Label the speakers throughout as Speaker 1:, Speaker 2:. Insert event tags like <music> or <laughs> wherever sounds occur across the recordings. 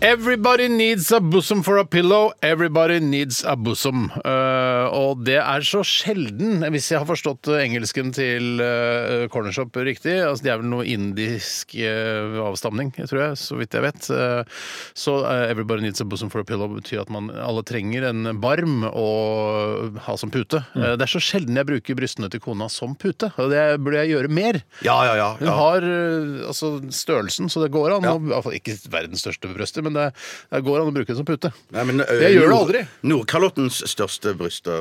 Speaker 1: Everybody needs a bosom for a pillow. Everybody needs a bosom. Eh, og det er så sjelden, hvis jeg har forstått eh, engelsken til eh, Cornershop riktig altså Det er vel noe indisk eh, avstamning, tror jeg, så vidt jeg vet. Eh, så eh, everybody needs a bosom for a pillow betyr at man alle trenger en barm å ha som pute. Eh, det er så sjelden jeg bruker brystene til kona som pute, og det burde jeg gjøre mer.
Speaker 2: Ja, ja, ja.
Speaker 1: Hun har eh, altså, størrelsen, så det går an. å- i hvert fall Ikke verdens største bryster, men det, det går an å bruke det som pute.
Speaker 2: Nei, men, eh, ø,
Speaker 1: Jeg gjør det
Speaker 2: Nord-
Speaker 1: aldri.
Speaker 2: <laughs> Nordkalottens største bryster.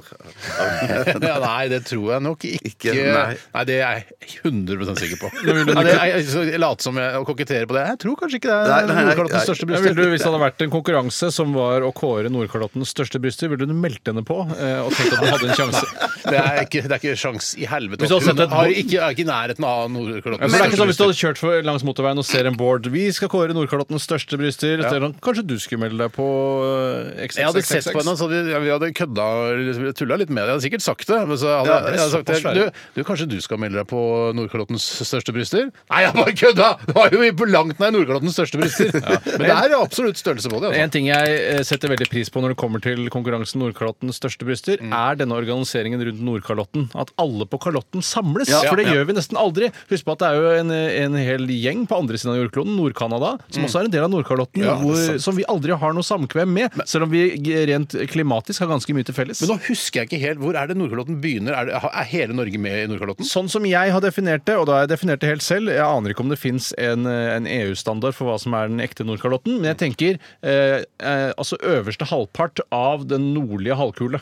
Speaker 1: Ja, nei, det tror jeg nok ikke.
Speaker 2: Ikke, nei.
Speaker 1: det er jeg 100 sikker
Speaker 2: <laughs>
Speaker 1: på. Nei, det, jeg, jeg, jeg later som jeg koketterer på det. Jeg tror kanskje ikke det
Speaker 2: Nei,
Speaker 1: er
Speaker 2: nei, nei, nei.
Speaker 1: Nordkalottens største
Speaker 3: Ja, ville
Speaker 1: bryster.
Speaker 3: du, hvis det hadde vært en konkurranse som var å kåre Nordkalottens største bryster, ville du meldt henne på eh, og tenkt at hun hadde en
Speaker 1: <laughs>
Speaker 3: sjanse?
Speaker 1: Det er ikke, det er ikke sjans i helvete.
Speaker 3: Hvis du hadde
Speaker 1: Hun
Speaker 3: sett et
Speaker 1: har
Speaker 3: bo-
Speaker 1: ikke, er ikke i nærheten av Nordkalottens
Speaker 3: Men det
Speaker 1: største
Speaker 3: er ikke sånn Hvis
Speaker 1: bryster.
Speaker 3: du hadde kjørt for, langs motorveien og ser en board Vi skal kåre Nordkalottens største bryster. så er det Sånn, kanskje du skulle melde deg på eh, XXXXX?
Speaker 1: Jeg hadde sett på henne, så vi, vi hadde kødda liksom, tullet litt med det. Jeg hadde sikkert sagt det. Men så hadde,
Speaker 3: Ja, det er
Speaker 1: jeg hadde sagt
Speaker 3: såpass
Speaker 1: det. Du, du, kanskje du skal melde deg på Nordkalottens største bryster? Nei, jeg bare kødda! Det var jo på langt nær Nordkalottens største bryster. Men det er absolutt størrelse på det.
Speaker 3: En
Speaker 1: Altså.
Speaker 3: ting jeg eh, setter veldig pris på når det kommer til konkurransen Nordkalottens største bryster,
Speaker 1: Mm.
Speaker 3: er denne organiseringen rundt Nordkalotten. At alle på kalotten samles. For det gjør vi nesten aldri. Husk på at det er jo en, en hel gjeng på andre siden av jordkloden, Nord-Canada, som også er en del av Nordkalotten,
Speaker 1: Mm. Ja, det er
Speaker 3: hvor, som vi aldri har noe samkvem med. Selv om vi g- rent klimatisk har ganske mye til felles.
Speaker 1: Men nå husker jeg ikke helt Hvor er det Nordkalotten begynner? Er, det, er hele Norge med i Nordkalotten?
Speaker 3: Sånn som jeg har definert det, og da har jeg definert det helt selv Jeg aner ikke om det fins en, en EU-standard for hva som er den ekte Nordkalotten, men jeg tenker eh, eh, altså øverste halvpart av den nordlige halvkule.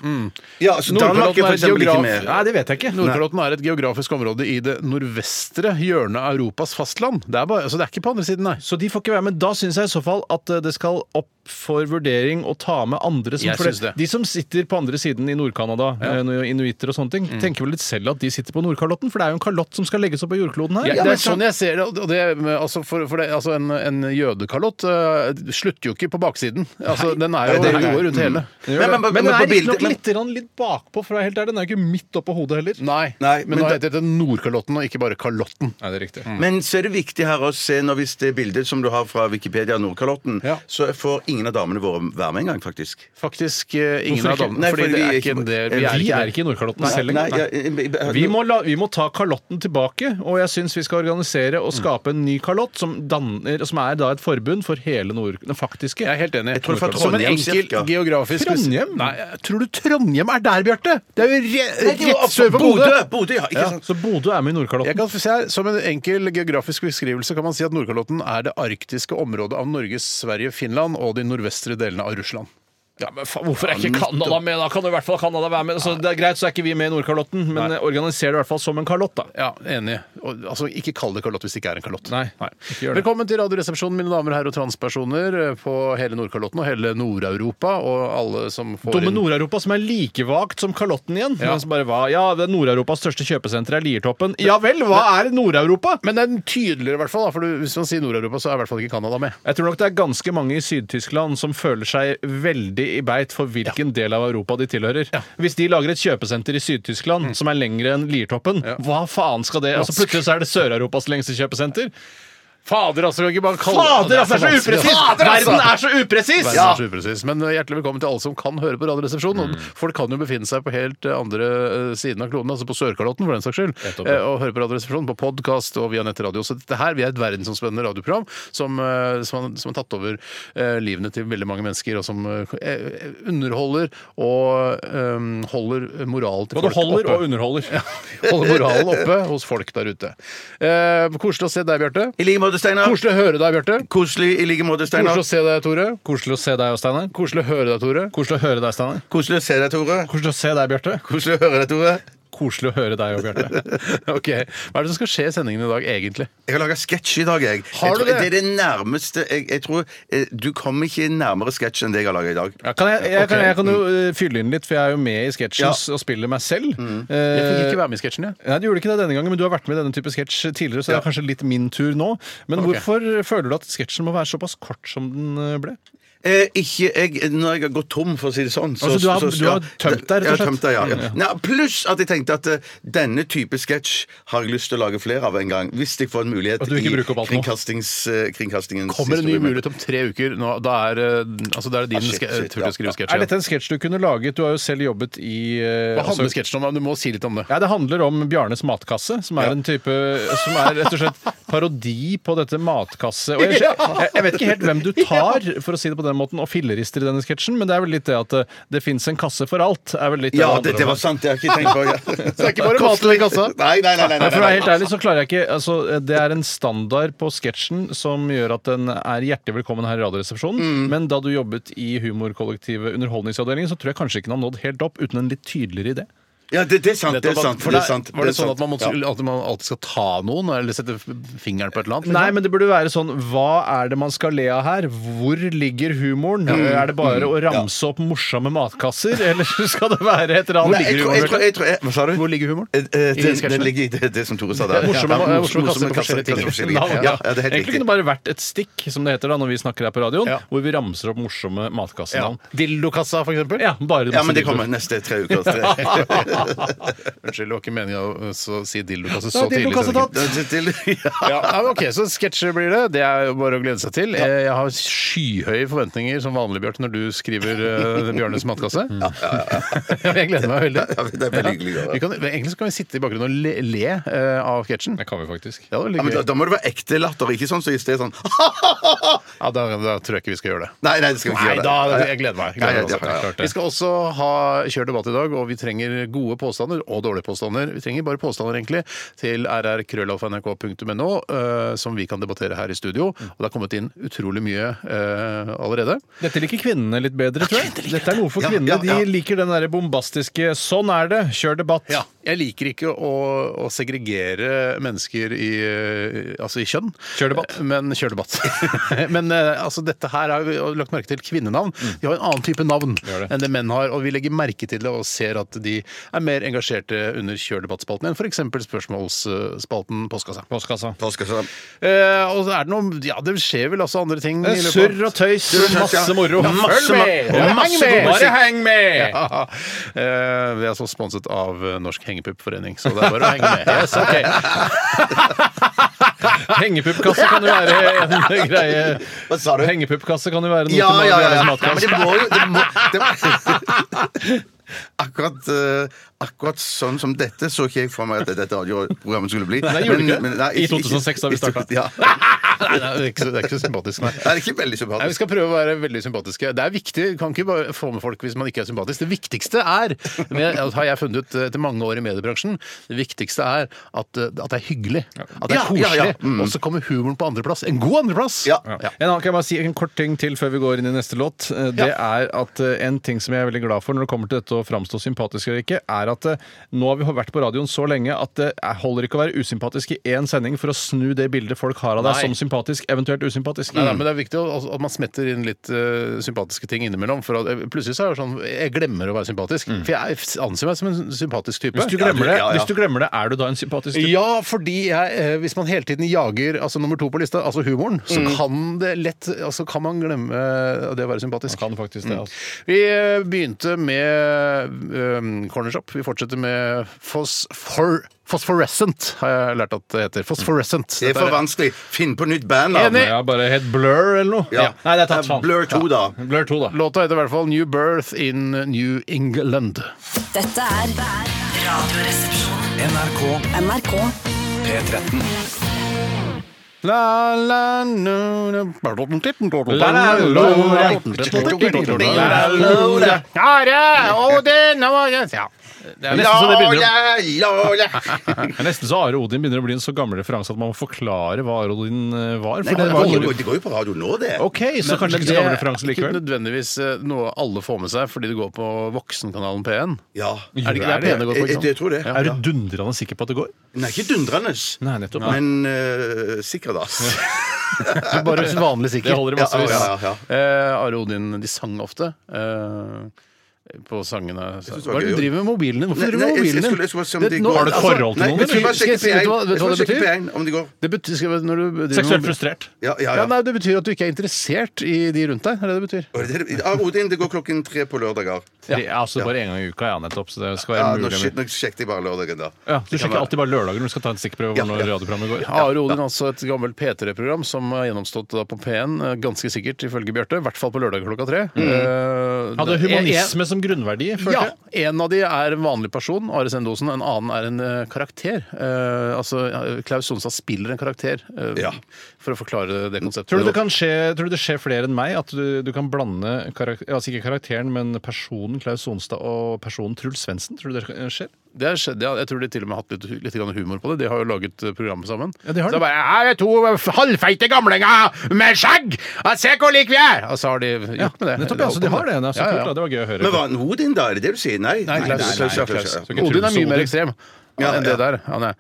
Speaker 2: Ja, så Mm. Danmark er for eksempel ikke med.
Speaker 3: Nei, det vet jeg ikke.
Speaker 1: Nordkalotten er et geografisk område i det nordvestre hjørnet av Europas fastland. Det er, bare, altså det er ikke på andre siden, nei.
Speaker 3: Så de får ikke være med. Da syns jeg i så fall at eh, det skal opp for vurdering å ta med andre. Som,
Speaker 1: Jeg
Speaker 3: for
Speaker 1: synes det.
Speaker 3: De som sitter på andre siden i Nord-Canada, eh, noe inuitter og sånne ting, tenker vel litt selv at de sitter på Nordkalotten, for det er jo en kalott som skal legges opp på jordkloden her.
Speaker 1: Ja, det er sånn jeg ser det. og det med- altså for, for det altså en, en jødekalott eh, slutter jo ikke på baksiden. Altså, den er jo
Speaker 2: Nei, det gjør
Speaker 1: den går
Speaker 2: det. Mm.
Speaker 1: rundt hele.
Speaker 2: Men-
Speaker 3: Gjør
Speaker 2: men-
Speaker 3: det.
Speaker 2: men-
Speaker 3: Men den
Speaker 2: men på
Speaker 3: er
Speaker 2: bildet-
Speaker 3: riktignok
Speaker 2: men-
Speaker 3: litt, grann litt bakpå, for å være helt ærlig. Den er jo ikke midt oppå hodet heller.
Speaker 1: Nei,
Speaker 2: Nei,
Speaker 1: men,
Speaker 2: men
Speaker 1: nå
Speaker 2: da-
Speaker 1: heter det Nordkalotten og ikke bare Kalotten.
Speaker 3: Nei, det er riktig.
Speaker 2: Men så er det viktig her å se når hvis det bildet som du har fra Wikipedia Nordkalotten,
Speaker 1: Ja.
Speaker 2: så får ingen av damene våre være med engang, faktisk.
Speaker 1: Faktisk eh, ingen
Speaker 3: Hvorfor
Speaker 1: av
Speaker 3: ikke?
Speaker 1: damene.
Speaker 2: Nei,
Speaker 1: Fordi
Speaker 2: fordi
Speaker 1: det
Speaker 2: vi
Speaker 1: er
Speaker 2: er
Speaker 1: ikke Eh, en
Speaker 2: ikke-
Speaker 1: del
Speaker 3: Vi er,
Speaker 1: det.
Speaker 3: ikke i Nordkalotten
Speaker 2: Nei,
Speaker 3: selv lenger. Nei.
Speaker 2: ja, jeg- jeg-
Speaker 3: Vi må, la, vi må ta kalotten tilbake, og jeg syns vi skal organisere
Speaker 1: Mm.
Speaker 3: og skape en ny kalott, som, danner, som er da et forbund for hele Nord... Den faktiske.
Speaker 1: Jeg er helt enig.
Speaker 2: Jeg tror det var
Speaker 1: Som en
Speaker 2: Trondheim,
Speaker 1: enkel
Speaker 2: cirka.
Speaker 1: geografisk
Speaker 3: Trondheim?
Speaker 1: Nei, tror du Trondheim er der, Bjarte? Det er jo re rett sør for
Speaker 2: Bodø!
Speaker 1: Bodø!
Speaker 2: Bodø, ja. Ikke sant?
Speaker 3: Så Bodø er med i
Speaker 1: Jeg
Speaker 3: Nordkalotten.
Speaker 1: kan se her, Som en enkel geografisk beskrivelse kan man si at Nordkalotten er det arktiske området av Norge, Sverige, Finland og de nordvestre delene av Russland.
Speaker 3: Ja, men faen, hvorfor er ikke Canada med? Da kan jo i hvert fall Canada være med. Så det er greit, så er ikke vi med i Nordkalotten, men
Speaker 1: Nei.
Speaker 3: organiser det i hvert fall som en kalott, da.
Speaker 1: Ja, Enig. Og, altså, Ikke kall det kalott hvis det ikke er en kalott.
Speaker 3: Nei, ikke gjør det.
Speaker 1: Velkommen til Radioresepsjonen, mine damer og herrer og transpersoner eh, på hele Nordkalotten og hele Nord-Europa og alle som får
Speaker 3: Dumme
Speaker 1: inn
Speaker 3: Nord-Europa som er like vagt som Kalotten igjen.
Speaker 1: Ja.
Speaker 3: Ja. Bare, hva? ja, det er Nord-Europas største kjøpesenter er Liertoppen. Ja vel, hva er Nord-Europa?
Speaker 1: Men den er tydeligere, i hvert fall. da, For du- hvis man sier Nord-Europa, så er i hvert fall ikke Canada med.
Speaker 3: Jeg tror nok det er ganske mange i Syd-Tyskland som føler seg veldig i beit for hvilken del av Europa de tilhører. Hvis de lager et kjøpesenter i Syd-Tyskland
Speaker 1: Mm.
Speaker 3: som er lengre enn Liertoppen, hva faen skal det Altså Plutselig så er det Sør-Europas lengste kjøpesenter.
Speaker 1: Fader, altså! Kan ikke bare kalle
Speaker 3: Fader, altså! Det er så
Speaker 1: vanskelig, altså.
Speaker 3: upresis!
Speaker 1: Fader, altså!
Speaker 3: Verden er så upresis!
Speaker 1: Verden er så upresis. Men eh, hjertelig velkommen til alle som kan høre på Radioresepsjonen.
Speaker 3: Mm.
Speaker 1: Og Folk kan jo befinne seg på helt eh, andre eh, siden av kloden, altså på Sørkalotten for den saks skyld,
Speaker 3: Nettopp,
Speaker 1: eh, og høre på Radioresepsjonen på podkast og via nettradio. Så dette her, vi er et verdensomspennende radioprogram som, eh, som, har- som har tatt over eh, livene til veldig mange mennesker, og som eh, eh, underholder og eh, holder moral til
Speaker 3: Både
Speaker 1: folk <laughs>
Speaker 3: holder
Speaker 1: oppe.
Speaker 3: og underholder.
Speaker 1: holder moralen oppe hos folk der ute. Eh, koselig å se deg, Bjarte.
Speaker 2: I like måte, Steinar.
Speaker 1: Koselig å høre deg, Bjarte.
Speaker 2: Koselig i like måte, Steinar.
Speaker 1: Koselig å se deg, Tore.
Speaker 3: Koselig å se deg, Steinar.
Speaker 1: Koselig å høre deg, Tore.
Speaker 3: Koselig å høre deg, Steinar.
Speaker 2: Koselig å se deg, Tore.
Speaker 3: Koselig å se deg, Bjarte.
Speaker 2: Koselig å høre deg, Tore.
Speaker 3: koselig å høre deg òg, Bjarte.
Speaker 1: <laughs> Ok, Hva er det som skal skje i sendingen i dag, egentlig?
Speaker 2: Jeg har laga sketsj i dag, jeg.
Speaker 1: Har
Speaker 2: jeg
Speaker 1: du
Speaker 2: tror,
Speaker 1: det?
Speaker 2: det? er det nærmeste jeg, jeg tror eh, Du kommer ikke nærmere sketsj enn det jeg har laga i dag.
Speaker 3: <laughs> Ja, kan jeg, jeg, kan,
Speaker 1: Ok.
Speaker 3: jeg kan jo eh, fylle inn litt, for jeg er jo med i sketsjen
Speaker 2: Ja.
Speaker 3: s- og spiller meg selv.
Speaker 1: Jeg fikk
Speaker 3: Eh,
Speaker 1: ikke være med i sketsjen, jeg.
Speaker 3: Nei, Du gjorde ikke det denne gangen, men du har vært med i denne type sketsj tidligere, så det er kanskje litt min tur nå. Men
Speaker 1: Ok.
Speaker 3: hvorfor føler du at sketsjen må være såpass kort som den eh, ble?
Speaker 2: Eh, ikke jeg, Når jeg har gått tom, for å si det sånn
Speaker 3: Altså, du har- du har tømt deg, rett og
Speaker 2: Jeg har
Speaker 3: slett?
Speaker 2: tømt deg, ja, ja.
Speaker 3: Mm, ja.
Speaker 2: Nei, Pluss at jeg tenkte at eh, denne type sketsj har jeg lyst til å lage flere av en gang. Hvis jeg får en mulighet
Speaker 3: At du ikke
Speaker 2: i
Speaker 3: bruker opp alt nå.
Speaker 2: kringkastings, eh, kringkastingens
Speaker 1: Kommer en ny
Speaker 2: historie.
Speaker 1: mulighet om tre uker. Nå, da, er, eh, altså, da er det din
Speaker 2: Ah, shit,
Speaker 1: ske-
Speaker 2: shit,
Speaker 1: tur til
Speaker 2: ja.
Speaker 1: å skrive sketsj
Speaker 3: Er
Speaker 1: igjen.
Speaker 3: dette en sketsj du kunne laget? Du har jo selv jobbet i eh,
Speaker 1: Hva handler
Speaker 3: altså-
Speaker 1: sketsjen om? Du må si litt om det.
Speaker 3: Ja, Det handler om Bjarnes matkasse, som er en type Som er rett og slett parodi på dette matkasse... Og jeg, jeg, jeg vet ikke helt hvem du tar, for å si det på den måten, og fillerister i denne sketsjen, men det er vel litt det at eh, det fins en kasse for alt. er vel litt
Speaker 2: Ja,
Speaker 3: handler
Speaker 2: det, det
Speaker 3: om.
Speaker 2: var sant. Det har jeg ikke tenkt på. Ja.
Speaker 1: Så det er ikke bare mat til den kassa?
Speaker 2: Nei, nei, nei. nei,
Speaker 3: Nei,
Speaker 2: nei,
Speaker 3: for å være
Speaker 2: nei,
Speaker 3: helt ærlig så klarer jeg ikke altså, Det er en standard på sketsjen som gjør at den er hjertelig velkommen her i Radioresepsjonen.
Speaker 2: Mm.
Speaker 3: Men da du jobbet i humorkollektivet Underholdningsavdelingen, så tror jeg kanskje ikke den har nådd helt opp uten en litt tydeligere idé.
Speaker 2: Ja, det, det er sant.
Speaker 1: Nettopp
Speaker 2: Det er
Speaker 1: at-
Speaker 2: sant.
Speaker 1: for
Speaker 2: det
Speaker 1: det-
Speaker 2: er sant.
Speaker 1: Var det
Speaker 2: er
Speaker 1: sånn at
Speaker 2: sant.
Speaker 1: man, måtte, at man <laughs> alltid skal ta noen, eller sette f- fingeren på et eller annet?
Speaker 3: Nei,
Speaker 2: Liksom.
Speaker 3: men det burde være sånn Hva er det man skal le av her? Hvor ligger humoren?
Speaker 2: Mm.
Speaker 3: Er det bare å ramse opp morsomme matkasser, eller <laughs> skal det være et eller
Speaker 2: Nei,
Speaker 3: annet?
Speaker 2: jeg tror, jeg tror, jeg tror jeg, Hva sa du?
Speaker 1: Hvor ligger humoren?
Speaker 2: Eh, eh, Den,
Speaker 1: sketsjen?
Speaker 2: den ligger i det, det som Tore sa der.
Speaker 1: Morsomme-
Speaker 2: Ja,
Speaker 1: morsomme
Speaker 2: morsomme
Speaker 1: kasser på
Speaker 2: kasser,
Speaker 1: forskjellige ting.
Speaker 2: kasser forskjellige.
Speaker 3: Navn,
Speaker 2: Ja, ja, det er helt
Speaker 3: Egentlig
Speaker 2: riktig.
Speaker 3: kunne det bare vært et stikk, som det heter da når vi snakker her på radioen,
Speaker 1: Ja.
Speaker 3: hvor vi ramser opp morsomme matkassenavn.
Speaker 1: Dildokassa, for eksempel?
Speaker 3: Ja, bare
Speaker 2: Ja, men det
Speaker 3: masse
Speaker 2: kommer neste tre uker. Tre.
Speaker 1: Unnskyld, det var ikke meninga å så si dildokasse
Speaker 3: Det
Speaker 1: så
Speaker 3: er
Speaker 1: tidlig. i sendingen.
Speaker 3: dildokassetat.
Speaker 2: Til, ja.
Speaker 1: Ja, ja, men ok, Så sketsjer blir det. Det er jo bare å glede seg til. Eh, Jeg har skyhøye forventninger som vanlig, Bjarte, når du skriver eh, Bjørnes matkasse. <laughs> Jeg gleder meg veldig.
Speaker 2: Ja, det er veldig hyggelig å høre.
Speaker 1: Vi kan, egentlig så kan vi sitte i bakgrunnen og le, le eh, av sketsjen.
Speaker 3: Det kan vi faktisk.
Speaker 1: Ja, det var
Speaker 2: Ja,
Speaker 1: litt
Speaker 2: men da,
Speaker 1: gøy.
Speaker 2: da må det være ekte latter, ikke sånn som i sted. Sånn
Speaker 1: Ja, da, da tror jeg ikke vi skal gjøre det.
Speaker 2: Nei, nei, det skal vi ikke
Speaker 1: Nei
Speaker 2: gjøre.
Speaker 1: da, jeg gleder meg. Jeg
Speaker 2: Nei,
Speaker 1: gleder meg
Speaker 2: ja,
Speaker 1: også.
Speaker 2: ja, ja.
Speaker 3: Klart
Speaker 1: Vi
Speaker 3: det.
Speaker 1: skal også ha kjør debatt i dag, og vi trenger gode påstander og dårlige påstander. Vi trenger bare påstander, egentlig, til rrkrøllalfa.nrk.no, eh, som vi kan debattere her i studio. Og det har kommet inn utrolig mye eh, allerede.
Speaker 3: Dette liker kvinnene litt bedre, tror jeg. Dette er noe for
Speaker 2: Ja,
Speaker 3: kvinnene.
Speaker 2: ja, ja.
Speaker 3: De liker den derre bombastiske 'sånn er det, kjør debatt'.
Speaker 1: Ja. Jeg liker ikke å, å segregere mennesker i, eh, altså i kjønn.
Speaker 3: Kjør debatt.
Speaker 1: Eh, Men kjør debatt. <laughs> men eh, altså, dette her har vi lagt merke til kvinnenavn. De har en annen type navn
Speaker 3: Gjør Mm. det.
Speaker 1: enn det menn har, og vi legger merke til det og ser at de er mer engasjerte under kjør debatt-spalten enn f.eks. spørsmålsspalten Postkassa.
Speaker 3: Postkassa.
Speaker 2: Påskesønn.
Speaker 1: Eh, og så er det noe Ja, det skjer vel altså andre ting. i løpet av-
Speaker 3: Eh, Surr og tøys,
Speaker 2: og tøys, ja.
Speaker 3: masse moro.
Speaker 2: Ja, masse ma- og
Speaker 3: Heng
Speaker 1: masse
Speaker 3: med!
Speaker 1: god musikk.
Speaker 3: Bare heng med!
Speaker 1: Ja. <laughs> Eh, Vi er altså sponset av eh, Norsk Hengepuppforening, så det er bare å henge med. Yes, ok. <laughs>
Speaker 3: Hengepuppkasse kan jo være en greie.
Speaker 2: Hva sa du?
Speaker 3: Hengepuppkasse kan jo være noe
Speaker 2: Ja,
Speaker 3: til
Speaker 2: ja, ja. ja. Nei,
Speaker 3: Mariannes
Speaker 2: men
Speaker 3: matkasse.
Speaker 2: det må jo det må, det <laughs> Akkurat, eh, akkurat sånn som dette så ikke jeg for meg at dette radioprogrammet skulle bli.
Speaker 3: Nei, gjorde du ikke det?
Speaker 2: nei,
Speaker 3: I 2006 da vi startet.
Speaker 2: Ja. Nei,
Speaker 1: Nei, nei, det er ikke så- det er ikke så sympatisk, nei.
Speaker 2: Det er ikke veldig
Speaker 1: Nei, Vi
Speaker 2: sympatisk.
Speaker 1: skal prøve å være veldig sympatiske. Det er viktig, Vi Kan ikke bare få med folk hvis man ikke er sympatisk. Det viktigste er, med, har jeg funnet ut eh, etter mange år i mediebransjen, det viktigste er at, eh, at det er hyggelig. At det er
Speaker 2: Ja, ja, ja.
Speaker 1: koselig. Og så kommer humoren på andreplass. En god andreplass!
Speaker 2: Ja.
Speaker 3: Ja. En annen kan jeg bare si en kort ting til før vi går inn i neste låt. Eh, Det er at eh, En ting som jeg er veldig glad for når det kommer til dette å framstå sympatisk eller ikke, er at eh, nå har vi vært på radioen så lenge at det er- holder ikke å være usympatisk i én sending for å snu det bildet folk har av deg
Speaker 1: Nei. Mm.
Speaker 3: som sympatisk, eventuelt usympatisk.
Speaker 1: Nei, nei, men Det er viktig å- altså, at man smetter inn litt eh, sympatiske ting innimellom. For at, plutselig så er det sånn Jeg glemmer å være sympatisk. For jeg anser meg som en sympatisk type.
Speaker 3: Mm. hvis, du glemmer
Speaker 2: Ja,
Speaker 3: det,
Speaker 2: ja, ja.
Speaker 3: hvis du glemmer det, er du da en sympatisk type?
Speaker 1: Ja, fordi jeg, eh, hvis man hele tiden jager altså nummer to på lista, altså humoren, så
Speaker 3: Mm.
Speaker 1: kan det lett altså kan man glemme eh, det å være sympatisk.
Speaker 3: Kan faktisk det, altså.
Speaker 1: Vi eh, begynte med um, cornershop. Vi fortsetter med fosfor, phosphorescent, har jeg lært at det heter. Phosphorescent.
Speaker 2: Det er for
Speaker 1: Dette
Speaker 2: vanskelig. Finn på nytt band. da.
Speaker 1: Enig.
Speaker 3: Ja, bare het Blur eller noe?
Speaker 2: Ja.
Speaker 3: Nei, det er tatt faen.
Speaker 2: Blur 2, da.
Speaker 3: Blur 2, da.
Speaker 1: Låta heter i hvert fall New Birth in New England.
Speaker 4: Dette er Radioresepsjonen.
Speaker 5: NRK
Speaker 4: NRK.
Speaker 5: P13.
Speaker 1: La, la, nu, nu.
Speaker 3: La, la, lo, la.
Speaker 1: Are og denne var Ja. Det er nesten så det begynner å
Speaker 2: Lola, lola.
Speaker 3: Det er nesten så Are Odin begynner å bli en så gammel referanse at man må forklare hva Are Odin eh, var. For
Speaker 2: Nei,
Speaker 3: det
Speaker 2: men
Speaker 3: var
Speaker 2: det går- Det går jo på radio nå, det.
Speaker 3: OK, så kanskje ikke så gammel referanse
Speaker 1: ikke
Speaker 3: likevel.
Speaker 1: nødvendigvis eh, noe alle får med seg fordi det går på voksenkanalen P1.
Speaker 2: Ja.
Speaker 1: Er det ikke det er pene godt på?
Speaker 2: Jeg, jeg, jeg
Speaker 1: ikke sant?
Speaker 2: tror det.
Speaker 3: Er du dundrende sikker på at det går?
Speaker 2: Nei, ikke dundrende.
Speaker 3: Nei, nettopp.
Speaker 2: Men uh, sikker, da.
Speaker 1: Det er Bare vanlig sikker.
Speaker 3: Det holder i massevis.
Speaker 2: Ja, ja, ja,
Speaker 1: Eh, Are Odin, de sang ofte. eh, på sangene så-
Speaker 2: synes det
Speaker 1: Hva
Speaker 2: var
Speaker 1: er det du
Speaker 2: gøy,
Speaker 1: driver med mobilen din? Hvorfor
Speaker 2: Nei,
Speaker 1: driver du med
Speaker 2: nei, jeg- jeg
Speaker 1: mobilen din?
Speaker 2: skulle- jeg skulle bare se om
Speaker 1: Det-
Speaker 2: de
Speaker 1: nå-
Speaker 2: går.
Speaker 3: Har du et forhold til
Speaker 2: Nei,
Speaker 3: noen,
Speaker 2: jeg skulle bare
Speaker 1: eller? Skal
Speaker 2: sjekke
Speaker 1: jeg si- vet du hva- vet
Speaker 2: P1,
Speaker 1: du hva
Speaker 2: Jeg
Speaker 1: det
Speaker 2: skulle
Speaker 1: betyr?
Speaker 2: sjekke P1 om de går.
Speaker 1: Det betyr, skal jeg, når du driver med
Speaker 3: Seksuelt
Speaker 1: mobil-
Speaker 3: frustrert.
Speaker 2: Ja, ja,
Speaker 1: Ja,
Speaker 2: ja.
Speaker 1: nei, det betyr at du ikke er interessert i de rundt deg. Er det det betyr?
Speaker 2: Og det- det- Ah, Odin, det går klokken tre på lørdager.
Speaker 3: Ja. Altså bare én gang i uka, ja, nettopp. Så det skal
Speaker 2: Ja,
Speaker 3: være
Speaker 2: nå,
Speaker 3: mulig.
Speaker 2: shit, nå sjekket jeg bare lørdagen, da.
Speaker 3: Ja, du
Speaker 2: Det kan
Speaker 3: sjekker
Speaker 2: være-
Speaker 3: alltid bare lørdager når du skal ta en stikkprøve
Speaker 2: Ja,
Speaker 3: om når
Speaker 2: ja.
Speaker 3: radioprogrammet går.
Speaker 1: Are Odin, altså et gammelt P3-program som har gjennomstått da på P1, eh, ganske sikkert ifølge Bjarte. I hvert fall på lørdag klokka tre. Eh,
Speaker 3: Mm. Hadde
Speaker 1: det-
Speaker 3: humanisme som grunnverdi, følte
Speaker 1: Ja,
Speaker 3: jeg.
Speaker 1: en av de er en vanlig person, Are Sendosen. En annen er en eh, karakter. Eh, altså, ja, Klaus Sonstad spiller en karakter, eh,
Speaker 2: Ja.
Speaker 1: for å forklare det konseptet.
Speaker 3: Tror du, det kan skje, tror du det skjer flere enn meg at du, du kan blande karak altså ikke karakteren, men personen Klaus Sonstad og personen Truls Svendsen? Tror du det skjer?
Speaker 1: Det har skjedd, ja. Jeg tror de til og med har hatt litt, litt grann humor på det. De har jo laget eh, programmet sammen.
Speaker 3: Ja, de har
Speaker 1: så
Speaker 3: det.
Speaker 1: bare Her er to eh, halvfeite gamlinger med skjegg! Ja, se hvor like vi er! Og så har de gjort med det.
Speaker 3: nettopp, ja, så de har det. Det er så kult, da. Det var gøy å høre.
Speaker 2: Men var han Odin, da? Er det det du sier? Nei.
Speaker 1: Nei, Klaus.
Speaker 2: Klaus, ja,
Speaker 3: Klaus.
Speaker 2: Klaus, ja.
Speaker 3: Så ikke
Speaker 1: Odin er
Speaker 3: Truls og
Speaker 1: mye mer
Speaker 3: Odin.
Speaker 1: ekstrem
Speaker 2: Ja,
Speaker 1: enn det
Speaker 2: ja.
Speaker 1: der. Han er.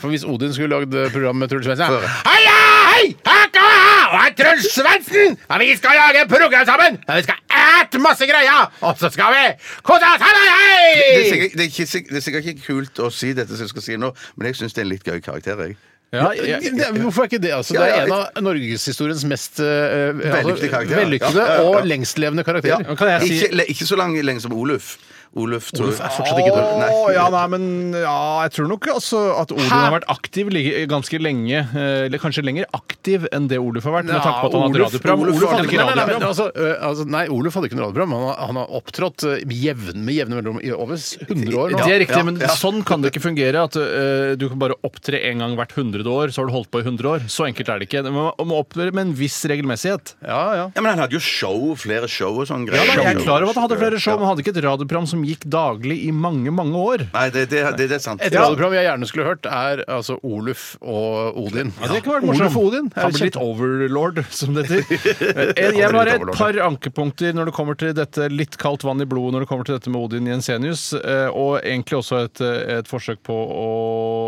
Speaker 1: For hvis Odin skulle lagd eh, program med Truls Svendsen
Speaker 2: Før.
Speaker 1: Heia, hei! Her kommer jeg! Og er Truls Svendsen! Ja, vi skal lage program sammen! Ja, vi skal æte masse greier! Og så skal vi kose oss! Hei,
Speaker 2: Det er,
Speaker 1: hei!
Speaker 2: sikkert, det, er ikke, sik- det er sikkert ikke kult å si dette som jeg skal si nå, men jeg syns det er en litt gøy karakter. Jeg.
Speaker 3: Ja,
Speaker 1: Ja,
Speaker 3: jeg,
Speaker 1: det- Hvorfor er ikke det? Altså, det
Speaker 2: Ja, ja,
Speaker 1: er en av norgeshistoriens mest eh,
Speaker 2: Vellykkede karakterer.
Speaker 1: vellykkede
Speaker 2: Ja, ja, ja.
Speaker 1: og lengstlevende karakterer.
Speaker 3: Men kan jeg si-
Speaker 2: ikke, le- ikke så lang, lenge som Oluf. Oluf, tror jeg.
Speaker 1: er fortsatt ikke død.
Speaker 2: Nei.
Speaker 3: Å, ja, nei, men ja, jeg tror nok altså, at Oluf
Speaker 1: Hæ?
Speaker 3: har vært aktiv like- ganske lenge. eh, Eller kanskje lenger aktiv enn det Oluf har vært. Med tanke på at han hadde
Speaker 1: Oluf-
Speaker 3: radioprogram.
Speaker 1: Oluf
Speaker 3: Oluf hadde ikke
Speaker 1: nei, nei, nei, men
Speaker 3: radioprogram.
Speaker 1: altså, ø, altså, nei, Oluf hadde ikke noe radioprogram. Han har, han har opptrådt ø, med jevne, med jevne mellomrom i over 100 år.
Speaker 3: Det
Speaker 1: Nå.
Speaker 3: er riktig,
Speaker 2: Ja,
Speaker 3: men
Speaker 2: ja.
Speaker 3: sånn kan det ikke fungere. At eh, du kan bare opptre én gang hvert hundrede år, så har du holdt på i 100 år. Så enkelt er det ikke. Man må- må opptre med en viss regelmessighet.
Speaker 1: Ja, ja.
Speaker 2: Ja, men han hadde jo show, flere show og sånn.
Speaker 3: Ja,
Speaker 2: greier.
Speaker 3: da, jeg er klar over at han hadde flere show,
Speaker 2: Ja.
Speaker 3: men hadde ikke et radioprogram som gikk daglig i mange, mange år.
Speaker 2: Nei, det, det, det, det er sant.
Speaker 1: Et radioprogram jeg gjerne skulle hørt, er altså Oluf og Odin.
Speaker 3: Ja, det kan være
Speaker 1: Oluf
Speaker 3: morsomt.
Speaker 1: og Odin.
Speaker 3: Han
Speaker 1: er
Speaker 3: blir litt overlord, som det heter.
Speaker 2: <laughs>
Speaker 3: Jeg, jeg har et par ankepunkter når det kommer til dette litt kaldt vann i blodet når det kommer til dette med Odin Jensenius, eh, og egentlig også et, eh, et forsøk på å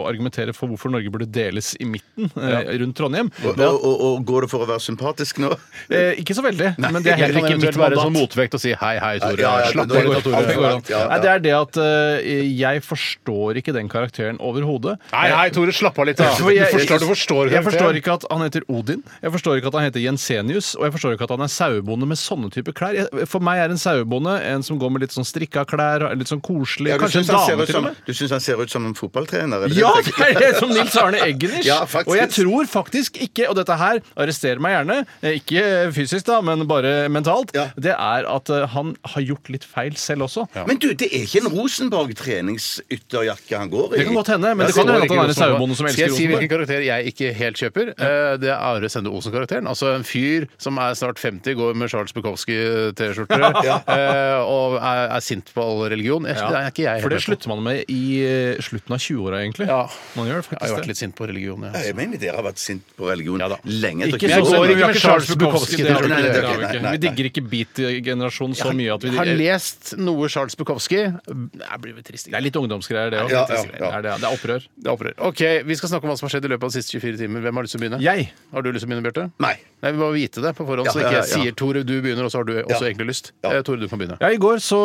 Speaker 3: argumentere for hvorfor Norge burde deles i midten eh, rundt Trondheim.
Speaker 2: Og, og, og, og går det for å være sympatisk nå?
Speaker 3: Eh, ikke så veldig, men det
Speaker 1: Det
Speaker 3: er heller ikke mitt
Speaker 1: være sånn
Speaker 3: mandat.
Speaker 1: motvekt og si hei, hei, Tore.
Speaker 2: Ja, ja,
Speaker 1: Slapp
Speaker 2: det-
Speaker 1: av,
Speaker 2: det-
Speaker 1: Tore.
Speaker 2: det-
Speaker 1: Slapp av.
Speaker 2: Ja, ja.
Speaker 3: Nei, det er det at eh, jeg forstår ikke den karakteren overhodet.
Speaker 1: Hei, hei, Tore, slapp av litt, <laughs> da.
Speaker 3: For jeg-
Speaker 1: du forstår, du forstår
Speaker 3: Jeg
Speaker 1: karakteren.
Speaker 3: forstår ikke at han heter Odin, jeg forstår ikke at han heter Jensenius, og jeg forstår ikke at han er sauebonde med sånne type klær. Jeg, for meg er en sauebonde en som går med litt sånn strikka klær, og litt sånn koselig,
Speaker 2: Ja, du
Speaker 3: kanskje
Speaker 2: syns
Speaker 3: en
Speaker 2: han, ser
Speaker 3: dame
Speaker 2: ut
Speaker 3: til og
Speaker 2: som-
Speaker 3: med.
Speaker 2: du synes han ser ut som en fotballtrener? er det det
Speaker 3: Ja,
Speaker 2: du
Speaker 3: det
Speaker 2: tenker?
Speaker 3: er <laughs> det som Nils Arne Eggenich!
Speaker 2: Ja, faktisk.
Speaker 3: og jeg tror faktisk ikke, og dette her, arrester meg gjerne, eh, ikke fysisk da, men bare mentalt,
Speaker 2: Ja.
Speaker 3: det er at eh, han har gjort litt feil selv også.
Speaker 2: Men du, det er ikke en Rosenborg treningsytterjakke han går i?
Speaker 3: Det kan godt hende,
Speaker 2: Ja,
Speaker 3: men det kan
Speaker 2: så-
Speaker 3: jo hende at han er en
Speaker 1: Rosenborg.
Speaker 3: sauebonde som
Speaker 1: sånn. Skal
Speaker 3: elsker
Speaker 1: jeg si hvilken
Speaker 3: Rosenborg.
Speaker 1: karakter jeg ikke helt kjøper? Eh, Det er Are Sende Osen-karakteren. Altså en fyr som er snart 50, går med Charles
Speaker 3: <laughs>
Speaker 1: Bukowski-T-skjorte eh, og er, er sint på all religion. Jeg, Det er ikke jeg helt
Speaker 3: For det
Speaker 1: med på.
Speaker 3: slutter man med i eh, slutten av 20-åra, egentlig.
Speaker 1: Ja.
Speaker 3: Man
Speaker 1: Jeg har
Speaker 3: gjør faktisk
Speaker 1: jo vært
Speaker 3: det.
Speaker 1: litt sint på religion, jeg.
Speaker 2: Ja,
Speaker 1: altså.
Speaker 2: Jeg mener dere har vært sint på religion
Speaker 1: Ja da.
Speaker 2: lenge.
Speaker 3: Ikke
Speaker 1: Jeg
Speaker 3: så
Speaker 1: går
Speaker 3: går
Speaker 1: ikke
Speaker 3: ikke
Speaker 1: med
Speaker 3: Charles
Speaker 1: Charles Bukowski,
Speaker 3: Bukowski. Det har vi
Speaker 2: nei,
Speaker 3: ikke,
Speaker 2: det
Speaker 3: det
Speaker 2: har
Speaker 3: har
Speaker 2: vi
Speaker 3: vi
Speaker 2: ikke.
Speaker 3: ikke. Vi digger ikke beat-generasjonen så mye at vi
Speaker 1: Jeg har
Speaker 3: Det
Speaker 1: lest noe Charles Bukowski. Jeg blir litt trist.
Speaker 3: er litt ungdomsgreier, det òg.
Speaker 2: Ja, ja,
Speaker 3: Det,
Speaker 2: ja.
Speaker 3: er det, det er opprør.
Speaker 1: Det opprører. OK, vi skal snakke om hva som har skjedd i løpet av de siste 24 timer. Hvem har lyst til å begynne?
Speaker 3: Jeg.
Speaker 1: Har du lyst til å begynne, Bjarte?
Speaker 2: Nei.
Speaker 1: Nei, Vi må vite det på forhånd,
Speaker 2: Ja,
Speaker 1: så ikke
Speaker 2: ja,
Speaker 1: jeg
Speaker 2: ja.
Speaker 1: sier 'Tore, du begynner', og så har du også
Speaker 2: Ja.
Speaker 1: egentlig lyst.
Speaker 2: Ja.
Speaker 1: Eh, Tore, du kan begynne.
Speaker 3: Ja, i går så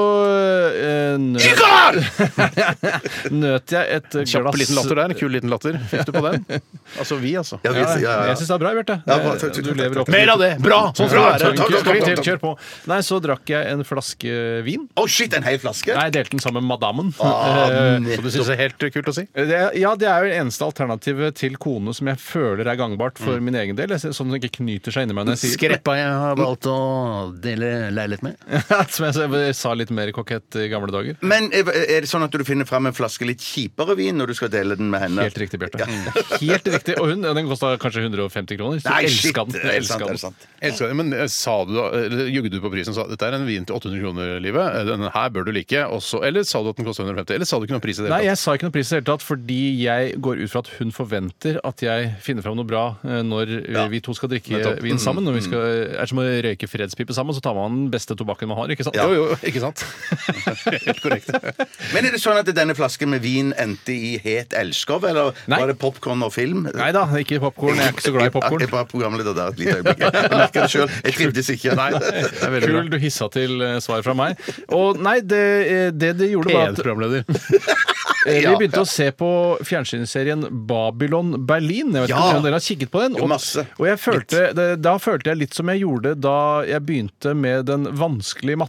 Speaker 3: eh, nøt, nøt jeg <laughs> et glass
Speaker 1: Kjapp liten latter der. Kul liten latter. Fikk du på den? <laughs> Altså vi, altså.
Speaker 2: Ja, vi-
Speaker 3: Ja,
Speaker 2: ja, ja, ja.
Speaker 3: Jeg syns det er bra, Bjarte. Eh,
Speaker 2: Ja, bra, takk, takk,
Speaker 3: Du
Speaker 2: takk,
Speaker 3: lever
Speaker 2: takk.
Speaker 3: opp til-
Speaker 1: Mer av det! Bra! Sånn skal
Speaker 3: Bra,
Speaker 1: det
Speaker 3: takk,
Speaker 1: være.
Speaker 3: takk,
Speaker 2: Kom, kom,
Speaker 3: takk,
Speaker 2: kom.
Speaker 3: Kjør på. Nei, så drakk jeg en flaske vin.
Speaker 2: Å, shit, en hel flaske?
Speaker 3: Nei, jeg delte den sammen med madammen. Eh,
Speaker 1: Som du syns er helt kult å si?
Speaker 3: Det, ja, det er jo det eneste alternativet til kone som jeg føler er gangbart for min egen del. Jeg ser- Sånn at det ikke knyter seg inni meg når jeg sier
Speaker 1: Skreppa jeg har valgt å dele leilighet med.
Speaker 3: <laughs> Som jeg sa- sa litt mer kokett i gamle dager.
Speaker 2: Men er er det sånn at du finner fram en flaske litt kjipere vin når du skal dele den med henne?
Speaker 3: Helt riktig, Bjarte. <laughs> Helt riktig. Og hun, ja, den kosta kanskje 150 kroner. Så
Speaker 2: Nei,
Speaker 3: jeg
Speaker 2: shit!
Speaker 3: elska den.
Speaker 2: er det
Speaker 3: Jeg elska
Speaker 2: sant, er det
Speaker 3: den.
Speaker 2: sant?
Speaker 1: Elsker det. Men eh, sa du da, eller jugde du på prisen og sa dette er en vin til 800 kroner, livet? Eh, Denne her bør du du like, og så- eller sa du at den kosta 150? Eller sa du ikke noen pris i det
Speaker 3: Nei,
Speaker 1: hele tatt?
Speaker 3: jeg sa ikke noe pris i det hele tatt, fordi jeg går ut fra at hun forventer at jeg finner fram noe bra eh, når eh, vi to skal drikke
Speaker 1: Nettopp.
Speaker 3: vin sammen.
Speaker 2: Mm.
Speaker 3: Når vi skal, er det som å røyke fredspipe sammen, så tar man den beste tobakken man har, ikke sant? <laughs>
Speaker 1: Jo, jo, ikke sant? Helt korrekt.
Speaker 2: Men er det sånn at denne flasken med vin endte i het elskov, eller
Speaker 3: Nei.
Speaker 2: var det popkorn og film?
Speaker 3: Nei da, ikke popkorn. Jeg er ikke så glad i
Speaker 2: <laughs>
Speaker 3: popkorn.
Speaker 2: Jeg var programleder der et lite øyeblikk. Jeg merker det sjøl. Jeg trivdes ikke.
Speaker 3: Kul, du hissa til eh, svar fra meg. Og nei, det eh, det, det gjorde var at
Speaker 1: programleder.
Speaker 3: <laughs> eh, vi
Speaker 2: Ja.
Speaker 3: begynte å se på fjernsynsserien Babylon Berlin. Jeg vet ikke
Speaker 2: Ja.
Speaker 3: om dere har kikket på den?
Speaker 2: Jo,
Speaker 3: Og,
Speaker 2: masse.
Speaker 3: og jeg følte, det, da følte jeg litt som jeg gjorde da jeg begynte med den vanskelige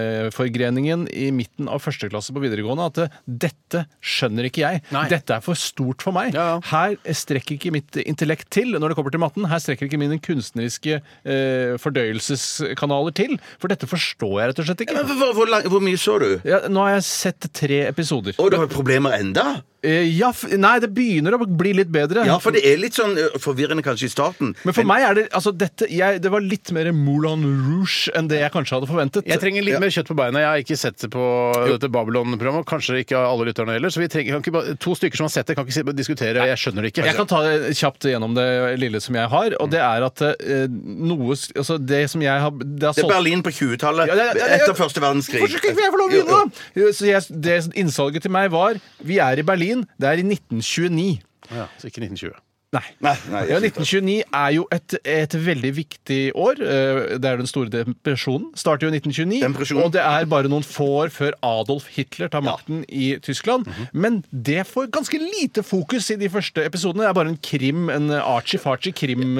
Speaker 3: matteforgreningen i midten av første klasse på videregående, at eh, dette skjønner ikke jeg.
Speaker 1: Nei.
Speaker 3: Dette er for stort for meg.
Speaker 1: Ja, ja.
Speaker 3: Her strekker ikke mitt intellekt til når det kommer til matten. Her strekker ikke mine kunstneriske eh, fordøyelseskanaler til. For dette forstår jeg rett og slett ikke.
Speaker 2: Men Hvor, hvor, lang, hvor mye så du?
Speaker 3: Ja, nå har jeg sett tre episoder.
Speaker 2: Å, du har problemer enda?
Speaker 3: Eh, ja, f nei, det begynner å bli litt bedre.
Speaker 2: Ja, for det er litt sånn ø, forvirrende kanskje i starten.
Speaker 3: Men for meg er det altså dette, jeg, Det var litt mer Moulin Rouge enn det jeg kanskje hadde forventet.
Speaker 1: Jeg trenger litt mer kjøtt på beina. Jeg har ikke sett det på dette Babylon-programmet. og Kanskje ikke alle lytterne heller. Så vi trenger, kan ikke bare, to stykker som har sett det, kan ikke si- diskutere. Jeg skjønner det ikke.
Speaker 3: Jeg kan ta det kjapt gjennom det lille som jeg har,
Speaker 2: Mm.
Speaker 3: og det er at eh, noe s- Altså, det som jeg har Det, har
Speaker 2: Det er
Speaker 3: solgt-
Speaker 2: Berlin på 20-tallet,
Speaker 3: Ja, ja, ja, ja, ja.
Speaker 2: etter første verdenskrig.
Speaker 3: Hvorfor skal ikke jeg få lov å
Speaker 2: Jo, jo.
Speaker 3: begynne, da? Så jeg, det innsalget til meg var Vi er i Berlin. Det er i 1929.
Speaker 1: Ja, så ikke 1920.
Speaker 3: Nei.
Speaker 2: Nei, nei,
Speaker 3: Ja, 1929 er jo et, et veldig viktig år. Eh, Det er den store depresjonen. Starter jo i 1929.
Speaker 2: Depresjonen.
Speaker 3: Og det er bare noen få år før Adolf Hitler tar makten i Tyskland.
Speaker 2: Mhm.
Speaker 3: Men det får ganske lite fokus i de første episodene. Det er bare en krim, en archie-farchie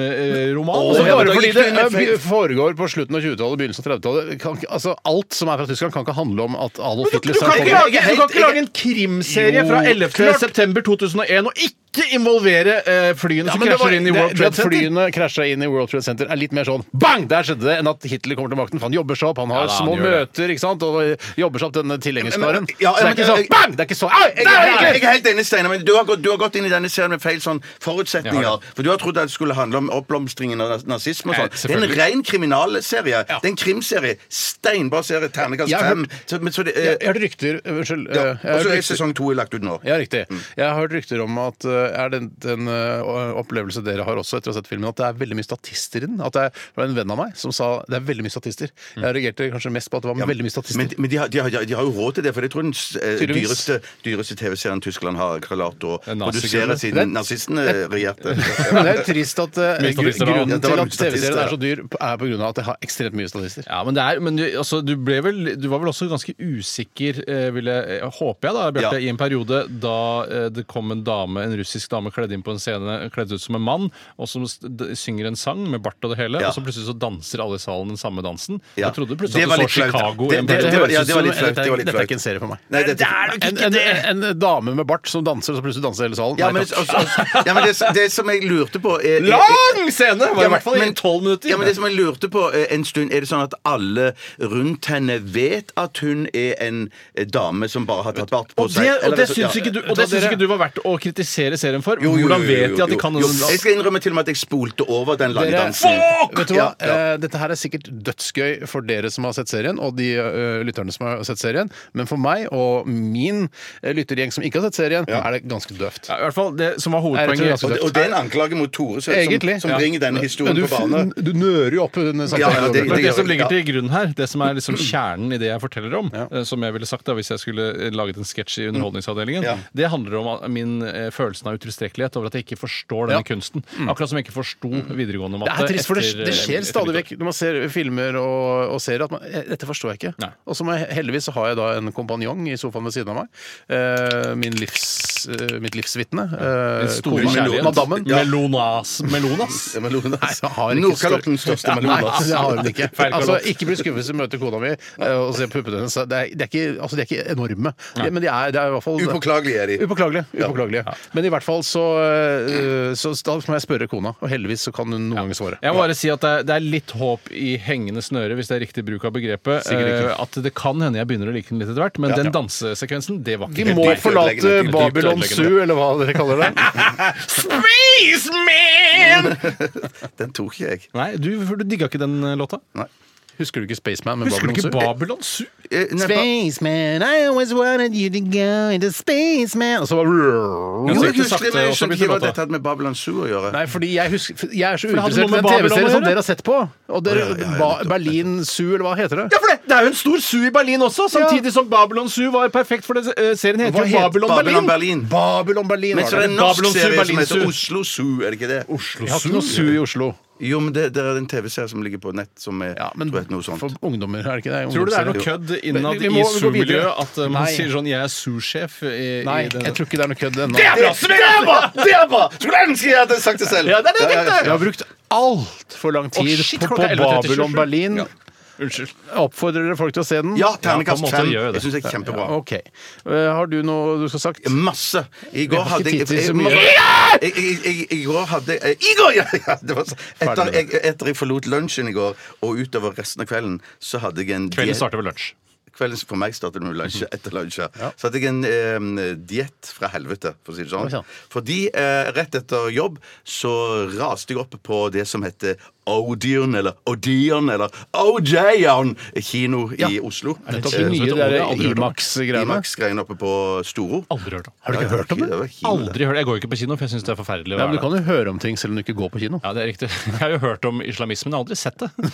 Speaker 3: krimroman.
Speaker 1: Og
Speaker 2: Å, ja, men
Speaker 1: bare
Speaker 2: da
Speaker 1: fordi
Speaker 2: gikk
Speaker 1: det
Speaker 2: du inn i
Speaker 1: eh,
Speaker 2: feil-
Speaker 1: foregår på slutten av 20-tallet, begynnelsen av 30-tallet kan ikke- altså, Alt som er fra Tyskland, kan ikke handle om at Adolf
Speaker 3: Du
Speaker 1: Hitler
Speaker 3: kan ikke
Speaker 1: stakk
Speaker 3: lage, du kan ikke lage en krimserie
Speaker 1: Jo,
Speaker 3: fra 11.
Speaker 1: klart.
Speaker 3: september 2001 og ikke involvere eh, flyene
Speaker 1: Ja,
Speaker 3: som
Speaker 1: men det var-
Speaker 3: krasjer inn i World
Speaker 1: det-
Speaker 3: Trade
Speaker 1: det at
Speaker 3: Center.
Speaker 1: Flyene krasja inn i World Trade Center er litt mer sånn bang! Der skjedde det, enn at Hitler kommer til makten. For han jobber seg opp, han har
Speaker 3: Ja, da, han
Speaker 1: små
Speaker 3: gjør
Speaker 1: møter ikke sant? og jobber seg opp denne tilhengerskaren.
Speaker 2: Men- ja,
Speaker 1: så det er
Speaker 2: men-
Speaker 1: ikke sånn
Speaker 2: jeg-
Speaker 3: eh,
Speaker 1: bang! Det er ikke sånn Au!
Speaker 2: Jeg
Speaker 1: der er
Speaker 2: er,
Speaker 1: Hitler!
Speaker 2: jeg er helt enig, Steinar, men du har, gått, du har gått inn i denne serien med feil sånn forutsetninger.
Speaker 3: Ja,
Speaker 2: For du har trodd at det skulle handle om oppblomstringen av nas- nazisme og
Speaker 3: Ja,
Speaker 2: sånn. Det er en
Speaker 3: selvfølgelig.
Speaker 2: ren kriminalserie. Det er en krimserie. Steinbra serie. Ternekast
Speaker 1: Jeg har
Speaker 2: fem.
Speaker 1: hørt-
Speaker 2: Så, men så det
Speaker 1: Jeg
Speaker 2: er
Speaker 1: jeg hørte rykter eh, Unnskyld. eh,
Speaker 2: ja.
Speaker 1: jeg
Speaker 3: altså,
Speaker 2: Og så
Speaker 1: hørte
Speaker 2: er
Speaker 1: rykter-
Speaker 2: sesong to lagt ut nå.
Speaker 1: Ja, riktig. Jeg har hørt rykter om at eh, er den, den eh, opplevelse dere har også etter å ha sett filmen, at det er veldig mye statister i den. At det er det var en venn av meg som sa det er veldig mye statister. Jeg reagerte kanskje mest på at det var veldig mye statister.
Speaker 2: Men,
Speaker 1: <laughs>
Speaker 2: men de, har, de, har, de har jo råd til det, for jeg tror den s- eh,
Speaker 1: Tydeligvis.
Speaker 2: dyreste, dyreste TV-serien Tyskland har klart å
Speaker 3: er nazi-greiene.
Speaker 2: produsere
Speaker 1: Det er-
Speaker 2: siden nazistene regjerte.
Speaker 1: Men det er jo trist at eh,
Speaker 3: Mye
Speaker 1: gru-
Speaker 3: statister, da.
Speaker 2: Ja,
Speaker 1: grunnen
Speaker 2: det var
Speaker 1: til
Speaker 2: mye
Speaker 1: at TV-serien
Speaker 2: statister,
Speaker 1: er så dyr, er på grunn av at det har ekstremt mye statister.
Speaker 3: Ja, men det er, men du, altså, du, ble vel, du var vel også ganske usikker, eh, vil jeg, eh, håper jeg da,
Speaker 2: Ja.
Speaker 3: Bjarte, i en periode da eh, det kom en dame, en russisk dame kledd inn på en scene, kledd ut som en mann, og som s- d- synger en sang med bart og det hele,
Speaker 2: Ja.
Speaker 3: og så plutselig så danser alle i salen den samme dansen.
Speaker 2: Ja.
Speaker 3: Jeg trodde
Speaker 2: Det
Speaker 3: plutselig
Speaker 2: var
Speaker 3: at du
Speaker 2: litt
Speaker 3: så
Speaker 2: flaut.
Speaker 3: Chicago.
Speaker 2: Det-
Speaker 3: en
Speaker 2: det-
Speaker 3: periode.
Speaker 2: det var- ja, det var
Speaker 1: Høres
Speaker 2: litt
Speaker 1: ut som-
Speaker 2: flaut, det var litt
Speaker 1: Dette er
Speaker 2: flaut.
Speaker 1: ikke en serie for meg.
Speaker 2: Nei, dette-
Speaker 1: En, en, en dame med bart som danser, og så plutselig danser hele salen.
Speaker 2: Ja,
Speaker 1: Nei,
Speaker 2: men,
Speaker 1: takk.
Speaker 2: altså, altså, ja, men det, det som jeg lurte på er, er-
Speaker 3: Lang scene! Var
Speaker 2: Ja,
Speaker 3: i hvert fall i
Speaker 2: men-
Speaker 3: tolv minutter.
Speaker 2: Ja, men det som jeg lurte på eh, en stund, er det sånn at alle rundt henne vet at hun er en eh, dame som bare har tatt bart på
Speaker 3: Og
Speaker 2: seg?
Speaker 3: det, og
Speaker 2: Eller-
Speaker 3: det syns
Speaker 2: ja.
Speaker 3: ikke du, og det syns
Speaker 1: dere-
Speaker 3: ikke du var verdt å kritisere serien for.
Speaker 2: Jo, jo, jo,
Speaker 3: Hvordan
Speaker 2: jo,
Speaker 3: vet de at de
Speaker 2: jo,
Speaker 3: kan
Speaker 2: jo. Jeg skal innrømme til og med at jeg spolte over den lange
Speaker 1: Dere-
Speaker 2: dansen.
Speaker 1: Vet du hva?
Speaker 2: Ja, ja.
Speaker 1: Eh, Dette her er sikkert dødsgøy for dere som har sett serien, og de eh, lytterne som har sett serien, men for meg og min eh, lyttergjeng som ikke har sett serien, er det ganske døvt.
Speaker 3: Ja, I hvert fall det som var
Speaker 1: Nei, jeg
Speaker 3: hovedpoenget.
Speaker 1: tror
Speaker 2: Og,
Speaker 1: jeg-
Speaker 2: det- og det er en anklage mot Tore som, som, som bringer denne historien
Speaker 1: Men
Speaker 2: på bane.
Speaker 1: Du nører jo opp under
Speaker 2: Ja, ja, det-
Speaker 3: Men det
Speaker 2: gjør
Speaker 3: som
Speaker 2: jeg,
Speaker 3: ligger
Speaker 2: ja.
Speaker 3: til grunn her, det som er liksom kjernen i det jeg forteller om, eh, som jeg ville sagt da hvis jeg skulle eh, laget en sketsj i Underholdningsavdelingen,
Speaker 2: Mm. Ja.
Speaker 3: det handler om at min eh, følelsen av utilstrekkelighet over at jeg ikke forstår denne
Speaker 1: Ja.
Speaker 3: kunsten.
Speaker 2: Mm.
Speaker 3: Akkurat som jeg ikke forsto videregående matte.
Speaker 1: Det er trist, for det,
Speaker 3: etter,
Speaker 1: det
Speaker 3: eh,
Speaker 1: skjer
Speaker 3: etter
Speaker 1: stadig
Speaker 3: nyttår.
Speaker 1: vekk når man ser filmer og, og serier at man, eh, dette forstår jeg ikke.
Speaker 3: Nei.
Speaker 1: Og så må jeg, heldigvis så har jeg da en kompanjong i sofaen ved siden av meg. Eh, min livs, eh, mitt livsvitne. Eh,
Speaker 3: Den store
Speaker 1: kona-
Speaker 3: kjærlighet.
Speaker 1: Madammen.
Speaker 3: Melonas. Melonas.
Speaker 2: Ja, men Lone,
Speaker 1: Nei, jeg Altså, har ikke
Speaker 2: Nordkalottens
Speaker 1: større-
Speaker 2: største
Speaker 1: Nei,
Speaker 2: melon.
Speaker 1: det har hun ikke.
Speaker 3: Feil
Speaker 1: Altså,
Speaker 3: kalott.
Speaker 1: ikke bli skuffet hvis du møter kona mi eh, og ser puppene hennes. Det er, det er ikke, altså, de er ikke enorme, Det- men de er, det er i hvert fall
Speaker 2: Upåklagelige er de.
Speaker 1: Upåklagelige. upåklagelige. Men i hvert fall så, eh, så da må jeg spørre kona, og heldigvis så kan hun noen ganger svare.
Speaker 3: Jeg må bare si at det er, det er litt håp i hengende snøre, hvis det er riktig bruk av begrepet.
Speaker 1: Sikkert ikke.
Speaker 3: eh, At det kan hende jeg begynner å like den litt etter hvert, men den dansesekvensen, det var
Speaker 1: Vi
Speaker 3: ikke
Speaker 1: må
Speaker 2: dypt
Speaker 1: forlate
Speaker 2: ødeleggende, dypt
Speaker 1: Babylon
Speaker 3: ødeleggende.
Speaker 1: Zoo, eller hva dere <laughs> kaller det.
Speaker 3: Spaceman!
Speaker 2: Den tok ikke jeg.
Speaker 3: Nei, du, for du digga ikke den eh, låta?
Speaker 2: Nei.
Speaker 1: Husker du ikke Spaceman med
Speaker 3: Husker du
Speaker 1: Babylon
Speaker 3: ikke
Speaker 1: Zoo?
Speaker 3: Babylon Zoo?
Speaker 2: Eh, nei, ba-
Speaker 1: Spaceman, I always wanted you to go into spaceman Og så bare
Speaker 2: Jo,
Speaker 3: så
Speaker 2: jeg
Speaker 3: gikk det
Speaker 2: husker det, men jeg
Speaker 3: sakte, og så
Speaker 2: skjønte
Speaker 3: begynte
Speaker 2: ikke hva
Speaker 3: låta.
Speaker 2: dette hadde med Babylon Zoo å gjøre.
Speaker 1: Nei, fordi jeg, husker, jeg er så
Speaker 3: det hadde
Speaker 1: uinteressert i
Speaker 3: noe med
Speaker 1: den
Speaker 3: Babylon liksom. å
Speaker 1: TV-serien som
Speaker 3: gjøre.
Speaker 1: dere har sett på. Og dere,
Speaker 2: Å, ja, ja, ja,
Speaker 1: ba,
Speaker 2: nettopp,
Speaker 1: Berlin Zoo, eller hva heter det?
Speaker 3: Ja, for det, det er jo en stor zoo i Berlin også, samtidig som Babylon Zoo var perfekt, for det, eh, serien heter
Speaker 1: Hva
Speaker 3: jo
Speaker 1: het
Speaker 3: Babylon,
Speaker 2: Babylon
Speaker 3: Berlin.
Speaker 2: Berlin.
Speaker 1: Babylon Berlin.
Speaker 2: Men
Speaker 1: var
Speaker 2: så er det en
Speaker 1: det.
Speaker 2: norsk
Speaker 3: Babylon Zoo,
Speaker 2: serie som
Speaker 3: Berlin
Speaker 2: heter
Speaker 3: Zoo.
Speaker 2: Oslo Zoo, er det ikke det?
Speaker 1: Vi har ikke noe zoo i Oslo.
Speaker 2: Jo, men det, det er en TV-serie som ligger på nett som er
Speaker 1: Ja, men
Speaker 2: tror jeg, noe sånt.
Speaker 1: for ungdommer, er det ikke det?
Speaker 3: Tror du det er noe
Speaker 1: Ungdomsserie.
Speaker 3: kødd innad
Speaker 1: Vi- vi
Speaker 3: i
Speaker 1: må gå videre.
Speaker 3: zoo-miljøet at eh, man
Speaker 1: Nei.
Speaker 3: sier sånn 'jeg er zoo-sjef' i,
Speaker 1: Nei,
Speaker 3: i den-
Speaker 1: jeg tror ikke det er noe kødd ennå.
Speaker 2: Det er bra! Skulle ønske jeg hadde sagt det selv.
Speaker 3: Ja, det er det jeg tenkte.
Speaker 1: Vi har brukt altfor lang tid
Speaker 3: shit,
Speaker 1: på, på
Speaker 3: klokka er 11.37.
Speaker 1: Babylon Berlin.
Speaker 3: Unnskyld.
Speaker 1: Jeg Oppfordrer dere folk til å se den?
Speaker 2: Ja, terningkast
Speaker 3: Ja, på en måte
Speaker 2: fem.
Speaker 3: gjør jeg det.
Speaker 2: Jeg syns det er kjempebra.
Speaker 1: OK. Eh, har du noe du skulle sagt?
Speaker 2: Masse. I
Speaker 1: Vi har
Speaker 2: går
Speaker 1: ikke
Speaker 2: hadde jeg,
Speaker 1: tid til
Speaker 2: jeg-
Speaker 1: så mye.
Speaker 2: jeg, jeg, jeg, I går hadde jeg I går, ja! ja det var så. Etter,
Speaker 1: Ferdig med
Speaker 2: jeg, etter jeg forlot lunsjen i går og utover resten av kvelden, så hadde jeg en
Speaker 3: Kvelden
Speaker 2: diet-
Speaker 3: starter ved lunsj.
Speaker 2: Kvelden for meg startet med
Speaker 1: Mhm.
Speaker 2: lunsj etter lunsj. ja. Så hadde jeg en eh, diett fra helvete, for å si det
Speaker 1: Oi, sann.
Speaker 2: sånn. Fordi eh, rett etter jobb så raste jeg opp på det som heter Odeon, eller Odeon, eller Odeon kino i Oslo.
Speaker 1: Er det de nye
Speaker 3: det
Speaker 1: der
Speaker 3: er aldri hørt om.
Speaker 1: Imax-greiene?
Speaker 2: Imax-greiene oppe på Storo.
Speaker 3: Aldri hørt om.
Speaker 1: Har du ikke hørt om det?
Speaker 2: var kino, det.
Speaker 3: Aldri hørt. Jeg går jo ikke på kino, for jeg syns det er forferdelig. å
Speaker 1: Ja,
Speaker 3: være
Speaker 1: men du
Speaker 3: der.
Speaker 1: kan jo høre om ting selv om du ikke går på kino.
Speaker 3: Ja, det er riktig. <laughs> Jeg har jo hørt om islamismen, jeg har aldri sett det.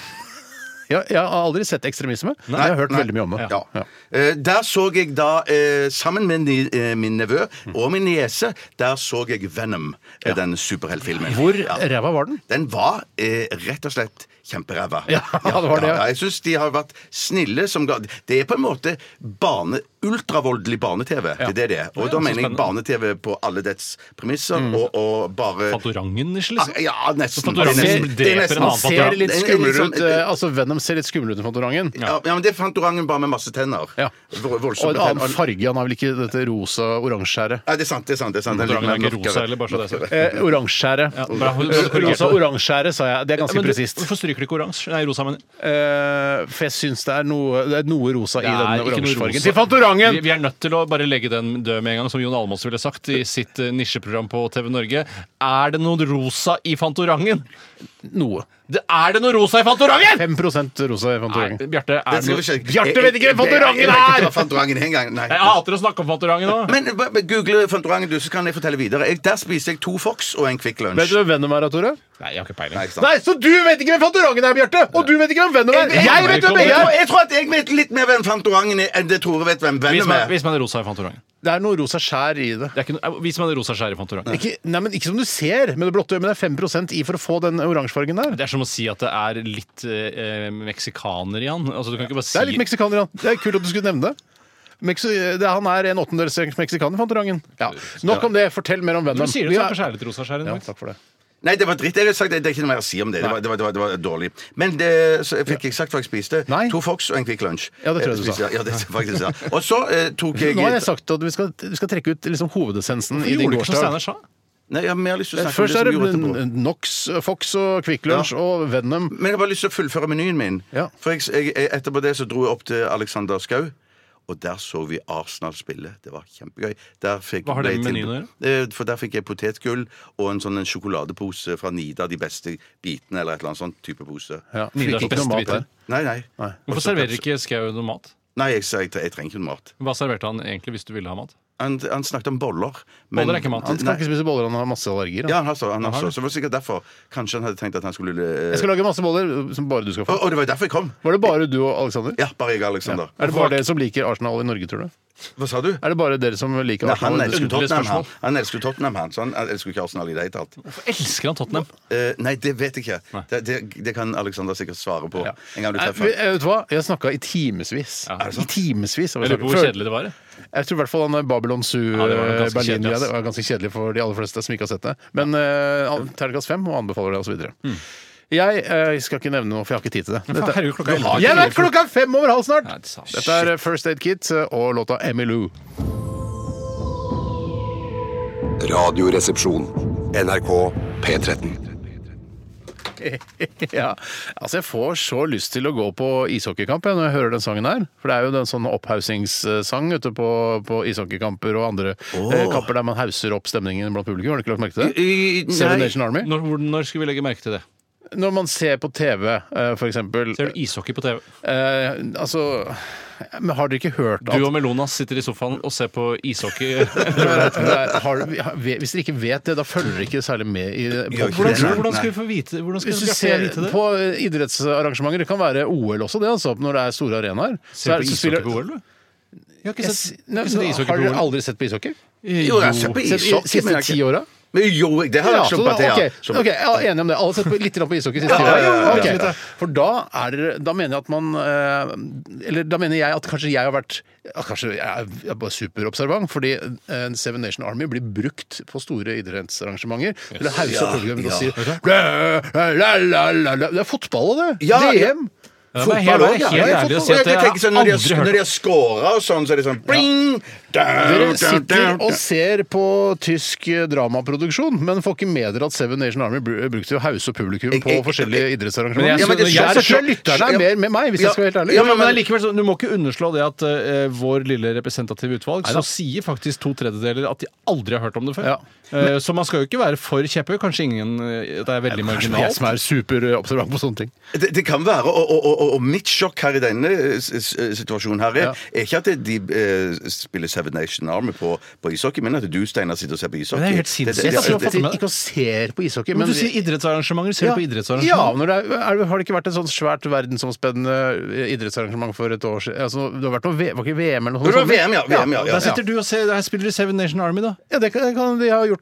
Speaker 1: Ja, jeg har aldri sett ekstremisme, men jeg har hørt veldig mye om det.
Speaker 2: Ja. Eh, Der så jeg da, eh, sammen med ni- eh, min nevø og min niese, der så jeg Venom, eh, den superheltfilmen.
Speaker 1: Hvor
Speaker 2: Ja.
Speaker 1: ræva var den?
Speaker 2: Den var eh, rett og slett kjemperæva.
Speaker 1: Ja, <laughs> det var det, ja.
Speaker 2: ja, Jeg syns de har vært snille som ga Det er på en måte barne, ultravoldelig barne-TV. Det er det det er. Og da
Speaker 3: så
Speaker 2: mener jeg
Speaker 3: spennende.
Speaker 2: barne-TV på alle dets premisser,
Speaker 1: Mm.
Speaker 2: og, og bare
Speaker 3: Fantorangen-ish,
Speaker 2: Ah,
Speaker 3: liksom.
Speaker 2: Ja, nesten.
Speaker 3: Fantorangen
Speaker 2: Det er nesten-
Speaker 3: dreper
Speaker 2: det er nesten-
Speaker 3: en annen
Speaker 1: Ser
Speaker 3: Fantorangen.
Speaker 1: litt
Speaker 2: Det er
Speaker 1: skumlere
Speaker 2: liksom-
Speaker 1: ut eh, Altså, Venom ser litt skumlere ut enn Fantorangen.
Speaker 2: Ja. ja, men det er Fantorangen bare med masse tenner.
Speaker 1: Ja.
Speaker 2: Vo-
Speaker 1: Og
Speaker 2: Voldsomme
Speaker 1: en
Speaker 2: tenner.
Speaker 1: annen farge. Han har vel ikke dette rosa-oransjeskjæret.
Speaker 2: Nei, det er sant. det er sant, det er sant. Den
Speaker 3: Fantorangen er
Speaker 2: litt mer
Speaker 3: ikke
Speaker 2: mørkere.
Speaker 3: rosa, eller bare så det er sagt.
Speaker 1: Eh, oransjeskjæret.
Speaker 3: Ja, bra.
Speaker 1: Rosa-oransjeskjæret, sa jeg. Det er ganske
Speaker 3: Men du-
Speaker 1: presist.
Speaker 3: Hvorfor stryker du ikke oransje? Nei, rosa, mener jeg.
Speaker 1: Eh, for jeg syns det er noe, det er noe rosa i
Speaker 3: Det er
Speaker 1: denne
Speaker 3: ikke noe rosa.
Speaker 1: oransjefargen. Til Fantorangen!
Speaker 3: Vi, vi er nødt til å bare legge den død med en gang, som Jon Almaas ville sagt i sitt eh, nisjeprogram på TV Norge. Er det noe rosa i Fantorangen?
Speaker 1: Noe.
Speaker 3: Det er det noe rosa i Fantorangen!
Speaker 1: 5 rosa i Fantorangen.
Speaker 3: Nei, Bjarte, er
Speaker 2: Det
Speaker 3: det
Speaker 2: skal vi
Speaker 3: noe...
Speaker 2: sjekke.
Speaker 1: Bjarte vet ikke hvem Fantorangen
Speaker 2: Jeg- jeg- Jeg vet ikke
Speaker 1: er!
Speaker 2: hva Fantorangen er engang. Nei.
Speaker 3: Jeg hater å snakke om Fantorangen nå.
Speaker 2: Men b- b- google Fantorangen, du, så kan jeg fortelle videre. Jeg, der spiste jeg to Fox og en Kvikk Lunsj.
Speaker 1: Vet du hvem Venom er, Tore?
Speaker 3: Nei, jeg har ikke peiling.
Speaker 2: Nei, ikke sant?
Speaker 1: Nei, så du vet ikke hvem Fantorangen er, Bjarte! Og du vet ikke hvem Venom er! Jeg vet hvem
Speaker 2: jeg,
Speaker 1: jeg er!
Speaker 2: tror, jeg tror at jeg vet litt mer hvem Fantorangen er, enn det Tore vet hvem
Speaker 3: Vis
Speaker 2: Venom
Speaker 3: meg,
Speaker 2: er.
Speaker 3: vis meg det rosa i Fantorangen.
Speaker 1: Det er noe rosa skjær i det.
Speaker 3: Det er ikke noe, vis meg det rosa skjæret i Fantorangen.
Speaker 1: Ikke, nei, men ikke som du ser med det blotte øyet, men det er 5 i for å få den oransjefargen der.
Speaker 3: Det er som å si at det er litt eh, meksikaner i han. Altså, du kan ikke bare si
Speaker 1: Det er litt meksikaner, han. Det er kult at du skulle nevne det. Mexi det han er en åttendedels meksikaner, Fantorangen. Ja. Nok om det. Fortell mer om
Speaker 3: Du
Speaker 1: Venom.
Speaker 3: sier det,
Speaker 1: Vi
Speaker 3: så
Speaker 1: er-
Speaker 3: kanskje det er litt rosa skjær i den,
Speaker 1: ja,
Speaker 3: Max.
Speaker 1: takk for det.
Speaker 2: Nei, det var dritt. Jeg har sagt det, det er ikke noe mer å si om det. Det var, det var, det var, det var dårlig. Men det så jeg fikk ikke sagt hva jeg spiste.
Speaker 1: Nei.
Speaker 2: To Fox og en Kvikk Lunsj.
Speaker 1: Ja, det tror jeg du
Speaker 2: Eh, spiste,
Speaker 1: sa.
Speaker 2: Ja, det faktisk ja. Og så eh, tok jeg
Speaker 1: Nå har jeg sagt at vi skal, vi skal trekke ut liksom, hovedessensen i
Speaker 3: Gjorde
Speaker 1: din
Speaker 3: du ikke som
Speaker 1: gårsdag.
Speaker 3: Steinar sa?
Speaker 2: Nei, jeg har mer lyst til å snakke
Speaker 1: Først
Speaker 2: om
Speaker 1: er det
Speaker 2: det som vi gjorde etterpå.
Speaker 1: Nox, Fox og Kvikk Lunsj
Speaker 2: Ja.
Speaker 1: og Venom.
Speaker 2: Men jeg har bare lyst til å fullføre menyen min.
Speaker 1: Ja.
Speaker 2: For jeg, jeg, jeg, etterpå det så dro jeg opp til Alexander Skau. Og der så vi Arsenal spille. Det var kjempegøy. Der fikk,
Speaker 3: Hva har det med
Speaker 2: ble til-
Speaker 3: menyen å
Speaker 2: Eh, For der fikk jeg potetgull og en sånn en sjokoladepose fra Nida, de beste bitene, eller et eller annet sånn type pose.
Speaker 1: Ja. Ikke
Speaker 3: Nidars
Speaker 1: noe
Speaker 3: beste
Speaker 1: mat
Speaker 3: biter.
Speaker 1: der.
Speaker 2: Nei, nei. Nei,
Speaker 3: Hvorfor serverer ikke Skau noe mat?
Speaker 2: jeg, sa- jeg, tre- jeg trenger ikke noe mat.
Speaker 3: Hva serverte han egentlig hvis du ville ha mat?
Speaker 2: Han, han snakket om boller.
Speaker 3: Boller er ikke mat.
Speaker 1: Han skal ikke spise boller, han har masse allergier. han.
Speaker 2: Ja, han har så, han har så. så det var sikkert derfor. Kanskje han hadde tenkt at han skulle eh,
Speaker 1: Jeg skal lage masse boller øh, som bare du skal
Speaker 2: Å,
Speaker 1: få.
Speaker 2: å, det var jo derfor jeg kom!
Speaker 1: Var det bare du og Alexander?
Speaker 2: Ja, bare jeg og Alexander.
Speaker 1: Er det bare dere som liker Arsenal i Norge, tror du?
Speaker 2: Hva sa du?
Speaker 1: Er det bare dere som liker
Speaker 2: Nei, han
Speaker 1: Arsenal?
Speaker 2: elsker
Speaker 3: underlig
Speaker 2: Tottenham,
Speaker 3: spørsmål.
Speaker 2: han. Han elsker Tottenham, han. Så han elsker ikke Arsenal i det hele tatt.
Speaker 3: Hvorfor elsker han Tottenham?
Speaker 2: Eh, nei, det vet jeg ikke.
Speaker 3: Nei.
Speaker 2: Det, det, det kan Alexander sikkert svare på. En gang du
Speaker 1: Nei,
Speaker 2: treffer
Speaker 1: vet- vet du hva? Jeg snakka i timevis.
Speaker 3: er det
Speaker 1: I
Speaker 3: sant?
Speaker 1: timevis. har vi
Speaker 3: Jeg lurer på hvor
Speaker 1: snakket.
Speaker 3: kjedelig det var.
Speaker 1: Jeg tror i hvert fall han der Babylon Zoo
Speaker 3: Ja, det var nok ganske
Speaker 1: Berlin
Speaker 3: kjedelig,
Speaker 1: ja,
Speaker 3: ass.
Speaker 1: det var ganske kjedelig for de aller fleste som ikke har sett det. Men uh, terningkast fem og anbefaler det, osv. Mm. Jeg eh, skal ikke nevne noe, for jeg har ikke tid til det. Dette-
Speaker 3: Herregud, klokka er elleve.
Speaker 1: jeg vet klokka er fem over halv snart!
Speaker 3: Nei, det sa-
Speaker 1: Dette er eh, First Aid Kit eh, og låta Emmy Lou.
Speaker 6: Radioresepsjon. NRK P13.
Speaker 1: <laughs> ja. Altså, jeg får så lyst til å gå på ishockeykamp jeg, når jeg hører den sangen her. For det er jo den sånn opphaussingssang ute på, på ishockeykamper og andre eh, kamper der man hauser opp stemningen blant publikum. Har du ikke lagt merke til det?
Speaker 2: I- i-
Speaker 1: Seven
Speaker 2: nei.
Speaker 1: Nation Army.
Speaker 3: Når, hvor- når skulle vi legge merke til det?
Speaker 1: Når man ser på TV, eh, for eksempel
Speaker 3: Ser du ishockey på TV?
Speaker 1: eh, Altså men Har dere ikke hørt at
Speaker 3: Du
Speaker 1: <laughs>
Speaker 3: og Melonas sitter i sofaen og ser på ishockey.
Speaker 1: Det er- har, du- ja, ve- hvis dere ikke vet det, da følger dere ikke særlig med i
Speaker 2: Gjør ikke
Speaker 1: på-
Speaker 3: Hvordan,
Speaker 2: det, nei,
Speaker 3: hvordan skal
Speaker 2: nei.
Speaker 3: vi få vite, hvordan skal
Speaker 1: Hvis du
Speaker 3: Bjarte og jeg
Speaker 1: ser
Speaker 3: vite det?
Speaker 1: på idrettsarrangementer, det kan være OL også, det, altså, når det er store arenaer så er-
Speaker 3: Ser du
Speaker 1: så
Speaker 3: på ishockey
Speaker 1: spiller-
Speaker 3: på OL, du? Jeg har ikke
Speaker 1: Jeg s-
Speaker 3: sett,
Speaker 1: Nei,
Speaker 3: ikke sett
Speaker 1: men
Speaker 3: ishockey
Speaker 1: Har
Speaker 3: på
Speaker 1: dere
Speaker 3: OL.
Speaker 1: aldri sett på ishockey?
Speaker 2: Jo, jeg ser på
Speaker 1: Sett-
Speaker 2: ishockey,
Speaker 1: i- Siste
Speaker 2: men jeg-
Speaker 1: ti åra?
Speaker 2: Men jo, det har jeg
Speaker 1: Ja,
Speaker 2: vært
Speaker 1: så
Speaker 2: sånn
Speaker 1: da,
Speaker 2: på det, ja.
Speaker 1: ok,
Speaker 2: Som-
Speaker 1: ok, ja, enig om det. Alle har sett på, litt grann på ishockey siste
Speaker 2: ja, ja, ja,
Speaker 1: året.
Speaker 2: ja.
Speaker 1: Ok. For da er dere Da mener jeg at man eh, Eller da mener jeg at kanskje jeg har vært ja, Kanskje jeg er jeg er bare superobservant, fordi eh, Seven Nation Army blir brukt på store idrettsarrangementer. Eller hauser opp publikum og sier la, la, la, la, la. Det er fotball og det!
Speaker 2: Ja, ja.
Speaker 1: DM!
Speaker 3: Ja, men helt-
Speaker 2: Fotball også,
Speaker 3: helt
Speaker 2: ja.
Speaker 3: ærlig å
Speaker 2: Og
Speaker 3: si
Speaker 2: jeg
Speaker 3: at
Speaker 2: kan
Speaker 3: jeg
Speaker 2: tenke sånn,
Speaker 3: har
Speaker 2: Når de
Speaker 3: aldri
Speaker 2: har,
Speaker 3: hørt
Speaker 2: når de har scora og sånn, så er det sånn bling,
Speaker 1: Dere
Speaker 2: down, down,
Speaker 1: sitter
Speaker 2: down,
Speaker 1: og
Speaker 2: down.
Speaker 1: ser på tysk eh, dramaproduksjon, men får ikke med dere at Seven Nation Army br- brukte til å hause publikum
Speaker 2: Jeg-
Speaker 1: på
Speaker 2: jeg-
Speaker 1: forskjellige
Speaker 3: Men jeg-
Speaker 1: idrettsarrangementer.
Speaker 3: Ja, men det-
Speaker 1: jeg
Speaker 3: jeg-
Speaker 1: tror lytterne er mer med meg, hvis
Speaker 2: Ja,
Speaker 1: jeg skal være helt ærlig.
Speaker 3: Ja, men, men likevel, så, Du må ikke underslå det at eh, vår lille representative utvalg så sier faktisk to tredjedeler at de aldri har hørt om det før.
Speaker 1: Ja.
Speaker 3: Eh, så man skal jo ikke være for kjepphøy. Kanskje ingen eh, Det er veldig
Speaker 1: Kanskje det er jeg
Speaker 3: marginalt.
Speaker 1: som er superobservant på sånne ting.
Speaker 2: Det, det kan være, og, og, og, og mitt sjokk her i denne eh, s- s- situasjonen her er,
Speaker 1: Ja.
Speaker 2: er ikke at de eh, spiller Seven Nation Army på, på ishockey, men at du, Steinar, sitter og ser på ishockey.
Speaker 3: Men det er helt sinnssykt. Jeg sitter og
Speaker 2: det-
Speaker 3: fatter med det.
Speaker 1: ikke og ser på ishockey,
Speaker 3: Men du sier idrettsarrangementer. Ser du på
Speaker 1: Ja,
Speaker 3: idrettsarrangementer?
Speaker 1: når det er, er, Har det ikke vært et sånt svært verdensomspennende idrettsarrangement for et år siden? Altså, det har vært noe, V- var ikke VM eller noe
Speaker 2: Jo,
Speaker 1: sånt?
Speaker 2: det var VM, ja. VM, ja, ja.
Speaker 3: Der sitter du og ser, her spiller du Seven Nation Army, da.
Speaker 1: Ja, det kan, det kan de ha gjort.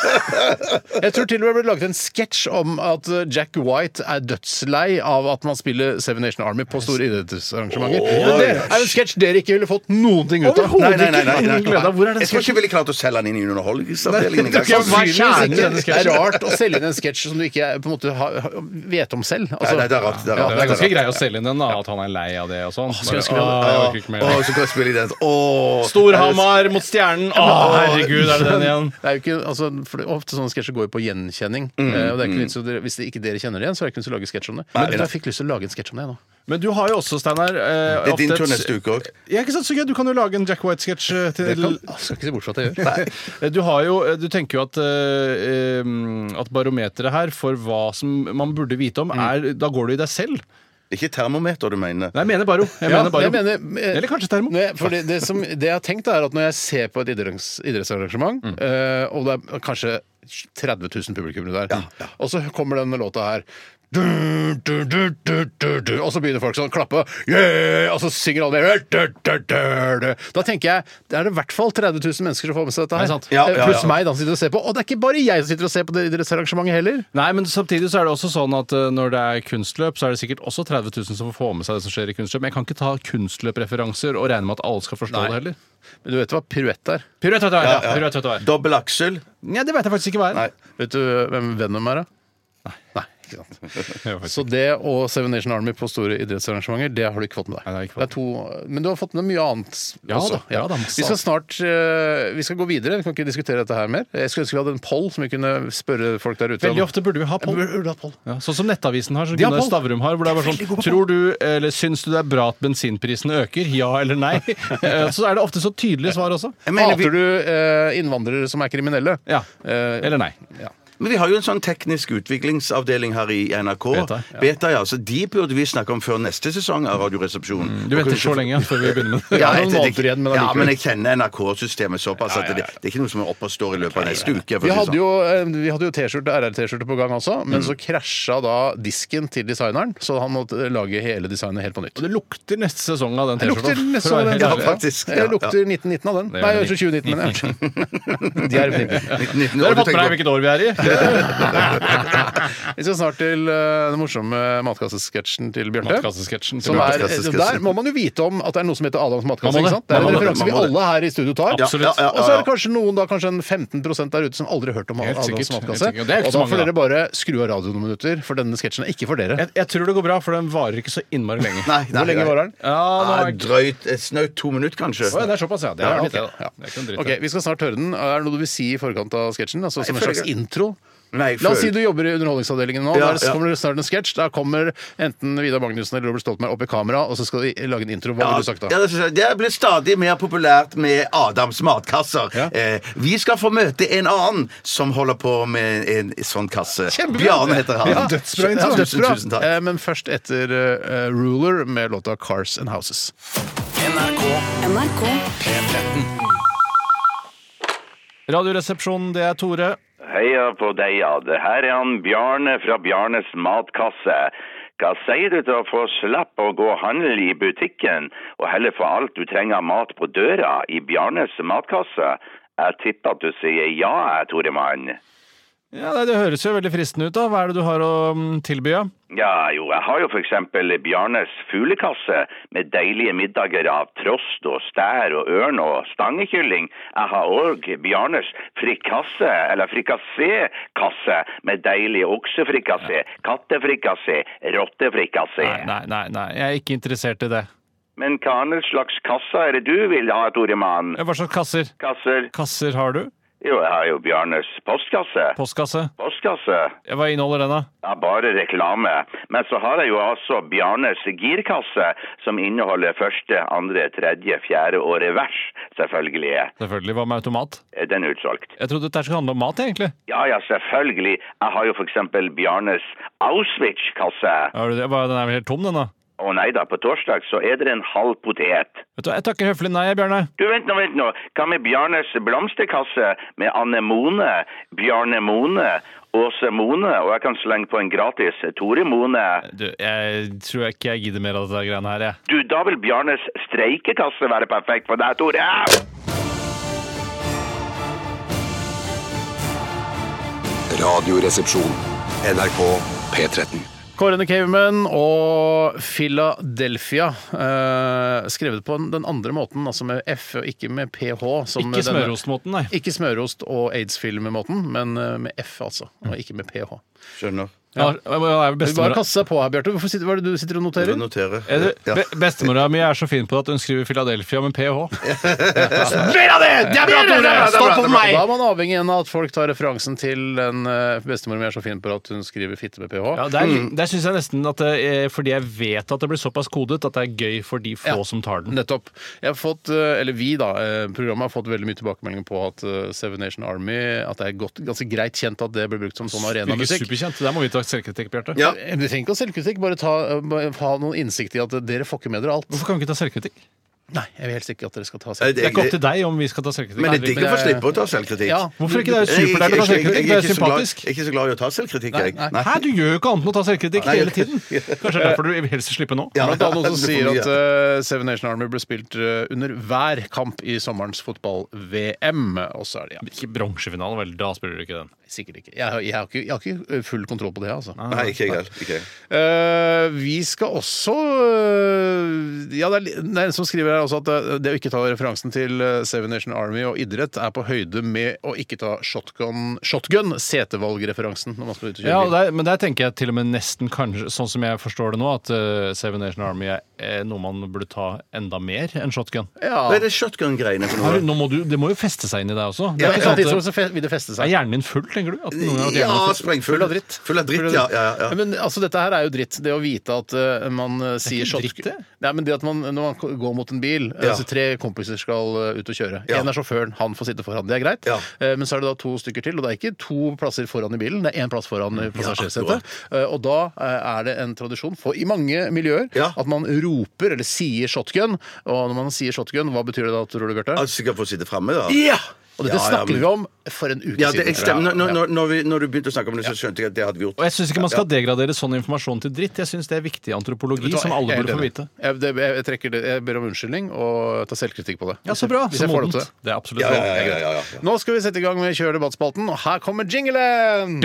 Speaker 1: Jeg tror til og med det ble laget en sketsj om at eh, Jack White er dødslei av at man spiller Seven Nation Army på store idrettsarrangementer. Men det er jo en sketsj dere ikke ville fått noen ting ut av.
Speaker 2: Nei, nei, nei. nei, nei,
Speaker 3: Glede av, hvor er den
Speaker 2: Jeg tror ikke jeg ville klart å selge den inn i underholdningsavdelingen.
Speaker 1: Det er
Speaker 2: engang.
Speaker 1: sannsynligvis
Speaker 3: i denne
Speaker 1: ikke- det er rart å selge inn en sketsj som du ikke eh, på en måte har, har- vet om selv. Altså-
Speaker 2: Nei, nei, det er rart. Det er
Speaker 1: Ja,
Speaker 2: rart.
Speaker 3: Det er ganske
Speaker 2: det er
Speaker 3: greit å selge inn den, da. At han er lei av det og sånn.
Speaker 1: skulle ønske det.
Speaker 3: Bare, «Åh, jeg orker
Speaker 2: rart.
Speaker 3: ikke mer».
Speaker 2: Å, så kan jeg spille i den. Å,
Speaker 3: <laughs> Storhamar mot Stjernen. Å, herregud, er det den igjen?
Speaker 1: <laughs> Det er jo ikke, altså, for det, er ofte sånne sketsjer går jo på gjenkjenning.
Speaker 2: Mm,
Speaker 1: Eh, og det er ikke vits, i å dere, hvis det ikke dere kjenner det igjen, så er det ikke vits i å lage sketsj om det. Men jeg fikk lyst til å lage en sketsj om det nå.
Speaker 3: Men du har jo også, Steinar eh,
Speaker 2: Det er din
Speaker 3: ofte et-
Speaker 2: tur neste uke òg.
Speaker 3: Ja, ikke sant, så gøy. Du kan jo lage en Jack White-sketsj eh, til Eh,
Speaker 1: Jeg skal ikke se bort fra at jeg gjør.
Speaker 3: Du har jo, du tenker jo at, eh, eh, at barometeret her for hva som man burde vite om, er Da går du i deg selv.
Speaker 2: Ikke termometer du mener.
Speaker 3: Nei, jeg mener baro. Jeg
Speaker 1: Ja,
Speaker 3: mener baro.
Speaker 1: jeg mener, eh,
Speaker 3: Eller kanskje termo.
Speaker 1: Nei, for det, det, som, det jeg har tenkt er at Når jeg ser på et idretts, idrettsarrangement,
Speaker 3: Mm.
Speaker 1: eh, og det er kanskje 30 000 publikummere der, og så kommer denne låta her du, du, du, du, du, du, og så begynner folk sånn å klappe, yeah, og så synger alle med, du, du, du, du. Da tenker jeg det er det i hvert fall 30 000 mennesker som får med seg dette.
Speaker 3: Det er
Speaker 1: her
Speaker 3: sant.
Speaker 2: Ja,
Speaker 1: Eh,
Speaker 2: ja,
Speaker 1: Pluss
Speaker 2: ja.
Speaker 1: meg, da, som sitter og ser på. Og det er ikke bare jeg som sitter og ser på det idrettsarrangementet heller.
Speaker 3: Nei, men samtidig så er det også sånn at eh, når det er kunstløp, så er det sikkert også 30 000 som får få med seg det som skjer i kunstløp. Men jeg kan ikke ta kunstløpreferanser og regne med at alle skal forstå
Speaker 1: Nei.
Speaker 3: det heller.
Speaker 1: Men du vet hva piruett er?
Speaker 3: Piruett vet du hva er. Ja, piruett vet du hva er.
Speaker 2: Dobbel aksel.
Speaker 3: Nei, det vet jeg faktisk ikke hva er.
Speaker 2: Nei.
Speaker 1: Vet du hvem Venom er, da? Nei. ikke sant
Speaker 3: <laughs> Jeg vet
Speaker 1: Så det og Seven Nation Army på store idrettsarrangementer, det har du ikke fått med deg.
Speaker 3: Nei, det har jeg ikke
Speaker 1: det er to, men du har fått med mye annet
Speaker 3: Ja
Speaker 1: også.
Speaker 3: da, ja da, masse
Speaker 1: vi skal snart eh, Vi skal gå videre. Vi kan ikke diskutere dette her mer. Jeg skulle ønske vi hadde en poll som vi kunne spørre folk der ute om.
Speaker 3: Veldig ofte burde vi ha poll.
Speaker 1: Sånn. Burde- burde ha poll.
Speaker 3: Ja, sånn som Nettavisen har, som
Speaker 1: De har
Speaker 3: Gunnar
Speaker 1: poll.
Speaker 3: Stavrum har. Hvor det er bare
Speaker 1: Veldig god
Speaker 3: sånn,
Speaker 1: på
Speaker 3: tror du, eller Syns du det er bra at bensinprisen øker? Ja eller nei? Eh, så er det ofte så tydelige svar også.
Speaker 2: Jeg mener, vi,
Speaker 1: Hater du eh, innvandrere som er kriminelle?
Speaker 3: Ja.
Speaker 1: Eh,
Speaker 3: Eller nei.
Speaker 2: Men vi har jo en sånn teknisk utviklingsavdeling her i NRK.
Speaker 3: Beta, ja.
Speaker 2: Beta, ja. Så de burde vi snakke om før neste sesong av Radioresepsjonen.
Speaker 3: Mm, Du venter så lenge ja, før vi begynner med det.
Speaker 1: Ja, noen måneder igjen, men
Speaker 2: ja,
Speaker 1: allikevel.
Speaker 2: men jeg kjenner NRK-systemet såpass at det, det er ikke noe som er oppe og står i løpet av neste uke. for å
Speaker 1: Vi
Speaker 2: si
Speaker 1: hadde
Speaker 2: sånn.
Speaker 1: jo, eh, vi hadde jo T-skjorte, RR-T-skjorte på gang også, men
Speaker 3: Mm.
Speaker 1: så krasja da disken til designeren, så han måtte lage hele designet helt på nytt.
Speaker 3: Og det lukter neste sesong av den
Speaker 1: Det lukter
Speaker 3: T-skjorta.
Speaker 1: nesten
Speaker 3: for å være helt
Speaker 2: Ja,
Speaker 3: ærlig.
Speaker 2: faktisk, ja,
Speaker 1: Det lukter 1919 av den.
Speaker 3: Det
Speaker 1: Nei,
Speaker 3: gjør det.
Speaker 1: 2019, mener jeg. De er 1919.
Speaker 2: Nitten- nitten
Speaker 3: Dere
Speaker 2: år, du
Speaker 3: har fått med deg
Speaker 2: tenker på-
Speaker 3: hvilket år vi er i?
Speaker 1: Vi skal snart til eh, den morsomme matkassesketsjen til Bjarte.
Speaker 3: Matkassesketsjen.
Speaker 1: Som er,
Speaker 2: Matkassesketsjen.
Speaker 1: der må man jo vite om at det er noe som heter Adams matkasse.
Speaker 3: Man må det.
Speaker 1: ikke sant? Det er
Speaker 3: Man
Speaker 1: en
Speaker 3: må det.
Speaker 1: referanse vi
Speaker 2: Man må det.
Speaker 1: alle her i studio tar.
Speaker 3: Absolutt.
Speaker 2: Ja, ja, ja,
Speaker 1: Og så er det
Speaker 2: ja.
Speaker 1: kanskje noen da, kanskje en 15 der ute som aldri har hørt om
Speaker 3: Helt
Speaker 1: Adams
Speaker 3: sikkert,
Speaker 1: matkasse.
Speaker 3: helt sikkert. Det er jo ikke
Speaker 1: Og
Speaker 3: så
Speaker 1: da
Speaker 3: mange,
Speaker 1: får
Speaker 3: da.
Speaker 1: dere bare skru av radioen noen minutter, for denne sketsjen er ikke for dere.
Speaker 3: Jeg, jeg tror det går bra, for den varer ikke så innmari lenge.
Speaker 2: <laughs> Nei, nei,
Speaker 1: Hvor lenge
Speaker 2: nei.
Speaker 1: varer den?
Speaker 3: Ja, nå
Speaker 2: Ja,
Speaker 3: er det
Speaker 2: drøyt eh, snaut to minutter, kanskje.
Speaker 3: Å, ja, det er såpass, ja. Det er litt det,
Speaker 1: ok.
Speaker 3: da. Det er ikke noe dritt,
Speaker 1: Ok, Vi skal snart høre den. Er det noe du vil si i forkant av sketsjen? Altså, som en
Speaker 2: føler
Speaker 1: slags intro?
Speaker 2: Nei,
Speaker 1: La oss si
Speaker 2: før-
Speaker 1: du jobber i Underholdningsavdelingen nå.
Speaker 2: Ja,
Speaker 1: der
Speaker 2: ja.
Speaker 1: kommer det snart en sketsj. Da kommer enten Vidar Magnussen eller Robert Stoltenberg opp i kamera, og så skal de lage en intro. Hva
Speaker 2: Ja,
Speaker 1: ville du sagt
Speaker 2: ja,
Speaker 1: da?
Speaker 2: det, synes jeg. det er blitt stadig mer populært med Adams matkasser.
Speaker 1: Ja.
Speaker 2: Eh, vi skal få møte en annen som holder på med en sånn kasse.
Speaker 1: Kjempebra!
Speaker 2: Bjarne heter han.
Speaker 1: Ja,
Speaker 3: dødsbra intro.
Speaker 1: Ja,
Speaker 2: tusen,
Speaker 1: dødsbra.
Speaker 2: tusen takk.
Speaker 1: Eh, Men først etter eh, Ruler med låta Cars and Houses.
Speaker 5: NRK
Speaker 4: NRK
Speaker 5: P13.
Speaker 3: Radioresepsjonen, det er Tore.
Speaker 7: Heia på deg, ja. Det her er han Bjarne fra Bjarnes matkasse. Hva sier du til å få slippe å gå og handle i butikken, og heller få alt du trenger av mat på døra i Bjarnes matkasse? Jeg tipper at du sier ja, jeg, Tore Mann.
Speaker 3: Ja, nei, Det høres jo veldig fristende ut. da. Hva er det du har å mm, tilby? Ja?
Speaker 7: Ja, jo, jeg har jo for eksempel Bjarnes fuglekasse med deilige middager av trost og stær og ørn og stangekylling. Jeg har òg Bjarnes frikasse, eller frikassé-kasse med deilig oksefrikassé, kattefrikassé, rottefrikassé.
Speaker 3: Nei, nei, nei, nei, jeg er ikke interessert i det.
Speaker 7: Men hva annet slags kassa er det du vil ha, Tore Mann?
Speaker 3: Hva slags kasser?
Speaker 7: Kasser?
Speaker 3: Kasser har du?
Speaker 7: Jo, jeg har jo Bjarnes postkasse.
Speaker 3: Postkasse?
Speaker 7: Postkasse?
Speaker 3: Ja, Hva inneholder den, da?
Speaker 7: Ja, bare reklame. Men så har jeg jo altså Bjarnes girkasse, som inneholder første, andre, tredje, fjerde og revers, selvfølgelig.
Speaker 3: Selvfølgelig. Hva med automat?
Speaker 7: Er Den er utsolgt.
Speaker 3: Jeg trodde dette skulle handle om mat, egentlig.
Speaker 7: Ja, ja, selvfølgelig. Jeg har jo for eksempel Bjarnes Auschwitz-kasse.
Speaker 3: Har du det? Hva, Den er vel helt tom, den, da?
Speaker 7: Å nei da, på torsdag så er det en halv potet.
Speaker 3: Vet du, hva, Jeg takker høflig nei, jeg, Bjørne.
Speaker 7: Du, vent nå, vent nå. Hva med Bjarnes blomsterkasse med anemone, Bjarne Mone, Åse Mone, og jeg kan slenge på en gratis Tore Mone?
Speaker 3: Du, jeg tror ikke jeg gidder mer av dette greiene her, jeg.
Speaker 7: Du, da vil Bjarnes streikekasse være perfekt for deg, Tore.
Speaker 6: Radioresepsjon. NRK P13.
Speaker 1: Kårene Caveman og Philadelphia. eh, skrevet på den andre måten, altså med F og ikke med PH. som
Speaker 3: Ikke
Speaker 1: denne-
Speaker 3: smørostmåten, nei.
Speaker 1: Ikke smørost og aids-film-måten, men eh, med F, altså. Og
Speaker 3: Mm.
Speaker 1: ikke med PH.
Speaker 2: Skjønner.
Speaker 3: Ja. hva er
Speaker 1: Du bare
Speaker 3: bestemora-
Speaker 1: kaste deg på her, Bjarte. Hvorfor sitter, hva er det du sitter og
Speaker 2: Jeg
Speaker 1: noterer?
Speaker 2: noterer.
Speaker 3: Er det-
Speaker 2: Ja.
Speaker 3: be- Bestemora mi er så fin på det at hun skriver Philadelphia med ph.
Speaker 1: Stopp på meg! Da er man avhengig igjen av at folk tar referansen til den eh, bestemor mi er så fin på at hun skriver fitte med ph.
Speaker 3: Ja, der der syns jeg nesten at det er fordi jeg vet at det blir såpass kodet at det er gøy for de få
Speaker 1: Ja.
Speaker 3: som tar den.
Speaker 1: <laughs> Nettopp. Jeg har fått, eh, eller Vi da, eh, programmet har fått veldig mye tilbakemeldinger på at eh, Seven Nation Army At det er godt, ganske greit kjent at det blir brukt som sånn
Speaker 3: Ikke
Speaker 1: arenamusikk.
Speaker 3: superkjent. Der må vi ta selvkritikk, Bjarte.
Speaker 2: Ja.
Speaker 1: Eh, Du trenger ikke å ha selvkritikk, bare ta, eh, bare ha noen innsikt i at eh, dere får ikke med dere alt.
Speaker 3: Hvorfor kan vi ikke ta selvkritikk?
Speaker 1: Nei, jeg vil helst ikke at dere skal ta
Speaker 2: Nei,
Speaker 1: selvkritikk.
Speaker 3: Det er ikke opp
Speaker 2: det-
Speaker 3: til deg om vi skal ta selvkritikk.
Speaker 2: Men det er digg å
Speaker 3: Henrik, men
Speaker 2: få
Speaker 3: jeg-
Speaker 2: slippe å ta selvkritikk.
Speaker 1: Ja.
Speaker 3: Hvorfor ikke? Det er
Speaker 2: Jeg- jeg-
Speaker 3: jo superdeilig å ta
Speaker 2: jeg- jeg- jeg- jeg- jeg er
Speaker 3: selvkritikk. Det er
Speaker 2: ikke så glad-
Speaker 3: sympatisk.
Speaker 2: Jeg er ikke så glad i å ta selvkritikk, jeg.
Speaker 1: Nei,
Speaker 3: Hæ, du gjør jo ikke annet enn å ta selvkritikk hele
Speaker 2: <laughs>
Speaker 3: tiden. Kanskje det er derfor du hele slipper nå.
Speaker 2: Ja.
Speaker 1: Blant annet noen som
Speaker 2: <laughs> Det
Speaker 1: sier
Speaker 2: får mye.
Speaker 1: at eh, Seven Nation Army ble spilt eh, under hver kamp i sommerens fotball-VM. Og så er det ja,
Speaker 3: Ikke bronsefinalen, vel, da spiller du ikke den.
Speaker 1: sikkert ikke. Jeg, har- jeg, har ikke. jeg har ikke full kontroll på det, altså.
Speaker 2: Nei, ikke jeg heller. Ikke jeg.
Speaker 1: Eh, vi skal også eh, Ja, det er, li- det er en som skriver her også at eh, det å ikke ta referansen til eh, Seven Nation Army og idrett er på høyde med å ikke ta shotgun, shotgun setevalgreferansen når man skal ut og kjøre
Speaker 3: Ja,
Speaker 1: bil.
Speaker 3: der, men der tenker jeg til og med nesten kanskje, sånn som jeg forstår det nå, at eh, Seven Nation Army er, er noe man burde ta enda mer enn shotgun.
Speaker 2: Hva er det shotgun-greiene for
Speaker 3: Har du-
Speaker 2: noe?
Speaker 3: Nå må du, det må jo feste seg inn i deg også. Det
Speaker 1: Ja, på et eller
Speaker 3: er, ikke
Speaker 1: annet
Speaker 3: sant,
Speaker 1: tidspunkt så fe- vil det feste
Speaker 3: det- er
Speaker 1: seg.
Speaker 3: hjernen din full, tenker du? At noen ganger at
Speaker 2: Ja,
Speaker 3: hjernen er full?
Speaker 2: sprengfull.
Speaker 1: Full av dritt.
Speaker 2: Full av dritt, ja. ja, ja, ja.
Speaker 1: Men altså, dette her er jo dritt. Det å vite at eh, man eh, sier
Speaker 3: ikke dritt,
Speaker 1: shotgun
Speaker 3: det.
Speaker 1: Nei, men det at man, Når man ko- går mot en bil eh,
Speaker 2: Ja.
Speaker 1: altså Tre kompiser skal eh, ut og kjøre. Én
Speaker 2: Ja.
Speaker 1: er sjåføren, han får sitte foran. Det er greit.
Speaker 2: Ja.
Speaker 1: Eh, men så er det da to stykker til, og det er ikke to plasser foran i bilen, det er én plass foran i passasjersetet. Eh, og da eh, er det en tradisjon for, i mange miljøer
Speaker 2: Ja.
Speaker 1: at man roper eller sier shotgun. Og når man sier shotgun, hva betyr det da, tror du, Bjarte?
Speaker 2: Altså, sikkert for å sitte fremme da.
Speaker 1: Ja! Og dette
Speaker 2: Ja, ja,
Speaker 1: snakker
Speaker 2: men-
Speaker 1: vi om for en uke
Speaker 2: Ja, det
Speaker 1: siden.
Speaker 2: jeg stemmer. Når, når, når, vi, når du begynte å snakke om det, så skjønte jeg at det hadde vi gjort.
Speaker 3: Og jeg syns ikke man skal degradere sånn informasjon til dritt. Jeg syns det er viktig antropologi som alle burde få vite.
Speaker 1: Jeg, det, jeg, jeg, trekker det, jeg ber om unnskyldning og tar selvkritikk på det.
Speaker 3: Ja, så bra.
Speaker 1: Hvis
Speaker 3: Så
Speaker 1: jeg får lov
Speaker 3: modent.
Speaker 1: til det.
Speaker 3: Det er absolutt
Speaker 2: Ja,
Speaker 3: lov.
Speaker 2: ja, ja, ja, ja, ja.
Speaker 1: Nå skal vi sette i gang med Kjør debattspalten, og her kommer jinglen!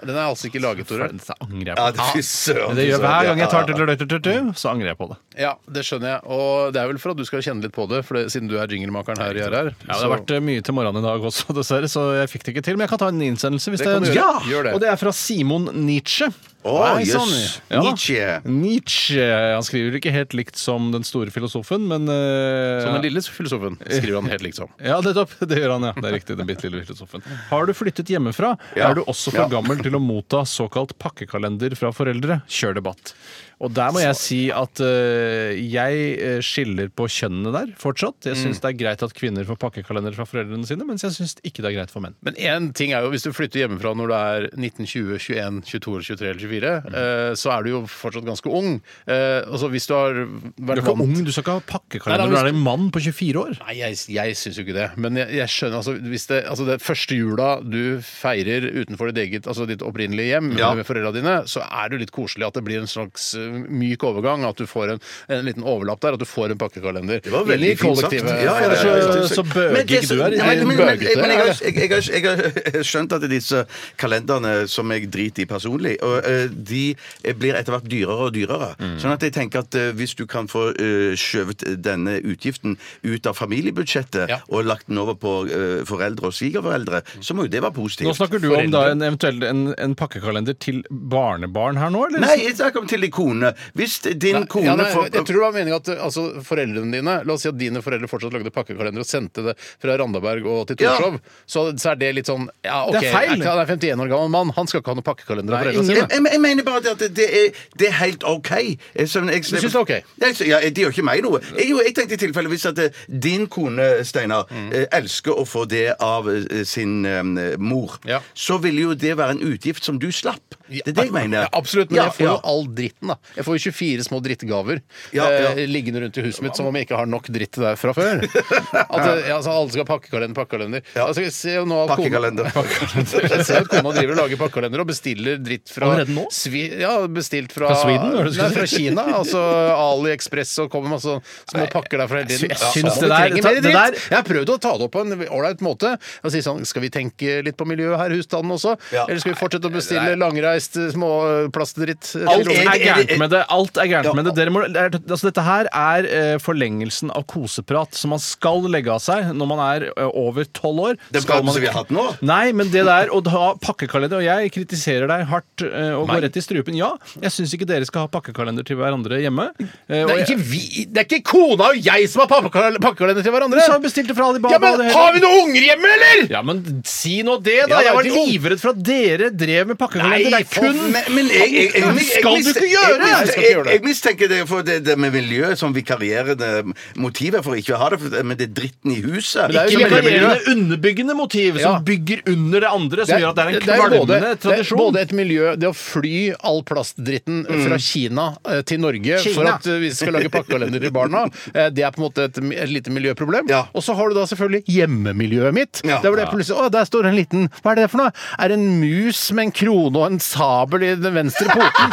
Speaker 1: Den er altså ikke laget, Tore.
Speaker 3: Dette
Speaker 2: Ja,
Speaker 3: angrer jeg på.
Speaker 2: det, fy søren.
Speaker 3: Men Det gjør Hver gang jeg tar
Speaker 2: Ja, ja, ja.
Speaker 3: tudelututut, så angrer jeg på det.
Speaker 1: Ja, det skjønner jeg. Og det er vel for at du skal kjenne litt på det, for det, siden du er jinglemakeren her i RR.
Speaker 3: Ja, det har vært eh, mye til morgenen i dag også, dessverre, så jeg fikk det ikke til. Men jeg kan ta en innsendelse hvis
Speaker 1: Det
Speaker 3: jeg
Speaker 1: kan du
Speaker 3: ønsker.
Speaker 1: gjøre. Gjør det.
Speaker 3: Og det er fra Simon Nietzsche.
Speaker 2: Å,
Speaker 1: Nei,
Speaker 2: jøss.
Speaker 1: sånn,
Speaker 3: ja.
Speaker 2: Nietzsche.
Speaker 3: Nietzsche. Han skriver ikke helt likt som den store filosofen, men eh,
Speaker 1: Som den lille filosofen skriver han helt
Speaker 3: <laughs>
Speaker 1: liksom.
Speaker 3: Ja, nettopp. Det gjør han, ja. Det er riktig. Den bitte lille filosofen. Har du flyttet hjemmefra, er du også for gammel til å motta såkalt pakkekalender fra foreldre. Kjør debatt. Og der må jeg si at eh, jeg eh, skiller på kjønnene der fortsatt. Jeg syns det er greit at kvinner får pakkekalender fra foreldrene sine, mens jeg syns ikke det er greit for menn.
Speaker 1: Men én ting er jo, hvis du flytter hjemmefra når du er 19, 20, 21, 22, 23 eller 24,
Speaker 3: Mm.
Speaker 1: eh, så er du jo fortsatt ganske ung. Eh, altså hvis du har
Speaker 3: Du
Speaker 1: vært
Speaker 3: er ikke
Speaker 1: vant-
Speaker 3: ung, du skal ikke ha
Speaker 1: Nei,
Speaker 3: pakkekalender
Speaker 1: da,
Speaker 3: når du er en mann på 24 år.
Speaker 1: Nei, jeg, jeg syns jo ikke det. Men jeg, jeg skjønner altså, hvis det, altså det første jula du feirer utenfor ditt eget, altså ditt opprinnelige hjem
Speaker 2: Ja.
Speaker 1: med foreldra dine, så er det jo litt koselig at det blir en slags eh, myk overgang. At du får en, en liten overlapp der, at du får en pakkekalender.
Speaker 2: Det var veldig
Speaker 1: Inn i
Speaker 2: fint sagt.
Speaker 1: kollektivet.
Speaker 2: Ja, ja, det er
Speaker 3: Så-
Speaker 2: fint sagt.
Speaker 3: så bøgig
Speaker 2: Men det
Speaker 3: du er.
Speaker 2: Nei, men- men- men-
Speaker 1: Bøgete,
Speaker 2: men jeg har-
Speaker 1: ja.
Speaker 2: jeg- jeg har- Jeg har skjønt at disse kalenderne som jeg driter i personlig, og, eh, de blir etter hvert dyrere og dyrere.
Speaker 3: Mm.
Speaker 2: Sånn at jeg tenker at eh, hvis du kan få eh, skjøvet denne utgiften ut av familiebudsjettet
Speaker 1: Ja.
Speaker 2: og lagt den over på eh, foreldre og svigerforeldre, så må jo det være positivt.
Speaker 3: Nå snakker du om da en eventuell en, en pakkekalender til barnebarn her nå, eller?
Speaker 2: Nei, jeg snakker om til din kone. Hvis din kone
Speaker 1: Ja, nei,
Speaker 2: får
Speaker 1: jeg tror det var meningen at uh, altså, foreldrene dine La oss si at dine foreldre fortsatt lagde pakkekalender og sendte det fra Randaberg og til
Speaker 2: Ja.
Speaker 1: Torshov. Så, så er det litt sånn ja, ok,
Speaker 3: Det er feil.
Speaker 1: ikke- Han er 51 år gammel mann, han skal ikke ha noen pakkekalender av
Speaker 3: Nei,
Speaker 1: foreldrene
Speaker 2: Jeg,
Speaker 1: sine.
Speaker 2: jeg, jeg mener bare det at det er, det er helt OK. Jeg, sånn, jeg,
Speaker 1: Du synes det er ok?
Speaker 2: Jeg, sy- ja, det gjør ikke meg noe. Jeg, jo, jeg tenkte i tilfelle hvis at eh, din kone, Steinar,
Speaker 1: Mm.
Speaker 2: eh, elsker å få det av eh, sin eh, mor,
Speaker 1: Ja.
Speaker 2: så ville jo det være en utgift som du slapp. Det er det jeg mener.
Speaker 1: Ja, absolutt, men
Speaker 2: Ja,
Speaker 1: jeg får jo
Speaker 2: ja.
Speaker 1: all dritten, da. Jeg får jo 24 små drittgaver
Speaker 2: Ja, ja.
Speaker 1: Eh, liggende rundt i huset mitt som om jeg ikke har nok dritt der fra
Speaker 2: <laughs>
Speaker 1: før. At eh, ja, altså, alle skal ha pakkekalender, pakkekalender. Altså, jeg ser jo nå at kona-
Speaker 2: Pakkekalender. <laughs>
Speaker 1: Jeg ser at kona driver og lager pakkekalender og bestiller dritt fra
Speaker 3: Allerede nå?
Speaker 1: Svi, ja, bestilt fra,
Speaker 3: Fra Sweden, var det du skulle
Speaker 1: nei, fra Kina. Altså AliExpress og kommer masse sånn små pakker derfra hele tiden.
Speaker 3: jeg
Speaker 1: Ja,
Speaker 3: syns
Speaker 1: vi
Speaker 3: det der-
Speaker 1: trenger
Speaker 3: ta-
Speaker 1: mer
Speaker 3: det
Speaker 1: dritt.
Speaker 3: der-
Speaker 1: Jeg har prøvd å ta det opp på en ålreit måte. Og si sånn, Skal vi tenke litt på miljøet her i husstanden også?
Speaker 2: Ja.
Speaker 1: Eller skal vi fortsette å bestille langreist eh, små plastdritt? eh,
Speaker 3: Alt
Speaker 2: Jeg-
Speaker 3: er
Speaker 2: jeg-
Speaker 3: gærent
Speaker 2: jeg-
Speaker 3: med det. Alt er gærent
Speaker 2: Ja.
Speaker 3: med det. Dere må, det er- altså dette her er eh, forlengelsen av koseprat som man skal legge av seg når man er eh, over tolv år.
Speaker 2: Den
Speaker 3: Skal
Speaker 2: praten
Speaker 3: man-
Speaker 2: som vi har hatt nå?
Speaker 3: Nei, men det der å ha pakkekalender Og jeg kritiserer deg hardt eh, og går rett i strupen. Ja, jeg syns ikke dere skal ha pakkekalender til hverandre hjemme. Eh, og
Speaker 1: Det er,
Speaker 3: jeg-
Speaker 1: ikke vi, det er ikke kona og jeg som har pappekal- pakkekalender til hverandre!
Speaker 3: Du sa jo bestilte fra Alibaba.
Speaker 1: ja, men
Speaker 3: det hele-
Speaker 1: Har vi noen unger hjemme, eller?!
Speaker 3: ja, men si nå det,
Speaker 1: Ja,
Speaker 3: da! jeg var
Speaker 1: det er jo-
Speaker 3: livredd for at dere drev med pakkekalender.
Speaker 1: Nei,
Speaker 3: Det er kun
Speaker 2: Men, men jeg, jeg, jeg, jeg,
Speaker 3: Skal du ikke
Speaker 2: miste-
Speaker 3: gjøre
Speaker 2: jeg,
Speaker 3: det?
Speaker 1: Nei, jeg skal
Speaker 2: miste-
Speaker 1: ikke
Speaker 2: jeg,
Speaker 1: gjøre det.
Speaker 2: jeg mistenker det for det, det med miljøet som vikarierende motivet for ikke å ha det, for- men det er dritten i huset.
Speaker 1: det er jo som
Speaker 3: Ikke
Speaker 1: hele
Speaker 3: vikarierende
Speaker 1: miljøet.
Speaker 3: underbyggende motiv som
Speaker 1: Ja.
Speaker 3: bygger under det andre, som gjør at det er en
Speaker 1: jo
Speaker 3: kvalmende
Speaker 1: både,
Speaker 3: tradisjon.
Speaker 1: Det er både et miljø Det å fly all plastdritten fra Kina eh, til Norge
Speaker 3: Mm. Kina.
Speaker 1: for at eh, vi skal lage pakkekalender til barna, eh, det er på en måte et, mi- et lite miljøproblem.
Speaker 2: Ja.
Speaker 1: Og så har du da selvfølgelig hjemmemiljøet mitt.
Speaker 2: Ja.
Speaker 1: Der hvor det er plutselig Å, der står en liten Hva er det for noe? Er det en mus med en krone og en sabel i den venstre
Speaker 3: <laughs>
Speaker 1: poten?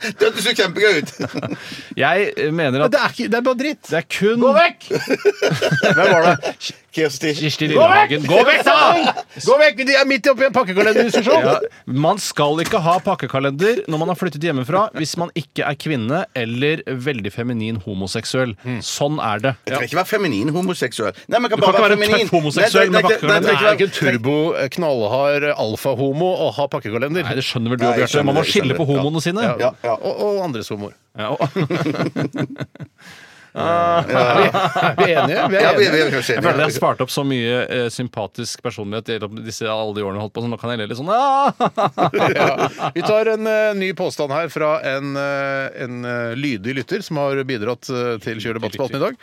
Speaker 2: Det så kjempegøy ut!
Speaker 3: Jeg eh, mener at
Speaker 1: det, er ikke, det er bare dritt.
Speaker 3: det er kun
Speaker 1: Gå vekk! Hvem var det?
Speaker 2: Kirsti.
Speaker 3: Kirsti Lillehagen. Gå vekk, da!
Speaker 1: Gå vekk! De er midt oppi en pakkekalenderdiskusjon.
Speaker 3: Ja, man skal ikke ha pakkekalender når man har flyttet hjemmefra hvis man ikke er kvinne eller veldig feminin homoseksuell. Sånn er det.
Speaker 2: Jeg trenger ikke være feminin homoseksuell. Nei, man kan
Speaker 3: Du kan
Speaker 2: bare
Speaker 3: ikke
Speaker 2: være
Speaker 3: være
Speaker 2: feminin.
Speaker 3: tøff homoseksuell
Speaker 2: Nei, nei,
Speaker 3: med
Speaker 2: nei, nei,
Speaker 3: bakgrunn.
Speaker 2: nei,
Speaker 1: Det er ikke
Speaker 2: nei,
Speaker 1: en turbo,
Speaker 3: eh,
Speaker 1: knallhard alfahomo å ha pakkekalender.
Speaker 3: Nei, Det skjønner vel du,
Speaker 2: Nei, jeg
Speaker 3: Bjarte. Man må
Speaker 2: skjønner det, jeg
Speaker 3: skille på
Speaker 2: skjønner
Speaker 3: homoene sine.
Speaker 2: Ja, ja.
Speaker 1: Og, og andres homoer.
Speaker 3: <laughs> Ja, og-
Speaker 1: Er vi enige? Vi
Speaker 2: Ja,
Speaker 1: er
Speaker 2: vi, vi
Speaker 1: enige.
Speaker 2: er kanskje
Speaker 3: Jeg føler jeg har
Speaker 2: enige.
Speaker 3: spart opp så mye eh, sympatisk personlighet gjennom disse alle de årene jeg har holdt på, så nå kan jeg le litt sånn ah! <laughs>
Speaker 1: Ja. Vi tar en eh, ny påstand her fra en, eh, en eh, lydig lytter som har bidratt eh, til Kjør debatt-spalten i dag.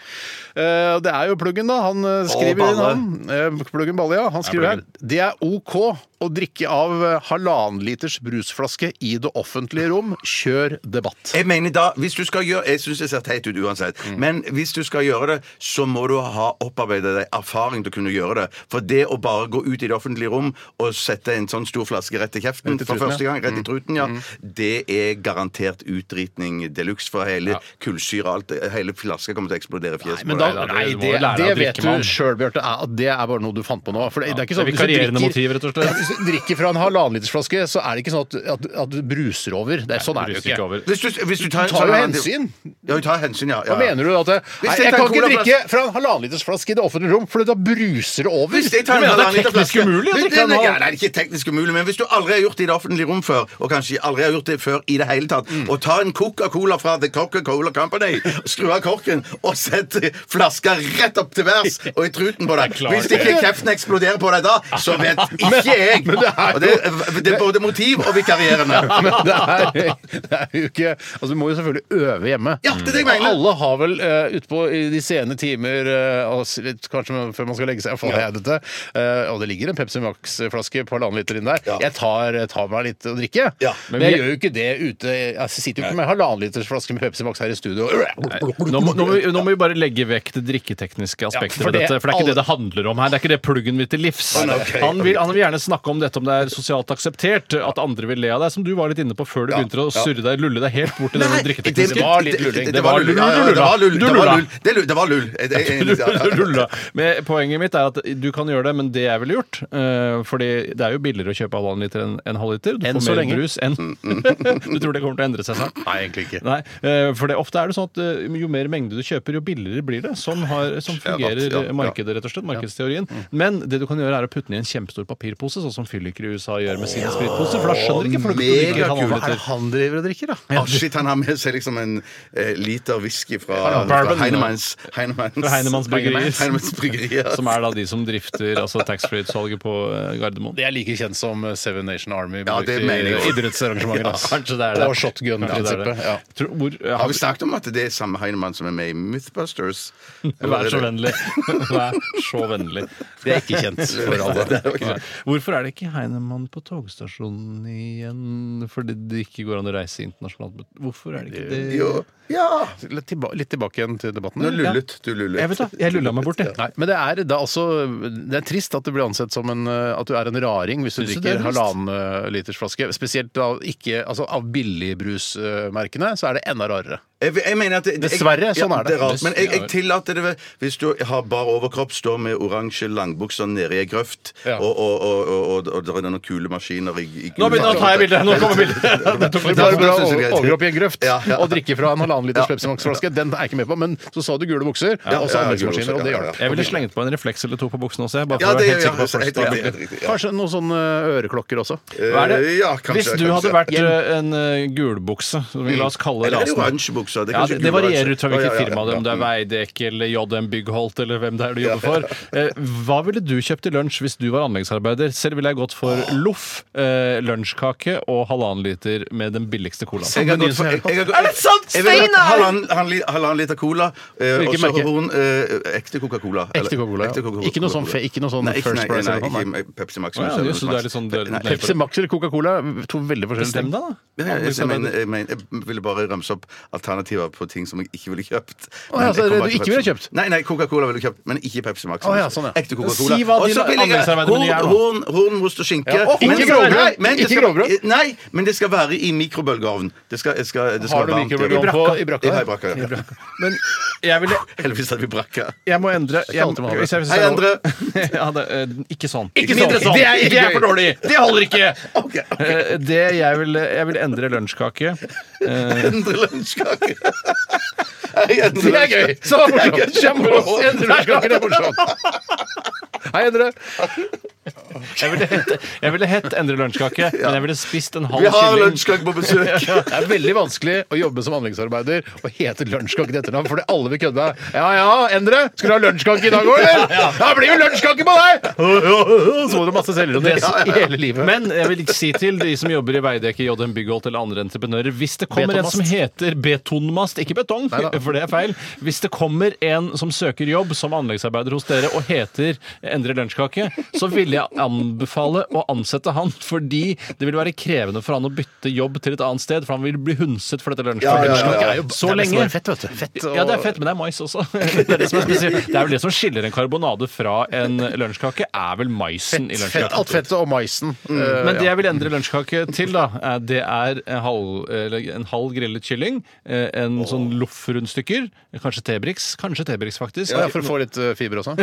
Speaker 1: Eh, det er jo Pluggen, da. Han eh, skriver
Speaker 2: Balle.
Speaker 1: inn, han. Eh, pluggen Balle, ja. Han skriver her. Det er OK å drikke av eh, halvannen liters brusflaske i det offentlige rom. Kjør debatt.
Speaker 2: Jeg mener da, hvis du skal gjøre Jeg syns det ser teit ut uansett, men hvis du skal gjøre det, så må du ha opparbeidet deg erfaring til å kunne gjøre det. For det å bare gå ut i det offentlige rom og sette en sånn stor flaske rett i kjeften for første gang, rett i truten, ja, det er garantert utdritning de luxe for hele kullsyre og alt. Hele flaska kommer til å eksplodere i fjeset på
Speaker 1: Men da,
Speaker 2: deg.
Speaker 3: Nei, da, det
Speaker 1: nei,
Speaker 3: må
Speaker 1: det,
Speaker 3: du lære av
Speaker 1: det
Speaker 3: å
Speaker 1: vet
Speaker 3: drikke,
Speaker 1: du
Speaker 3: mann.
Speaker 1: sjøl, Bjarte, er at det er bare noe du fant på nå. For det, det er ikke sånn,
Speaker 3: Det er
Speaker 1: hvis du
Speaker 3: vikarierende
Speaker 1: drikker-
Speaker 3: motiv, rett og slett.
Speaker 1: Hvis du drikker fra en halvannenlitersflaske, så er det ikke sånn at, at, at du bruser over. Det er, sånn er det jo
Speaker 3: Ruser ikke
Speaker 1: ikke.
Speaker 3: over.
Speaker 2: Hvis du, hvis du tar,
Speaker 1: Du tar jo
Speaker 2: sånn-
Speaker 1: hensyn.
Speaker 2: Ja, vi tar hensyn, ja. ja.
Speaker 1: Hva mener du? At jeg,
Speaker 2: Hvis
Speaker 1: nei,
Speaker 2: jeg
Speaker 1: jeg
Speaker 2: tar
Speaker 1: kan ikke
Speaker 2: colaflaske-
Speaker 1: drikke fra en halvannenlitersflaske i det offentlige rom, for da bruser det over.
Speaker 2: Hvis jeg tar
Speaker 1: Du
Speaker 2: en
Speaker 1: mener det
Speaker 2: halvannen
Speaker 1: er
Speaker 2: liter
Speaker 1: teknisk
Speaker 2: flaske-
Speaker 1: umulig å
Speaker 2: Hvis-
Speaker 1: drikke en
Speaker 2: nei,
Speaker 1: halv <laughs>
Speaker 2: nei, det er ikke teknisk umulig, men hvis du aldri har gjort det i det offentlige rom før, og kanskje aldri har gjort det før i det hele tatt,
Speaker 1: Mm.
Speaker 2: og tar en Coca-Cola fra The Coca-Cola Company, skru av korken og sett flaska rett opp til værs og i truten
Speaker 1: <laughs>
Speaker 2: på deg
Speaker 3: klart
Speaker 2: Hvis ikke
Speaker 3: det.
Speaker 2: kjeften eksploderer på deg da, så vet ikke jeg.
Speaker 1: Men det er jo-
Speaker 2: Og det, det er både motiv og vikarierende.
Speaker 1: <laughs> Men det er, det er jo ikke Altså, du må jo selvfølgelig øve hjemme.
Speaker 2: Ja, det er det jeg mener.
Speaker 1: Og Alle har vel eh, utpå i de sene timer, eh, og s- litt kanskje før man skal legge seg, iallfall har jeg dette, eh, og det ligger en Pepsi Max-flaske på halvannen liter inn der.
Speaker 2: Ja.
Speaker 1: Jeg tar, eh, tar meg litt å drikke.
Speaker 2: Ja.
Speaker 1: Men, jeg gjør jo ikke det ute. Jeg sitter jo ikke med halvannen liters flaske med Pepsi Max her i studio.
Speaker 3: Nå må, nå, må vi, nå må vi bare legge vekk det drikketekniske aspektet
Speaker 1: Ja, for
Speaker 3: ved
Speaker 1: det-
Speaker 3: dette. For det er ikke
Speaker 1: alle-
Speaker 3: det det handler om her. Det er ikke det pluggen vil til livs. Han, vil, han vil gjerne snakke om dette, om det er sosialt akseptert, at andre vil le av deg, som du var litt inne på før du begynte å surre deg, lulle deg helt bort i denne drikketekniske.
Speaker 1: var litt lulling.
Speaker 2: Det,
Speaker 3: Det
Speaker 2: var
Speaker 3: var
Speaker 2: lull.
Speaker 3: lull,
Speaker 2: Ja, ja,
Speaker 3: du
Speaker 2: det var lull.
Speaker 3: lulla.
Speaker 2: Det
Speaker 3: Du
Speaker 2: var
Speaker 3: lulla. <laughs>
Speaker 2: lull. Det er lull- Det var
Speaker 1: <laughs>
Speaker 2: lull. Jeg- jeg- jeg- ja, ja, ja.
Speaker 3: Rulla. Men poenget mitt er at du kan gjøre det, men det jeg ville gjort eh, Fordi det er jo billigere å kjøpe halvannen liter enn en halvliter. Du
Speaker 1: Enn
Speaker 3: får
Speaker 1: så
Speaker 3: mer
Speaker 1: lenge.
Speaker 3: brus enn <laughs> Du tror det kommer til å endre seg snart?
Speaker 1: Nei, egentlig ikke.
Speaker 3: <laughs> Nei, eh, for det, ofte er det sånn at eh, jo mer mengde du kjøper, jo billigere blir det. Sånn, har, sånn fungerer
Speaker 2: ja, ja.
Speaker 3: eh, markedet, rett og slett. Markedsteorien. Men det du kan gjøre, er å putte den i en kjempestor papirpose, sånn som fylliker i USA gjør med sine spritposer. For da skjønner ikke folk at du drikker
Speaker 2: megakult.
Speaker 1: Hva <laughs> er det
Speaker 3: halvliter.
Speaker 1: han driver og drikker, da?
Speaker 2: Å, shit, han har med seg liksom en eh, liter whisky fra,
Speaker 3: Ja,
Speaker 2: fra
Speaker 3: bourbon, ja.
Speaker 2: Heinemanns Heinemanns,
Speaker 3: Fra Heinemanns Bryggerier.
Speaker 2: Heinemanns Bryggerier.
Speaker 3: Som er da de som drifter altså taxfree-salget på eh, Gardermoen.
Speaker 1: Det er like kjent som eh, Seven Nation Army
Speaker 2: Ja, det mener jeg
Speaker 1: i <laughs>
Speaker 2: jo.
Speaker 1: idrettsarrangementer. ass.
Speaker 3: Ja, kanskje det er det.
Speaker 1: Og shotgun-prinsippet. Ja.
Speaker 3: Tror- hvor-
Speaker 2: Har vi snakket om at det er samme Heinemann som er med i Mythbusters?
Speaker 3: <laughs> Vær så vennlig. <laughs> Vær så vennlig.
Speaker 1: Det er ikke kjent for <laughs> alle.
Speaker 3: Nei. Hvorfor er det ikke Heinemann på togstasjonen igjen? Fordi det ikke går an å reise internasjonalt. Men Hvorfor er det ikke det?
Speaker 2: Jo. Ja!
Speaker 1: Litt, tilba litt tilbake igjen til debatten.
Speaker 2: Nå lullet du lullet.
Speaker 3: Jeg vet da, jeg lulla meg bort, jeg.
Speaker 1: Nei, men det er, det, er altså, det er trist at du blir ansett som en, eh, at du er en raring hvis du
Speaker 3: Synes du det
Speaker 1: drikker
Speaker 3: er trist?
Speaker 1: halvannen eh, liters flaske. Spesielt av, ikke, altså, av billigbrusmerkene, så er det enda rarere.
Speaker 2: Jeg, jeg mener at jeg,
Speaker 1: Dessverre, sånn er det.
Speaker 2: det er rart, men jeg, jeg tillater det ved- hvis du har bar overkropp, står med oransje langbukser nede i ei grøft,
Speaker 1: Ja.
Speaker 2: og, og, og, og, og, og det er noen kulemaskiner i, i
Speaker 3: Nå begynner jeg å ta i bildet! Nå kommer bildet! Det
Speaker 1: Det
Speaker 3: tok litt
Speaker 2: Da
Speaker 1: er
Speaker 3: plass.
Speaker 1: bra å
Speaker 2: synes jeg det er greit.
Speaker 1: overgå opp i en grøft
Speaker 2: Ja, ja.
Speaker 1: og drikke fra en halvannen liters
Speaker 2: Ja.
Speaker 1: Pepsi Max-flaske. Den er jeg ikke med på, men så sa du gule bukser, og så
Speaker 2: ja, gule
Speaker 1: anleggsmaskiner,
Speaker 2: bukser,
Speaker 1: og det
Speaker 2: ja,
Speaker 1: hjalp.
Speaker 3: <laughs> Jeg ville slengt på en refleks eller to på buksene også. jeg, Bare for
Speaker 2: Ja,
Speaker 3: å
Speaker 2: det
Speaker 3: være
Speaker 2: gjør
Speaker 3: helt sikker på
Speaker 2: jeg.
Speaker 3: først.
Speaker 2: Helt riktig, helt riktig, ja.
Speaker 1: Kanskje noen sånne eh, øreklokker også.
Speaker 3: Hva er det?
Speaker 2: Eh, ja, kanskje,
Speaker 3: Hvis du hadde
Speaker 2: kanskje.
Speaker 3: vært eh, en eh, gulbukse, som vi la oss kalle
Speaker 2: Mm. Eller
Speaker 3: rasen
Speaker 2: oransje bukser, det er
Speaker 3: ja,
Speaker 2: kanskje
Speaker 3: det, det
Speaker 2: gul oransje.
Speaker 3: varierer ut fra
Speaker 2: Ja,
Speaker 3: hvilket
Speaker 2: ja, ja,
Speaker 3: firma det er,
Speaker 2: ja.
Speaker 3: om det er Veidekke eller JM Byggholt eller hvem det er du jobber for. Eh, Hva ville du kjøpt til lunsj hvis du var anleggsarbeider? Selv ville jeg gått for loff, eh, lunsjkake og halvannen liter med den billigste colaen.
Speaker 2: Jeg har gått for, jeg, jeg, er det sant, Steinar?! Halvannen halvannen- halvannen liter cola, eh, og så
Speaker 1: merke?
Speaker 2: horn eh, ekte Coca-Cola. eller-
Speaker 1: Ekte Coca-Cola.
Speaker 2: ekte
Speaker 1: ja. Ikke noe sånn, fe- ikke noe sånn
Speaker 2: Nei, ikke,
Speaker 1: First
Speaker 2: nei,
Speaker 1: Price.
Speaker 2: nei,
Speaker 1: eller noe sånt, nei.
Speaker 2: ikke Pepsi Max.
Speaker 3: Å, ja, jeg synes det er litt sånn- det er-
Speaker 2: Nei,
Speaker 3: det er-
Speaker 1: Pepsi Max eller Coca-Cola, to veldig forskjellige ting.
Speaker 3: Bestem deg, da.
Speaker 2: Ja, ja, jeg, jeg, mener, jeg, mener, jeg ville bare ramse opp alternativer på ting som jeg ikke ville kjøpt.
Speaker 1: Å, ja, så det
Speaker 2: Men jeg kommer
Speaker 1: du
Speaker 2: til
Speaker 1: ikke ville
Speaker 2: Pepsi-
Speaker 1: kjøpt?
Speaker 2: Nei, nei, Coca-Cola ville jeg kjøpt, men ikke Pepsi Max.
Speaker 1: Å, ja, sånn, ja.
Speaker 2: Ekte Coca-Cola.
Speaker 3: Si hva
Speaker 2: Og
Speaker 3: dine
Speaker 2: så vil jeg ha
Speaker 3: anleggsarbeidere
Speaker 2: horn,
Speaker 3: mener er, da.
Speaker 2: horn, horn, most og skinke.
Speaker 1: Ja, og
Speaker 2: Men
Speaker 1: ikke
Speaker 2: det skal-
Speaker 1: grovbrød.
Speaker 2: nei, men det
Speaker 1: Ikke
Speaker 2: skal-
Speaker 1: grovbrød.
Speaker 2: Nei, men det skal være i mikrobølgeovn. Det skal, det skal, det skal
Speaker 1: Har du
Speaker 2: være varmt i
Speaker 1: mikrobølgeovn
Speaker 2: ovnen.
Speaker 1: på i brakka?
Speaker 2: Ja, i brakka, ja.
Speaker 3: Men jeg ville
Speaker 2: <laughs> Heldigvis hadde vi brakka.
Speaker 3: Jeg må endre. Jeg,
Speaker 1: alltid man har det.
Speaker 3: hvis jeg, hvis
Speaker 2: Hei,
Speaker 3: jeg- <laughs>
Speaker 2: Endre.
Speaker 3: Jeg hadde, eh, ikke sånn.
Speaker 1: Ikke sånn.
Speaker 3: Det
Speaker 1: Det
Speaker 3: er,
Speaker 1: er ikke gøy.
Speaker 3: for dårlig! Det holder ikke!
Speaker 2: <laughs> Ok, ok.
Speaker 3: Eh, Det jeg vil, jeg vil endre lunsjkake.
Speaker 2: <laughs> Endre
Speaker 1: <laughs>
Speaker 2: lunsjkake. Hei, Endre
Speaker 1: Det er gøy! Så det er morsomt.
Speaker 2: lunsjkake.
Speaker 1: Kjempebra.
Speaker 2: <laughs>
Speaker 1: Endre lunsjkaken, det er morsomt. Hei, Endre.
Speaker 3: Jeg ville hett, jeg ville hett endre
Speaker 1: <laughs>
Speaker 3: lunsjkake, men jeg ville spist en halv
Speaker 2: Vi har
Speaker 3: kylling.
Speaker 2: lunsjkake på besøk.
Speaker 1: Det er veldig vanskelig å jobbe som anleggsarbeider og hete lunsjkake til etternavn, fordi alle vil kødde med deg. Ja ja, Endre, skulle du ha lunsjkake i dag òg, eller? Da blir det lunsjkake på deg! Så må du masse selvironi i hele livet.
Speaker 3: Men jeg vil ikke si til de som jobber i Veidekke, JM Byggholt eller andre entreprenører Hvis det kommer en
Speaker 1: Betonmast.
Speaker 3: som heter betonmast, ikke betong,
Speaker 1: Neida.
Speaker 3: for det er feil Hvis det kommer en som søker jobb som anleggsarbeider hos dere og heter Endre Lunsjkake, så ville jeg anbefale å ansette han, fordi det vil være krevende for han å bytte jobb til et annet sted, for han vil bli hunset for dette lunsjkaket.
Speaker 1: Lunsjkake er jo-
Speaker 3: Så
Speaker 1: det er nesten
Speaker 3: lenge
Speaker 1: bare Fett, vet du. Fett og-
Speaker 3: ja, det er fett, men det er mais også. <laughs> Det er, det som er, spesielt. det er vel det som skiller en karbonade fra en lunsjkake, er vel maisen i lunsjkaka.
Speaker 1: Fett, alt fettet og maisen. Eh,
Speaker 3: Men det jeg vil endre lunsjkake til, da, er- det er en halv, eller en halv grillet kylling. eh, En sånn loffrundstykker. Kanskje Tebrix. Kanskje Tebrix, faktisk.
Speaker 1: ja, For å få litt eh, fiber også.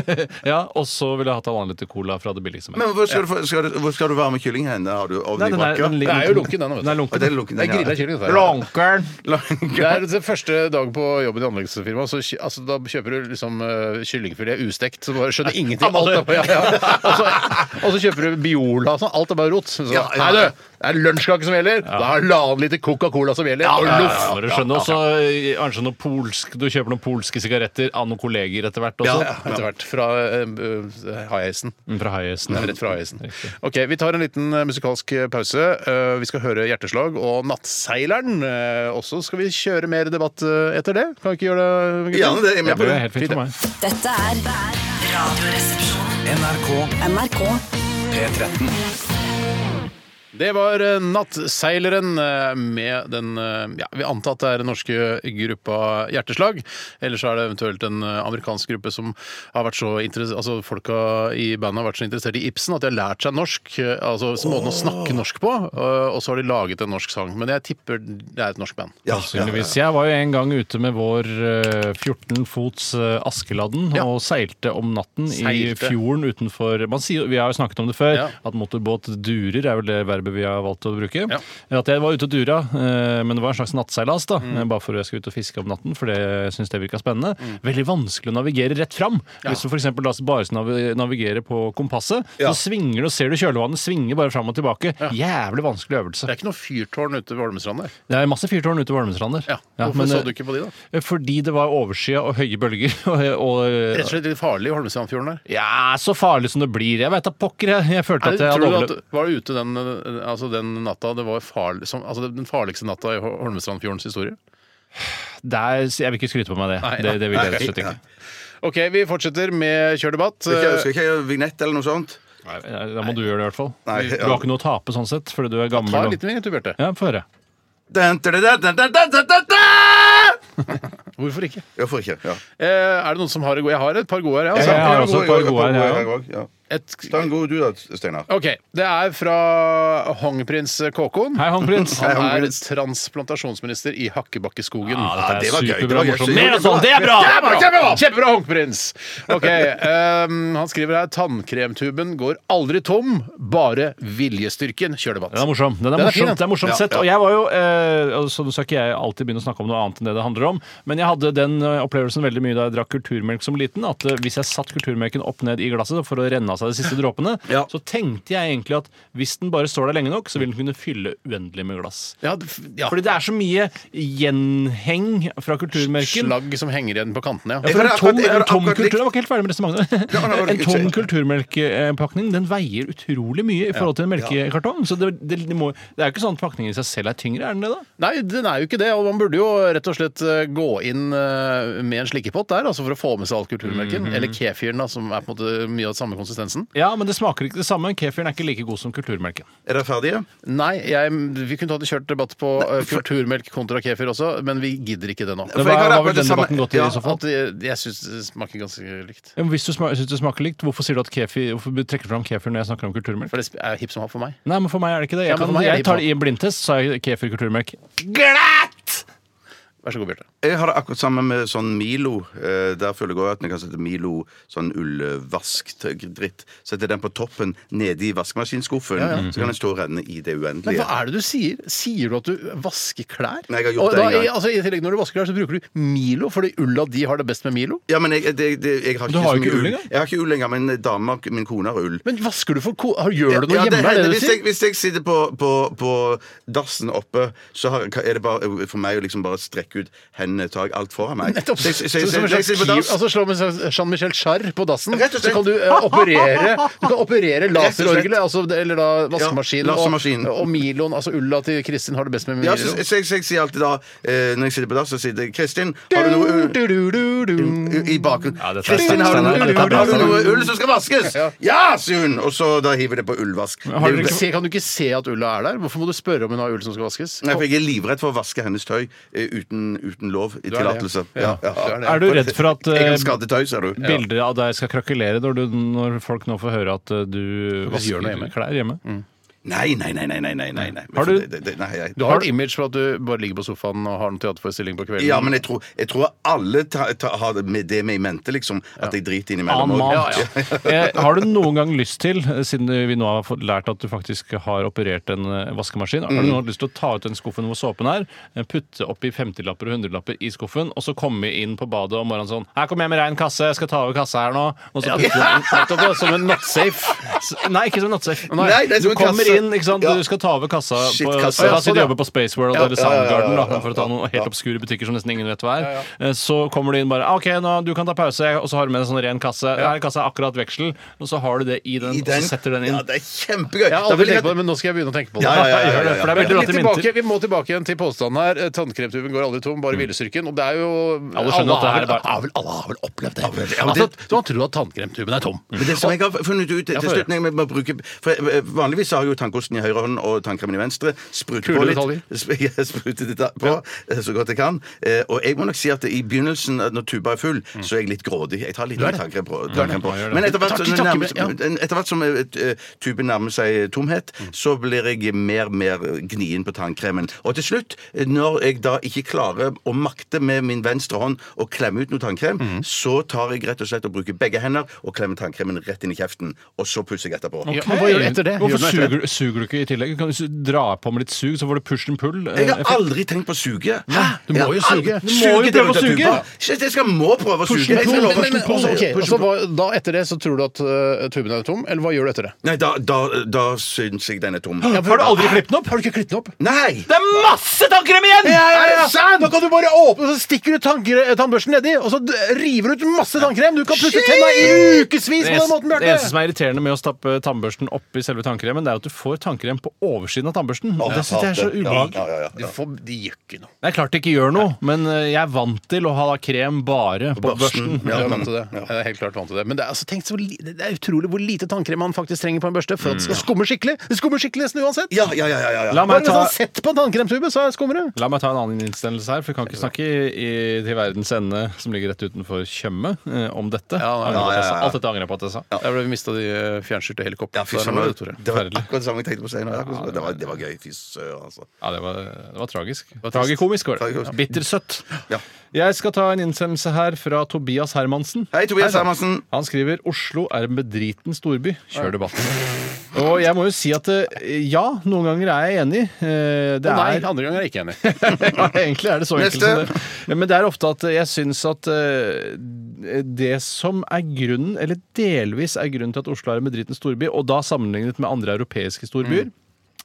Speaker 3: Ja, Og så ville jeg hatt halvannen liter cola fra det som
Speaker 2: Men
Speaker 3: helst.
Speaker 2: hvor skal, du, få- skal du, hvor skal du varme kyllingen hen? Da Har du ovn
Speaker 3: Nei,
Speaker 2: i
Speaker 3: den er-
Speaker 2: brakka?
Speaker 3: den ligger-
Speaker 1: Det er jo lunken, den. vet du.
Speaker 3: Den er
Speaker 2: Og
Speaker 3: lunken.
Speaker 2: den er lunken,
Speaker 1: Det er
Speaker 2: den,
Speaker 1: grilla kylling. dette her.
Speaker 3: Lunkeren!
Speaker 1: Det er det første dag på jobben i anleggsfirma. Så, ky- altså, da kjøper du liksom eh, kyllingfilet ustekt, så bare skjønner ingenting. Alt er på, <laughs> ja, ja. Og, så, og så kjøper du Biola og sånn. Alt er bare rot. Så,
Speaker 2: Ja, ja.
Speaker 1: Nei, du! Det er lunsjkake som gjelder. Da er det halvannen liter Coca-Cola som gjelder. og loff!
Speaker 3: Dere skjønner også eh, kanskje noe polsk Du kjøper noen polske sigaretter av noen kolleger etter hvert også.
Speaker 1: Etter hvert. Fra uh, high-acen.
Speaker 3: Mm, Fra Haiesten.
Speaker 1: Rett fra high-acen.
Speaker 3: Riktig.
Speaker 1: Ok, Vi tar en liten eh, musikalsk eh, pause. Eh, vi skal høre 'Hjerteslag' og 'Nattseileren'. Uh, også skal vi kjøre mer debatt eh, etter det. Kan vi ikke gjøre det? gutter?
Speaker 2: Gjerne det. Jeg er med på
Speaker 3: Det
Speaker 2: det.
Speaker 3: er helt fint for meg.
Speaker 4: Dette er Radioresepsjonen.
Speaker 5: NRK
Speaker 4: NRK.
Speaker 5: P13.
Speaker 1: Det var eh, Nattseileren eh, med den eh, ja, Vi antar at det er den norske gruppa Hjerteslag. Eller så er det eventuelt en eh, amerikansk gruppe som har vært så interess- altså folka i bandet har vært så interessert i Ibsen at de har lært seg norsk. eh, Altså så måten å snakke norsk på. eh, Og så har de laget en norsk sang. Men jeg tipper det er et norsk band.
Speaker 2: Ja, ja, ja.
Speaker 3: Sannsynligvis. Jeg var jo en gang ute med vår eh, 14 fots eh, Askeladden
Speaker 1: Ja.
Speaker 3: og seilte om natten i
Speaker 1: Seilte.
Speaker 3: fjorden utenfor man sier, Vi har jo snakket om det før,
Speaker 1: Ja.
Speaker 3: at motorbåt durer er vel det verbet vi har valgt å bruke.
Speaker 1: Ja.
Speaker 3: At jeg var ute og dura, eh, men det var en slags nattseilas, da, eh, bare for jeg skulle ut og fiske om natten, for det jeg synes det virka spennende. Veldig vanskelig å navigere rett fram. Hvis du f.eks. lar oss bare navi- navigere på kompasset, så svinger du og ser du kjølvannet svinge bare fram og tilbake. Jævlig vanskelig
Speaker 1: Det
Speaker 3: øvelse.
Speaker 1: er ikke noe fyrtårn ute ved Holmestrand der.
Speaker 3: Det er masse fyrtårn ute ved Holmestrander.
Speaker 1: Ja. Hvorfor
Speaker 3: eh,
Speaker 1: så du ikke på de, da?
Speaker 3: Fordi det var overskya og høye bølger. <laughs> Og,
Speaker 1: Rett og
Speaker 3: og
Speaker 1: slett litt farlig i Holmestrandfjorden der.
Speaker 3: ja, så farlig som det blir. Jeg veit da pokker, jeg. Jeg følte
Speaker 1: Er
Speaker 3: at
Speaker 1: det,
Speaker 3: jeg hadde
Speaker 1: tror du at
Speaker 3: overlevd.
Speaker 1: Var du ute den, eh, altså den natta det var farlig, som, altså den farligste natta i Hol- Holmestrandfjordens historie?
Speaker 3: Der- Jeg vil ikke skryte på meg det.
Speaker 1: Nei,
Speaker 3: det,
Speaker 1: nei.
Speaker 3: det vil jeg rett og slett ikke.
Speaker 1: Ok, vi fortsetter med Kjør debatt.
Speaker 2: Skal ikke- Skal ikke jeg gjøre vignett eller noe sånt?
Speaker 3: Da må du gjøre det, i hvert fall.
Speaker 2: Nei,
Speaker 3: Du
Speaker 2: ja.
Speaker 3: har ikke noe å tape sånn sett, fordi du er gammel.
Speaker 1: Eh, Ta en
Speaker 3: og-
Speaker 1: liten vignett, du, Bjarte.
Speaker 3: Ja, Få høre.
Speaker 2: Dun, dun, dun, dun, dun, dun, dun, dun, dun!
Speaker 1: Hvorfor ikke?
Speaker 2: Hvorfor ikke? Ja.
Speaker 1: Eh, er det noen som har det gode? Jeg har et par gode her, jeg.
Speaker 3: Jeg har
Speaker 1: Altså.
Speaker 3: også et par gode her, jeg
Speaker 2: òg. Ja.
Speaker 1: Et,
Speaker 2: Ta en god du da, Steinar.
Speaker 1: ok, det er fra Hongprins Kåkon.
Speaker 3: Hei, Håndprins.
Speaker 1: Han
Speaker 2: Hei,
Speaker 1: er
Speaker 2: Hongprins.
Speaker 1: transplantasjonsminister i Hakkebakkeskogen.
Speaker 3: Ja,
Speaker 2: det
Speaker 3: dette
Speaker 2: var gøy,
Speaker 3: er
Speaker 2: det
Speaker 3: superbra
Speaker 2: var gøy.
Speaker 3: morsomt. Mer av sånn! Det er bra!
Speaker 1: Kjempebra! Kjempebra, Kjempebra Hongprins! Ok, ehm, Han skriver her tannkremtuben går aldri tom, bare viljestyrken. Kjør debatt.
Speaker 3: Den er morsom. Den er
Speaker 1: Den er fin,
Speaker 3: morsomt,
Speaker 1: den.
Speaker 3: det er morsomt sett. Og jeg var jo, eh, og så skal ikke jeg alltid begynne å snakke om noe annet enn det det handler om, men jeg hadde den eh, opplevelsen veldig mye da jeg drakk kulturmelk som liten, at eh, hvis jeg satt kulturmelken opp ned i glasset for å renne av seg de siste dråpene,
Speaker 2: Ja.
Speaker 3: så tenkte jeg egentlig at hvis den bare står der lenge nok, så vil den kunne fylle uendelig med glass.
Speaker 1: Ja, det f- ja.
Speaker 3: Fordi det er så mye gjenheng fra kulturmelken.
Speaker 1: Slagg som henger igjen på kantene, ja.
Speaker 3: Ja, for
Speaker 2: Jeg
Speaker 3: en
Speaker 2: har
Speaker 3: tom,
Speaker 2: akkurat- jeg har
Speaker 3: en tom
Speaker 2: akkurat
Speaker 3: kultur,
Speaker 2: likt-
Speaker 3: jeg var ikke helt ferdig med resonnementet.
Speaker 2: nei, nei,
Speaker 3: <laughs> En
Speaker 2: ikke-
Speaker 3: tom kulturmelkpakning den veier utrolig mye i forhold til en melkekartong. Så det, det, det, må, det er jo ikke sånn at pakningen i seg selv er tyngre, er den det da?
Speaker 1: Nei, den er jo ikke det. Og man burde jo rett og slett eh, gå inn eh, med en slikkepott der, altså for å få med seg all kulturmelken.
Speaker 2: Mhm.
Speaker 1: Eller kefiren, da, som er på en måte mye av samme konsistensen.
Speaker 3: Ja, men det smaker ikke det samme. Kefiren er ikke like god som kulturmelken.
Speaker 2: Er dere ferdige?
Speaker 1: Nei, jeg, vi kunne tatt kjørt debatt på eh, kulturmelk kontra kefir også, men vi gidder ikke det nå.
Speaker 3: Det
Speaker 2: For altså, jeg
Speaker 3: var,
Speaker 2: har
Speaker 3: var
Speaker 2: akkurat
Speaker 3: vel
Speaker 2: det
Speaker 3: den
Speaker 2: samme-
Speaker 3: debatten gått i
Speaker 2: ja,
Speaker 3: så fall.
Speaker 1: At jeg jeg syns det smaker ganske likt.
Speaker 3: Ja, men Hvis du sma- syns det smaker likt, hvorfor sier du at kefir, hvorfor trekker du fram kefir når jeg snakker om kulturmelk?
Speaker 1: For det er hipp som happ for meg.
Speaker 3: Nei, men for meg er det ikke det.
Speaker 1: Ja,
Speaker 3: Jeg,
Speaker 1: men
Speaker 3: kan,
Speaker 1: for meg er det
Speaker 3: jeg tar
Speaker 1: ikke
Speaker 3: det i en blindtest, så er kefir kulturmelk.
Speaker 1: Vær så god, Bjarte.
Speaker 2: Jeg har det akkurat sammen med sånn Milo. Eh, Der føler jeg også at når jeg kan sette Milo sånn ullvask-dritt Sette den på toppen nede i vaskemaskinsskuffen, så kan den stå og renne i det
Speaker 1: Men
Speaker 2: uendelige.
Speaker 1: hva er det du sier? Sier du at du vasker klær?
Speaker 2: Nei, jeg har gjort
Speaker 1: Og
Speaker 2: det en
Speaker 1: da-
Speaker 2: gang.
Speaker 1: i- Altså, I tillegg, når du vasker klær, så bruker du Milo, fordi ulla di har det best med Milo.
Speaker 2: Ja, men jeg, det, det, jeg har
Speaker 3: Du har
Speaker 2: så
Speaker 3: jo ikke
Speaker 2: mye
Speaker 3: ull engang.
Speaker 2: Jeg har ikke ull lenger, men dama, min kone, har ull.
Speaker 1: Men vasker du for ko... har- Gjør du noe
Speaker 2: Ja, det
Speaker 1: hjemme? er
Speaker 2: hender.
Speaker 1: det du
Speaker 2: hvis,
Speaker 1: sier?
Speaker 2: jeg, hvis jeg sitter på, på, på dassen oppe, så har, er det bare for meg å liksom bare strekke ut hendene, tar jeg alt foran meg.
Speaker 1: Nettopp.
Speaker 2: Så jeg- så
Speaker 1: Så-
Speaker 2: jeg-
Speaker 1: som
Speaker 2: så
Speaker 1: en
Speaker 2: jeg-
Speaker 1: slags
Speaker 2: jeg sitter på
Speaker 1: kiv-
Speaker 2: dass.
Speaker 1: altså slå med en slags Jean-Michel Jarre på dassen,
Speaker 2: Rett
Speaker 1: så
Speaker 2: og slett.
Speaker 1: kan du eh, operere Du kan
Speaker 2: <laughs>
Speaker 1: operere
Speaker 2: og slett.
Speaker 1: laserorgelet, altså, eller da vaskemaskinen,
Speaker 2: Ja, vaskemaskinen.
Speaker 1: Og, og Milon, altså ulla til Kristin har det best med Milo.
Speaker 2: Ja, så, så, jeg, så jeg sier alltid da, eh, når jeg sitter på dass, så sier jeg Kristin, har du noe ull?
Speaker 1: Du, du, du, du, du.
Speaker 2: I bakgrunnen.
Speaker 3: Ja, dette er
Speaker 2: Kristin, har du,
Speaker 3: Steinar.
Speaker 2: noe,
Speaker 3: Dette er bra,
Speaker 2: har du noe
Speaker 3: Steinar.
Speaker 2: ull som skal vaskes? Ja, sier hun! Og så da hiver det på ullvask.
Speaker 3: har
Speaker 2: Det er
Speaker 3: dere
Speaker 2: jo-
Speaker 1: Se, kan du ikke se at ulla er der? Hvorfor må du spørre om hun har ull som skal vaskes?
Speaker 2: Nei, for jeg er livredd for å vaske hennes tøy eh, uten, uten lov. i Tillatelse. Ja, ja.
Speaker 3: Er du redd for at
Speaker 2: Jeg
Speaker 3: eh,
Speaker 2: kan skade tøy, sa du.
Speaker 3: bilder av deg skal krakelere når, du, når folk nå får høre at eh, du
Speaker 1: Hvis vi gjør
Speaker 3: vasker
Speaker 1: noe hjemme.
Speaker 3: klær hjemme?
Speaker 2: Nei, nei, nei. nei, nei, nei, nei, nei.
Speaker 3: Har du-
Speaker 2: Det- det- det- nei, jeg-
Speaker 1: Du har et image for at du bare ligger på sofaen og har en teaterforestilling på kvelden.
Speaker 2: Ja, men jeg tror, jeg tror alle ta, ta, har det med, det med i mente, liksom. At jeg driter innimellom. også.
Speaker 3: Annen mann.
Speaker 2: Ja, ja.
Speaker 3: Eh, Har du noen gang lyst til, eh, siden vi nå har fått lært at du faktisk har operert en eh,
Speaker 2: Mm.
Speaker 3: vaskemaskin, har du noen gang lyst til å ta ut den skuffen hvor såpen er, eh, putte oppi 50-lapper og 100-lapper i skuffen, og så komme inn på badet om morgenen sånn 'Her kommer jeg med rein kasse, jeg skal ta over kassa her nå.' Og så
Speaker 2: <laughs>
Speaker 3: putte du den
Speaker 1: Nettopp, ja, som en nattsafe.
Speaker 3: S- Nei, ikke som en nattsekk.
Speaker 2: Nei, det er
Speaker 3: du
Speaker 2: som en
Speaker 3: kommer
Speaker 2: kasse.
Speaker 3: inn, ikke sant?
Speaker 2: Ja.
Speaker 3: du skal ta over kassa
Speaker 2: Shit,
Speaker 3: på,
Speaker 2: kasse.
Speaker 3: og
Speaker 2: Ja,
Speaker 3: La oss si
Speaker 2: sånn,
Speaker 3: du
Speaker 2: ja.
Speaker 3: jobber på Space World
Speaker 2: Ja,
Speaker 3: eller
Speaker 2: ja, ja, ja,
Speaker 3: Soundgarden,
Speaker 2: ja,
Speaker 3: da,
Speaker 2: ja,
Speaker 3: for å ta noen
Speaker 2: ja.
Speaker 3: helt obskure butikker som nesten ingen vet hva er. Eh, Så kommer du inn bare ah, 'OK, nå, du kan ta pause', og så har du med en sånn ren kasse. Her er kassa akkurat veksel, og så har du det <laughs> i den,
Speaker 2: I
Speaker 3: og så setter du den inn.
Speaker 2: Ja, det er kjempegøy.
Speaker 1: Jeg har
Speaker 2: Da
Speaker 1: aldri
Speaker 2: vil jeg-
Speaker 1: tenkt på det, men nå skal jeg begynne å tenke på det.
Speaker 2: Ja, ja, ja, ja, ja,
Speaker 3: For det
Speaker 2: ja.
Speaker 3: er veldig
Speaker 1: Litt
Speaker 3: late mynter.
Speaker 1: tilbake, vi må tilbake igjen til påstanden her. Eh, Tannkrefttuben går aldri tom, bare hvilesyken. Og det er jo
Speaker 3: Alle skjønner at det
Speaker 1: har
Speaker 3: er
Speaker 1: vel-
Speaker 3: bare-
Speaker 1: har vel- alle har vel opplevd det.
Speaker 2: vel, ja, men
Speaker 1: Altså,
Speaker 2: det- Mm.
Speaker 1: så man tror at tannkremtuben er tom.
Speaker 2: Men det som jeg har funnet ut til
Speaker 1: få
Speaker 2: slutt når jeg må bruke, for jeg- eh, Vanligvis har jeg jo tannkosten i høyre hånd og tannkremen i venstre. Sprute
Speaker 1: Kule
Speaker 2: på
Speaker 1: detaljer.
Speaker 2: litt. <laughs> Sp- jeg Spruter det da- på eh, så godt jeg kan. Eh, Og jeg må nok si at i begynnelsen, eh, når tuba er full, så er jeg litt grådig. Jeg tar litt
Speaker 1: er
Speaker 2: mer
Speaker 1: det.
Speaker 2: tannkrem på. Tannkrem
Speaker 1: Ja, gjør
Speaker 2: på.
Speaker 1: det.
Speaker 2: Men etter hvert
Speaker 1: Takk,
Speaker 2: som det
Speaker 1: takk,
Speaker 2: nærmer-
Speaker 1: ja.
Speaker 2: men etter hvert som eh, eh, tuben nærmer seg tomhet,
Speaker 1: Mm.
Speaker 2: så blir jeg mer mer gnien på tannkremen. Og til slutt, eh, når jeg da ikke klarer å makte med min venstre hånd å klemme ut noe tannkrem,
Speaker 1: Mm.
Speaker 2: så tar jeg rett og slett og bruker begge hender og klemmer tannkremen rett inn i kjeften, og så pusser jeg etterpå.
Speaker 1: Ja, men hva gjør du etter det? Gjør
Speaker 3: Hvorfor
Speaker 1: du noe etter
Speaker 3: suger, du- suger du ikke i tillegg? Kan du su- dra på med litt sug, så får du push and pull? eh,
Speaker 2: Jeg har
Speaker 3: effekt?
Speaker 2: aldri tenkt på å suge. Hæ?
Speaker 1: Du må
Speaker 2: Jeg har
Speaker 1: jo
Speaker 2: aldri-
Speaker 1: suge.
Speaker 3: Du må jo
Speaker 2: det
Speaker 3: prøve å
Speaker 2: ut av
Speaker 3: suge.
Speaker 2: tuba. Shit, Jeg skal må prøve å suge. Jeg skal
Speaker 1: Men,
Speaker 2: love å
Speaker 1: men, men,
Speaker 2: suge på.
Speaker 1: altså, ok,
Speaker 2: Push
Speaker 1: altså,
Speaker 2: and pull.
Speaker 1: hva- da etter det så tror du at eh, tuben er tom, eller hva gjør du etter det?
Speaker 2: Nei, da, da, da syns jeg den er tom.
Speaker 3: Har du
Speaker 1: Ah!
Speaker 3: aldri klippet den opp?
Speaker 1: Har du ikke klippet den opp?
Speaker 2: Nei!
Speaker 3: Det er masse tannkrem igjen!
Speaker 1: Er det sant? Da kan du bare åpne, så stikker du tannkre- tannbørsten nedi, og så d- river du ut masse tannkrem! Du kan pusse tenna i ukevis
Speaker 3: Det
Speaker 1: på den
Speaker 3: eneste,
Speaker 1: måten,
Speaker 3: det eneste som
Speaker 1: Bjarte!
Speaker 3: er irriterende med å stappe tannbørsten oppi selve tannkremen, det er at du får tannkrem på oversiden av tannbørsten. Og det syns jeg er så ubehagelig.
Speaker 2: Ja, ja, ja,
Speaker 1: Du
Speaker 2: ja.
Speaker 1: får- De gjør ikke noe.
Speaker 3: Det er klart det ikke gjør noe, men eh, jeg er vant til å ha krem bare på børsten.
Speaker 2: Børsten. Ja,
Speaker 1: Mm. Jeg er
Speaker 2: men-
Speaker 1: vant til det. Jeg er helt klart vant til det. Men det er, altså, tenk så, li- det er utrolig hvor lite tannkrem man faktisk trenger på en børste for at det skal skumme skikkelig. Det skummer skikkelig nesten uansett.
Speaker 2: ja, ja, ja, ja, ja.
Speaker 3: La
Speaker 1: Bare hvis
Speaker 3: meg ta,
Speaker 2: sånn-
Speaker 1: man har sett på en tannkremtube, så er det skummere.
Speaker 3: la meg ta en annen innstendelse her, for vi kan ikke snakke i, i, til verdens ende, som ligger rett utenfor Tjøme, eh, om dette.
Speaker 1: ja,
Speaker 3: Angrer på at jeg
Speaker 2: ja,
Speaker 3: sa-
Speaker 2: ja.
Speaker 3: Alt dette angrer jeg på at jeg sa.
Speaker 1: Der ble vi mista de eh, fjernstyrte
Speaker 2: Ja, fy
Speaker 1: helikoptrene.
Speaker 2: søren.
Speaker 1: våre, Tore.
Speaker 2: Det var
Speaker 3: Forferdelig.
Speaker 2: akkurat det samme jeg tenkte på senere. Akkurat det, var, det var gøy. Fy søren, altså.
Speaker 3: Ja, det var, det var tragisk. Tragikomisk var det.
Speaker 2: Tragikomisk.
Speaker 3: Bittersøtt.
Speaker 2: Ja.
Speaker 3: Jeg skal ta en innsendelse her fra Tobias Hermansen.
Speaker 2: Hei, Tobias Hermansen.
Speaker 3: Han skriver Oslo er en bedriten storby. Kjør debatten. Og jeg må jo si at eh, ja, noen ganger er jeg enig. Eh, Det
Speaker 1: Å nei,
Speaker 3: er
Speaker 1: andre ganger er jeg ikke enig.
Speaker 3: <laughs> ja, Egentlig er det så enkelt som
Speaker 2: Neste.
Speaker 3: det. Men det er ofte at jeg syns at eh, det som er grunnen, eller delvis er grunnen til at Oslo er en bedriten storby, og da sammenlignet med andre europeiske storbyer,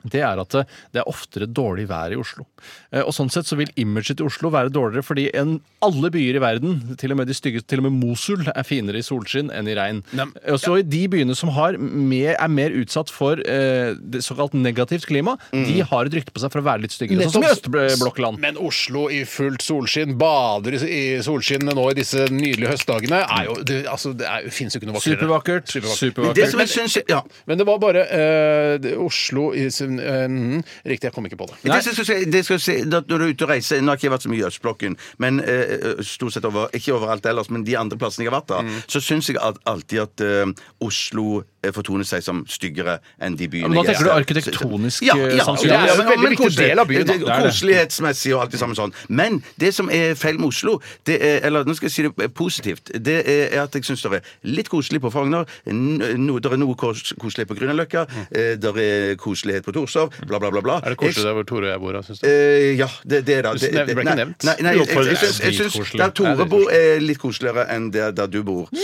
Speaker 3: det er at det det er oftere dårlig vær i Oslo. Eh, Og sånn sett så vil imaget til Oslo være dårligere, fordi enn alle byer i verden, til og med de stygge, til og med Mosul, er finere i solskinn enn i regn. Eh, Og så i de byene som har mer, er mer utsatt for eh, det såkalt negativt klima, de har et rykte på seg for å være litt styggere. Sånn som i Østblokkland.
Speaker 1: Men Oslo i fullt solskinn, bader i i solskinnet nå i disse nydelige høstdagene, er jo Det, altså, det, er, det finnes jo ikke noe vakrere.
Speaker 3: Supervakkert.
Speaker 2: Det
Speaker 3: Supervakkert.
Speaker 2: som jeg syns Ja.
Speaker 1: Men det var bare eh, det- Oslo i sin eh, mm, Riktig, jeg kom ikke på det.
Speaker 2: Det skal jeg si, det skal jeg si at når du er ute og reiser Nå har ikke jeg vært så mye i Østblokken, men eh, stort sett over, ikke overalt ellers, men de andre plassene jeg har vært da,
Speaker 1: Mm.
Speaker 2: så syns jeg at, alltid at eh, Oslo eh, fortoner seg som styggere enn de byene.
Speaker 3: men da
Speaker 2: jeg
Speaker 3: tenker du
Speaker 2: er.
Speaker 3: arkitektonisk,
Speaker 2: ja, ja,
Speaker 3: eh, sannsynligvis.
Speaker 2: ja,
Speaker 1: Det er en
Speaker 2: men-
Speaker 1: veldig
Speaker 2: men
Speaker 1: viktig
Speaker 2: koselig.
Speaker 1: del av byen, da.
Speaker 2: Det-
Speaker 3: Det er det.
Speaker 2: Koselighetsmessig og alt det samme sånn. Men det som er feil med Oslo, det er, eller nå skal jeg si det eh, positivt, det er at jeg syns det er litt koselig på Frogner, n- no, det er noe kos koselig på Grünerløkka, eh, det er koselighet på Torshov, bla, bla, bla. bla.
Speaker 1: Mm. Er det koselig der hvor Tore og jeg bor? Synes du?
Speaker 2: Eh, ja, det, det er da.
Speaker 1: Du
Speaker 2: det.
Speaker 1: nevner- ble ikke
Speaker 2: nei,
Speaker 1: nevnt.
Speaker 2: Nei, nei,
Speaker 1: Jo,
Speaker 2: jeg,
Speaker 1: for
Speaker 2: jeg,
Speaker 1: det er
Speaker 2: syns- jeg syns der
Speaker 3: dritkoselig. Det er
Speaker 2: Tore
Speaker 3: dritkoselig.
Speaker 2: bor, er litt koseligere enn der, der du bor. Ja,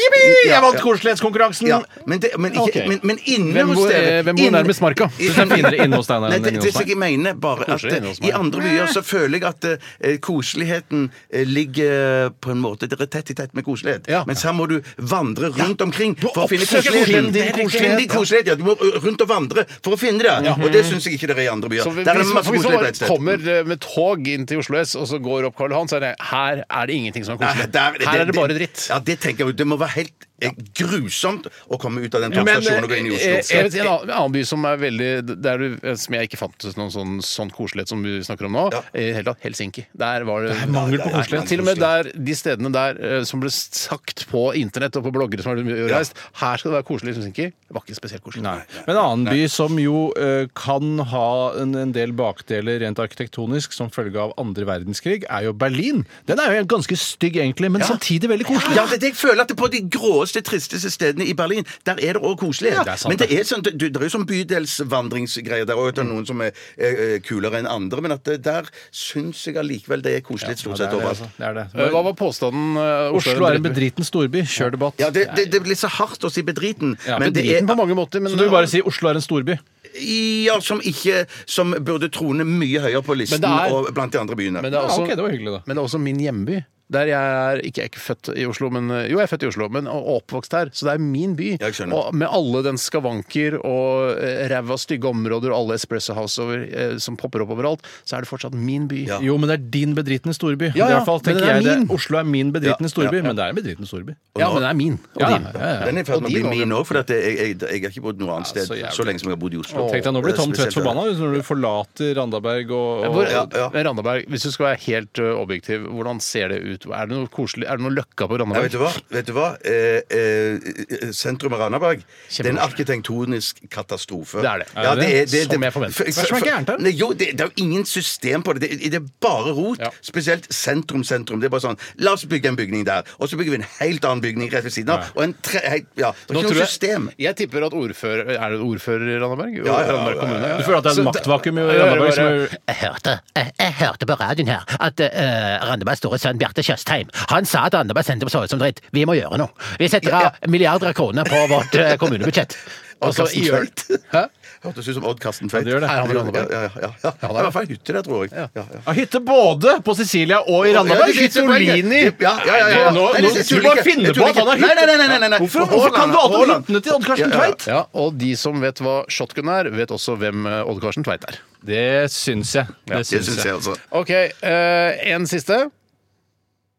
Speaker 3: Jeg valgte
Speaker 2: ja.
Speaker 3: koselighetskonkurransen!
Speaker 2: Ja, men, det, men, ikke,
Speaker 1: Ok.
Speaker 2: men, men inne
Speaker 1: Hvem
Speaker 2: hos
Speaker 1: bor-
Speaker 2: dere
Speaker 1: eh, hvem bor
Speaker 2: inne-
Speaker 1: nærmest
Speaker 2: <laughs>
Speaker 1: marka?
Speaker 2: I-
Speaker 3: Du kan finne det inne hos deg, nei,
Speaker 2: Nei, det,
Speaker 3: inne
Speaker 2: det
Speaker 3: hos meg.
Speaker 2: som jeg mener bare at
Speaker 1: koselig inne hos
Speaker 2: eh, I
Speaker 1: meg.
Speaker 2: andre byer så føler jeg at eh, koseligheten eh, ligger på en måte dere er tett i tett med koselighet.
Speaker 1: Ja.
Speaker 2: Mens her må du vandre rundt omkring for å finne
Speaker 1: oppsøker koseligheten.
Speaker 2: koseligheten.
Speaker 1: Det er riktig.
Speaker 2: Finn din koselighet, ja. Du må eh, rundt og vandre for å finne det. Og det syns jeg ikke det er i andre byer.
Speaker 1: Så hvis,
Speaker 2: Der er det
Speaker 1: hvis,
Speaker 2: masse
Speaker 1: hvis
Speaker 2: koselighet
Speaker 1: man
Speaker 2: på
Speaker 1: bare
Speaker 2: ett sted.
Speaker 1: kommer eh, med tog inn til Oslo S og så går opp Karl Johan, så er det her er det ingenting som er
Speaker 2: Nei,
Speaker 1: koselig.
Speaker 2: der-
Speaker 1: Her er det bare dritt.
Speaker 2: Ja, det tenker jeg jo. Det må være helt er grusomt å komme ut av den
Speaker 1: Men
Speaker 2: togstasjonen og gå inn i
Speaker 1: eh,
Speaker 2: Oslo.
Speaker 1: jeg vet, en, annen, en annen by som er veldig der du, eh, Som jeg ikke fant noen sånn, sånn koselighet som vi snakker om nå.
Speaker 2: Ja.
Speaker 1: i det hele tatt, Helsinki. Der var det,
Speaker 3: mangel på
Speaker 1: Nei, nei,
Speaker 2: koselighet.
Speaker 1: Til og med der, de stedene der eh, som ble sagt på internett og på bloggere som har reist Her skal det være koselig i Helsinki. Det var ikke spesielt koselig.
Speaker 3: Men en annen by som jo eh, kan ha en, en del bakdeler rent arkitektonisk som følge av andre verdenskrig, er jo Berlin. Den er jo ganske stygg egentlig, men samtidig veldig koselig.
Speaker 2: Ja, det, det- jeg føler at det på de gråeste, tristeste stedene i Berlin, der er det òg koselighet.
Speaker 3: det er sant,
Speaker 2: men det er, sånn, det, det er jo sånn bydelsvandringsgreier der òg, at det er noen som er eh, eh, kulere enn andre. Men at det, der syns jeg allikevel det er koselig stort
Speaker 3: det
Speaker 2: sett
Speaker 3: er det,
Speaker 2: overalt.
Speaker 3: altså. det, er det.
Speaker 1: Eh, Hva var påstanden? eh,
Speaker 3: Oslo er en
Speaker 1: drittby?
Speaker 3: bedriten storby. Kjør debatt.
Speaker 2: Ja, det, det, det blir så hardt å si bedriten,
Speaker 3: Ja,
Speaker 2: men det er
Speaker 1: Bedriten på mange måter, men eh,
Speaker 3: Så du vil bare si Oslo er en storby?
Speaker 2: ja, som ikke Som burde trone mye høyere på listen
Speaker 1: Men det er-
Speaker 2: og blant de andre byene.
Speaker 1: Men det er
Speaker 3: Ja,
Speaker 1: også,
Speaker 3: ok, det var hyggelig da.
Speaker 1: Men det er også min hjemby. Der jeg er ikke, jeg er ikke født i Oslo, men jo, jeg er født i Oslo, men og oppvokst her. Så det er min by.
Speaker 2: Jeg skjønner.
Speaker 1: Og med alle den skavanker og eh, ræva stygge områder og alle espresso house over, eh, som popper opp overalt, så er det fortsatt min by.
Speaker 2: Ja.
Speaker 3: Jo, men det er din bedritne storby.
Speaker 1: Ja,
Speaker 3: I
Speaker 1: ja,
Speaker 3: hvert fall
Speaker 1: men den
Speaker 3: tenker
Speaker 1: er
Speaker 3: jeg det.
Speaker 1: min.
Speaker 3: Oslo er min bedritne
Speaker 2: Ja,
Speaker 3: storby,
Speaker 2: ja, ja.
Speaker 3: men det er en bedritne storby.
Speaker 1: Ja, men det er min. Og
Speaker 3: Ja,
Speaker 1: din.
Speaker 3: ja, ja.
Speaker 2: Den er i ferd
Speaker 1: Og
Speaker 2: med å
Speaker 1: din
Speaker 2: bli
Speaker 1: også.
Speaker 2: min òg, for at jeg, jeg, jeg har ikke bodd noe annet
Speaker 3: Ja, så
Speaker 2: sted
Speaker 3: jævlig.
Speaker 2: så lenge som jeg har bodd i Oslo.
Speaker 3: Tenk deg, Nå blir
Speaker 2: Det er
Speaker 3: Tom Tvedt
Speaker 2: spesielt.
Speaker 3: forbanna hvis når du forlater Randaberg og, og
Speaker 1: Hvor,
Speaker 2: Ja, ja.
Speaker 1: Men Randaberg, hvis du skal være helt ø, objektiv, hvordan ser det ut? Er det noe koselig? Er det noe løkka på
Speaker 2: Ja,
Speaker 1: Randaberg?
Speaker 2: vet du hva? Vet du hva? Eh, eh, sentrum av Randaberg det er en arkitektonisk katastrofe.
Speaker 1: Det er det.
Speaker 2: Ja, det er, det,
Speaker 1: Som jeg forventet.
Speaker 2: for-
Speaker 3: Hva er det som er gærent her?
Speaker 2: Nei, Jo, det, det er jo ingen system på det. Det, det er bare rot.
Speaker 1: Ja.
Speaker 2: Spesielt sentrum, sentrum. Det er bare sånn La oss bygge en bygning der, og så bygger vi en helt annen bygning rett ved siden av. Og en tre, helt, ja, det er
Speaker 1: Nå tror
Speaker 2: ikke noe
Speaker 1: jeg-
Speaker 2: system.
Speaker 1: Jeg tipper at ordfører Er det ordfører i Randaberg?
Speaker 2: ja, ja,
Speaker 1: Randaberg
Speaker 2: ja,
Speaker 1: kommune?
Speaker 2: ja, ja.
Speaker 3: Du føler at det er
Speaker 1: Så
Speaker 3: et
Speaker 1: da-
Speaker 3: maktvakuum i
Speaker 1: Ja, ja,
Speaker 3: Randaberg? som
Speaker 1: bare-
Speaker 3: er-
Speaker 8: Jeg hørte, jeg, jeg hørte på radioen her at uh, Randebergs store sønn Bjarte Tjøstheim han sa at Randeberg sentrum så ut som dritt. Vi må gjøre noe. Vi setter av milliarder av kroner på vårt eh, kommunebudsjett.
Speaker 1: <laughs> Og så
Speaker 2: Karsten
Speaker 1: gjør
Speaker 2: Tveit.
Speaker 1: Hæ?
Speaker 2: Hørtes ut som Odd Karsten Tveit.
Speaker 3: det gjør det.
Speaker 2: Ja,
Speaker 1: Er han i
Speaker 2: ja,
Speaker 1: Randaberg?
Speaker 2: ja, ja, ja. Det er i hvert fall hytte der, tror jeg. Ja, ja.
Speaker 3: Ja, hytte både på Sicilia og i
Speaker 2: Ja, det
Speaker 3: Randaberg?
Speaker 2: er ikke
Speaker 1: Kittolini.
Speaker 2: poenget. Ja, ja, ja, ja.
Speaker 3: Nå- nå-
Speaker 2: Nei, det synes
Speaker 3: du
Speaker 2: jeg
Speaker 3: bare
Speaker 2: ikke.
Speaker 3: finner
Speaker 2: Jeg
Speaker 3: på
Speaker 2: tror
Speaker 3: at han har
Speaker 2: ikke.
Speaker 3: hytte.
Speaker 2: Nei, nei, nei, nei, nei. Og
Speaker 3: Hvorfor- hvorfor kan
Speaker 2: Haaland,
Speaker 3: du alltid
Speaker 2: Haaland.
Speaker 3: hyttene til Odd Karsten
Speaker 2: Ja, ja, ja.
Speaker 3: Tveit?
Speaker 1: Ja, og de som vet hva shotgun er, vet også hvem eh, Odd Karsten Tveit er.
Speaker 3: Det syns jeg.
Speaker 2: Det
Speaker 3: Det syns
Speaker 2: syns
Speaker 3: jeg.
Speaker 2: jeg, altså.
Speaker 1: OK, eh, en siste.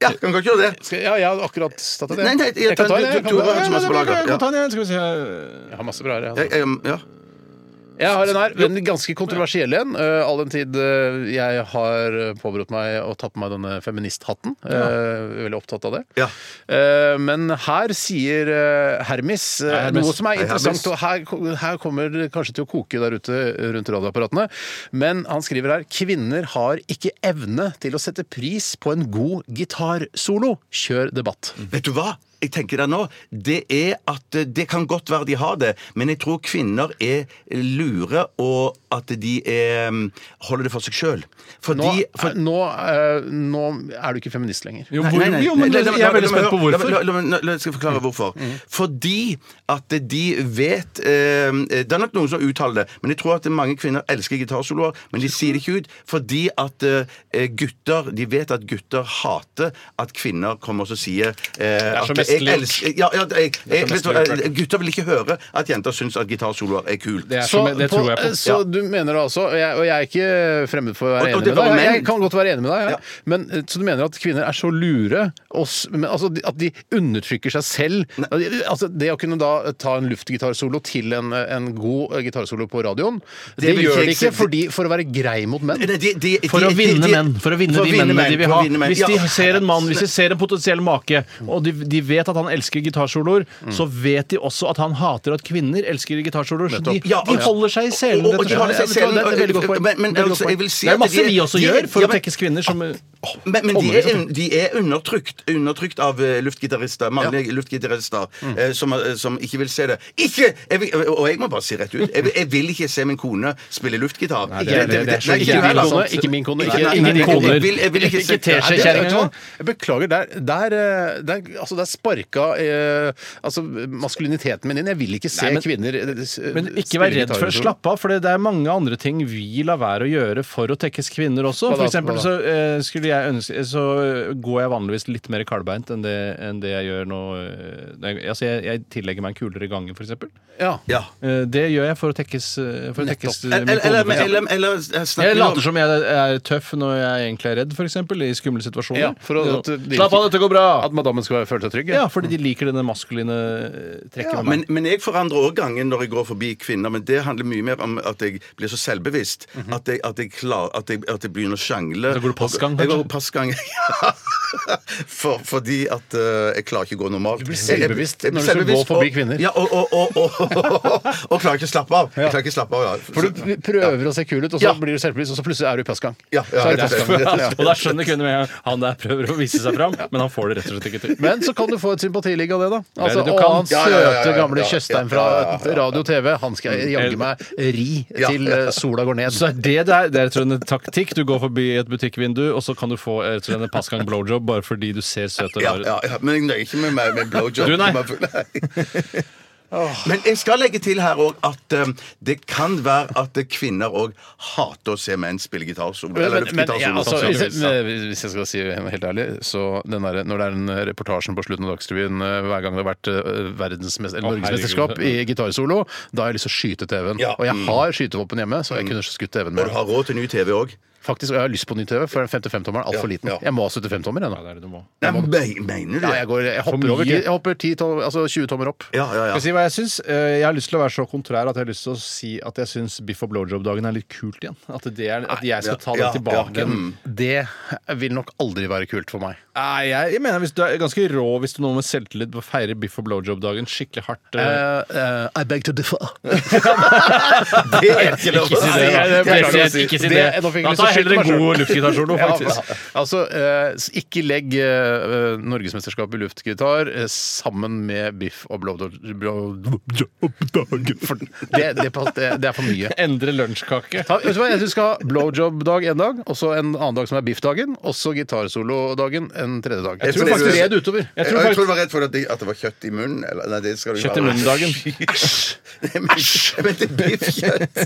Speaker 2: Ja, kan godt gjøre det.
Speaker 1: Skal, ja, jeg har akkurat tatt det.
Speaker 2: Nei, nei, jeg
Speaker 1: kan
Speaker 2: tar
Speaker 1: ta
Speaker 2: den.
Speaker 1: det, jeg kan
Speaker 2: Du- du
Speaker 1: ta det.
Speaker 2: har- som er så bra, ja.
Speaker 3: Jeg kan ta en igjen, skal vi se. her.
Speaker 1: Jeg har masse bra her. jeg,
Speaker 2: Jeg,
Speaker 1: Altså.
Speaker 2: jeg, ja.
Speaker 1: Jeg har en her, en ganske kontroversiell en. eh, all den tid eh, jeg har eh, påberopt meg å ta på meg denne feministhatten. eh, veldig opptatt av det.
Speaker 2: Ja.
Speaker 1: Eh, men her sier eh, Hermis eh,
Speaker 3: Hei, Hermes.
Speaker 1: noe som er
Speaker 2: Hei,
Speaker 1: interessant,
Speaker 2: Hermes.
Speaker 1: og her, ko- her kommer det kanskje til å koke der ute rundt radioapparatene. Men han skriver her kvinner har ikke evne til å sette pris på en god gitarsolo. Kjør debatt.
Speaker 2: Vet du hva? Jeg tenker det nå. Det er at eh, det kan godt være de har det, men jeg tror kvinner er lure, og at de er, mm, holder det for seg sjøl.
Speaker 1: Nå,
Speaker 2: Fordi for-
Speaker 1: er- nå, eh, nå er du ikke feminist lenger.
Speaker 3: Jo,
Speaker 2: Nei,
Speaker 3: hvor-
Speaker 2: nei, nei.
Speaker 3: jo, men
Speaker 2: Nei, la- la-
Speaker 3: jeg er veldig
Speaker 2: la- la-
Speaker 3: spent på
Speaker 2: la- la-
Speaker 3: hvorfor.
Speaker 2: la- la- la- la- Jeg skal forklare hvorfor. Fordi at de vet eh, Det er nok noen som uttaler det, men jeg tror at mange kvinner elsker gitarsoloer, men de sier det ikke ut fordi at eh, gutter De vet at gutter hater at kvinner kommer og så sier eh,
Speaker 3: så
Speaker 2: at jeg
Speaker 3: mesterlig.
Speaker 2: elsker ja, ja, jeg, jeg, vet du,
Speaker 3: mesterlig gjort,
Speaker 2: hva, Gutter vil ikke høre at jenter syns at gitarsoloer er kult.
Speaker 3: Det, er
Speaker 1: Så,
Speaker 3: som, det
Speaker 1: på- eh,
Speaker 3: tror jeg på.
Speaker 1: så du mener altså, og jeg, og jeg er ikke fremmed for å være
Speaker 2: Og- og
Speaker 1: enig med
Speaker 2: det
Speaker 1: deg,
Speaker 2: var
Speaker 1: jeg,
Speaker 2: menn.
Speaker 1: jeg kan godt være enig med deg, jeg.
Speaker 2: Ja.
Speaker 1: men eh, så du mener at kvinner er så lure, og, s- men, altså, de- at de undertrykker seg selv? Altså, det å kunne da ta en luftgitarsolo til en, en god eh, gitarsolo på radioen, det,
Speaker 2: vil
Speaker 1: gjør
Speaker 2: ikke
Speaker 1: de
Speaker 2: jeg se-
Speaker 1: ikke fordi, for å være grei mot menn.
Speaker 2: Nei, de- de-
Speaker 3: For
Speaker 2: de-
Speaker 3: å
Speaker 2: de-
Speaker 3: vinne
Speaker 2: de-
Speaker 3: menn. For å vinne
Speaker 2: for
Speaker 3: de mennene de vil
Speaker 2: for
Speaker 3: ha.
Speaker 2: å vinne menn.
Speaker 3: Hvis de
Speaker 2: Ja.
Speaker 3: ser en mann, hvis de ser en potensiell make, og de, de vet at han elsker gitarsoloer,
Speaker 2: Mm.
Speaker 3: så vet de også at han hater at kvinner elsker gitarsoloer. Så de,
Speaker 2: Ja,
Speaker 3: de
Speaker 2: og-
Speaker 3: holder seg i selen.
Speaker 2: og- og
Speaker 3: rett og
Speaker 2: de holder
Speaker 3: slett.
Speaker 2: seg i
Speaker 3: Ja,
Speaker 2: selen,
Speaker 3: vet du hva, det er et veldig godt
Speaker 2: og-
Speaker 3: poeng.
Speaker 2: men- men
Speaker 3: Veldig godt
Speaker 2: altså,
Speaker 3: poeng.
Speaker 2: jeg vil si
Speaker 3: det er
Speaker 2: at
Speaker 3: masse
Speaker 2: de-
Speaker 3: vi også
Speaker 2: de-
Speaker 3: gjør for
Speaker 2: ja,
Speaker 3: å
Speaker 2: men-
Speaker 3: tekkes kvinner som
Speaker 2: Men, men de,
Speaker 3: Området
Speaker 2: er, un- de er undertrykt, undertrykt av eh, luftgitarister, mannlige luftgitarister,
Speaker 1: Mm.
Speaker 2: eh, som, eh, som ikke vil se det. Ikke! Jeg vil, og jeg må bare si rett ut, jeg, vil- jeg vil ikke se min kone spille luftgitar. Nei,
Speaker 1: det er- det er- det er- ikke
Speaker 2: nei, du
Speaker 1: min
Speaker 2: heller, sånn.
Speaker 1: kone,
Speaker 2: sant?
Speaker 1: ikke min kone, ikke-
Speaker 2: Nei, nei,
Speaker 1: ingen
Speaker 2: nei, jeg-
Speaker 1: koner.
Speaker 2: Jeg vil, jeg vil ikke,
Speaker 3: Ikke
Speaker 2: se
Speaker 3: teskje,
Speaker 2: Nei, det-
Speaker 3: kjerring.
Speaker 1: Vet du hva? Jeg beklager, der, der, eh, der, altså, der sparka eh, altså, maskuliniteten min inn. Jeg vil ikke se
Speaker 3: Nei, men-
Speaker 1: kvinner eh, s-
Speaker 3: Men ikke
Speaker 1: spille
Speaker 3: vær redd for
Speaker 1: gitarsolo.
Speaker 3: Slapp av, for det er mange andre ting vi lar være å gjøre for å tekkes kvinner også.
Speaker 1: Hva da?
Speaker 3: For eksempel
Speaker 1: Hva da?
Speaker 3: så eh, skulle jeg ønsker, så går jeg vanligvis litt mer kalbeint enn det, enn det jeg gjør nå. Nei, Altså, jeg, jeg tillegger meg en kulere gange, f.eks.
Speaker 1: Ja.
Speaker 2: Ja.
Speaker 3: Eh, Det gjør jeg for å tekkes, eh, for å tekkes min
Speaker 2: Eller,
Speaker 3: kone,
Speaker 2: eller,
Speaker 3: for eksempel.
Speaker 2: eller, eller snakker
Speaker 3: Jeg
Speaker 2: vi om-
Speaker 3: later som jeg er tøff når jeg egentlig er redd, f.eks. I skumle situasjoner.
Speaker 1: Ja, for å- at de-
Speaker 3: Slapp av, dette går bra!
Speaker 1: At madammen skal føle seg trygg?
Speaker 3: Ja, fordi de liker denne maskuline eh, trekket
Speaker 2: Ja,
Speaker 3: med meg.
Speaker 2: men, men jeg forandrer òg gangen når jeg går forbi kvinner. Men det handler mye mer om at jeg blir så selvbevisst
Speaker 1: Mhm.
Speaker 2: at, jeg, at, jeg klar, at, jeg, at jeg begynner å sjangle.
Speaker 3: Da går du passgang,
Speaker 2: Jeg går
Speaker 3: kanskje?
Speaker 2: passgang, <laughs> ja. For, fordi at eh, jeg klarer ikke å gå normalt. Du
Speaker 1: blir selvbevisst når du skal gå forbi kvinner.
Speaker 2: Ja, og, og, og, og, og, klarer ikke å slappe av. Jeg klarer ikke å slappe av, ja.
Speaker 1: For du prøver å se kul ut, og så
Speaker 2: Ja.
Speaker 1: blir du selvbevisst, og så plutselig er du i passgang.
Speaker 2: Ja, ja,
Speaker 1: Så er du
Speaker 2: rett og slett.
Speaker 1: passgang. Ja.
Speaker 3: Og der skjønner kvinner med en gang han der prøver å vise seg fram, men han får det rett og slett ikke til.
Speaker 1: Men så kan du få et sympatiligg av det, da. Altså,
Speaker 3: det du
Speaker 1: å,
Speaker 3: kan.
Speaker 1: han
Speaker 2: Ja, ja, ja, ja, ja,
Speaker 1: søte, gamle
Speaker 2: ja, ja,
Speaker 1: Tjøstheim
Speaker 2: ja, ja, ja,
Speaker 1: fra radio og TV, han skal jeg jaggu meg ri
Speaker 2: Ja.
Speaker 1: til eh, sola går ned.
Speaker 3: Så er det der, det er rett og slett en taktikk. Du går forbi et butikkvindu, og så kan du få eh, rett og slett en passgang blowjob bare fordi du ser søt og
Speaker 2: Ja,
Speaker 3: rar ut.
Speaker 2: ja, ja, men jeg nøyer ikke med meg med blowjob. <laughs>
Speaker 3: Du, nei.
Speaker 2: Men jeg skal legge til her òg at eh, det kan være at kvinner òg hater å se menn spille gitarsolo.
Speaker 1: Men,
Speaker 2: eller
Speaker 1: men, men
Speaker 2: luftgitarsolo,
Speaker 1: ja,
Speaker 3: Sånn
Speaker 1: altså, hvis, jeg,
Speaker 2: sannsynligvis, ja.
Speaker 1: men hvis jeg skal si helt ærlig, så den der, når det er den reportasjen på slutten av Dagsrevyen eh, hver gang det har vært eh, verdensmest- eller
Speaker 3: Å,
Speaker 1: norgesmesterskap i
Speaker 3: herregud.
Speaker 1: gitarsolo, da har jeg lyst til å skyte TV-en.
Speaker 2: Ja.
Speaker 1: Og jeg har skytevåpen hjemme, så jeg kunne skutt TV-en
Speaker 2: Og
Speaker 1: med.
Speaker 2: du har råd til ny TV òg.
Speaker 1: Faktisk, og jeg har lyst på ny TV, for den 55-tommeren er altfor
Speaker 2: Ja,
Speaker 1: liten.
Speaker 2: ja.
Speaker 1: Jeg må ha 75-tommer ennå.
Speaker 3: Ja, det er det du må.
Speaker 2: Nei, men- Mener du
Speaker 1: Ja,
Speaker 2: det?
Speaker 1: jeg, går, jeg
Speaker 3: mye.
Speaker 1: hopper over ti- jeg hopper 10 tom- altså 20 tommer opp.
Speaker 2: Ja, ja, ja.
Speaker 3: Skal jeg si hva jeg syns? Eh, Jeg har lyst til å være så kontrær at jeg har lyst til å si at jeg syns biff og blowjob-dagen er litt kult igjen. At, det er, at jeg skal ta
Speaker 2: Ja,
Speaker 3: den tilbake.
Speaker 2: ja, mm.
Speaker 1: Det vil nok aldri være kult for meg.
Speaker 3: Nei, jeg, jeg mener hvis du er ganske rå hvis du nå med selvtillit feirer biff og blowjob-dagen skikkelig hardt. eh,
Speaker 1: I beg to differ. <laughs>
Speaker 2: Det er ikke lov å
Speaker 3: si
Speaker 2: si.
Speaker 3: det.
Speaker 1: Nei, det
Speaker 3: Beklager
Speaker 1: beklager
Speaker 3: å si.
Speaker 1: Ikke si
Speaker 3: Det-
Speaker 1: det.
Speaker 3: nå fikk jeg
Speaker 1: Da
Speaker 3: lyst
Speaker 1: tar jeg heller
Speaker 3: til å skyte meg
Speaker 1: en god
Speaker 3: selv.
Speaker 1: luftgitarsolo,
Speaker 3: Ja,
Speaker 1: faktisk. altså, eh, s- ikke legg eh, eh, norgesmesterskapet i luftgitar eh, sammen med biff og blowdog. For det, det, pass- det, det er for mye.
Speaker 3: Endre lunsjkake.
Speaker 1: Ta, vet du hva, Jeg synes vi skal ha blowjob-dag en dag, og så en annen dag som er biff-dagen, og så gitarsolo-dagen en tredje dag.
Speaker 2: Jeg tror
Speaker 1: Så
Speaker 2: det-
Speaker 1: spred utover.
Speaker 2: Jeg
Speaker 3: Jeg
Speaker 2: tror,
Speaker 3: tror
Speaker 2: jeg
Speaker 3: faktisk
Speaker 2: tror du var redd for at det, at det var kjøtt i munnen. Eller, nei, det skal du ikke
Speaker 3: Kjøtt i
Speaker 2: ha. <laughs>
Speaker 3: munnen-dagen.
Speaker 2: Men- Men det er biffkjøtt.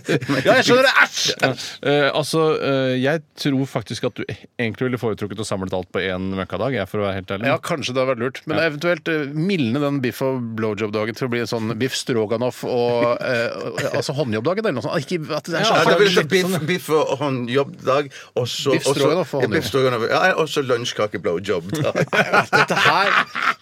Speaker 1: Ja, jeg skjønner det! Æsj!
Speaker 3: Eh, altså, eh, Jeg tror faktisk at du egentlig ville foretrukket å samle alt på én møkkadag. Jeg, for å være helt ærlig.
Speaker 1: Ja, kanskje det hadde vært lurt. Men eventuelt eh, mildne den biff og blowjob-dagen til å bli en sånn biff stroganoff og eh, altså håndjobb-dagen eller noe sånt. Ah, Ikke, at det er så
Speaker 2: Ja, da vil jeg ta
Speaker 1: Sånn- <laughs>
Speaker 2: biff, biff og håndjobbdag, og så
Speaker 1: Biff stroganoff og
Speaker 2: og så- biff
Speaker 1: håndjobb.
Speaker 2: stroganoff. Ja, og så lunsjkake
Speaker 1: <laughs>
Speaker 2: blowjob-dag.
Speaker 1: Dette her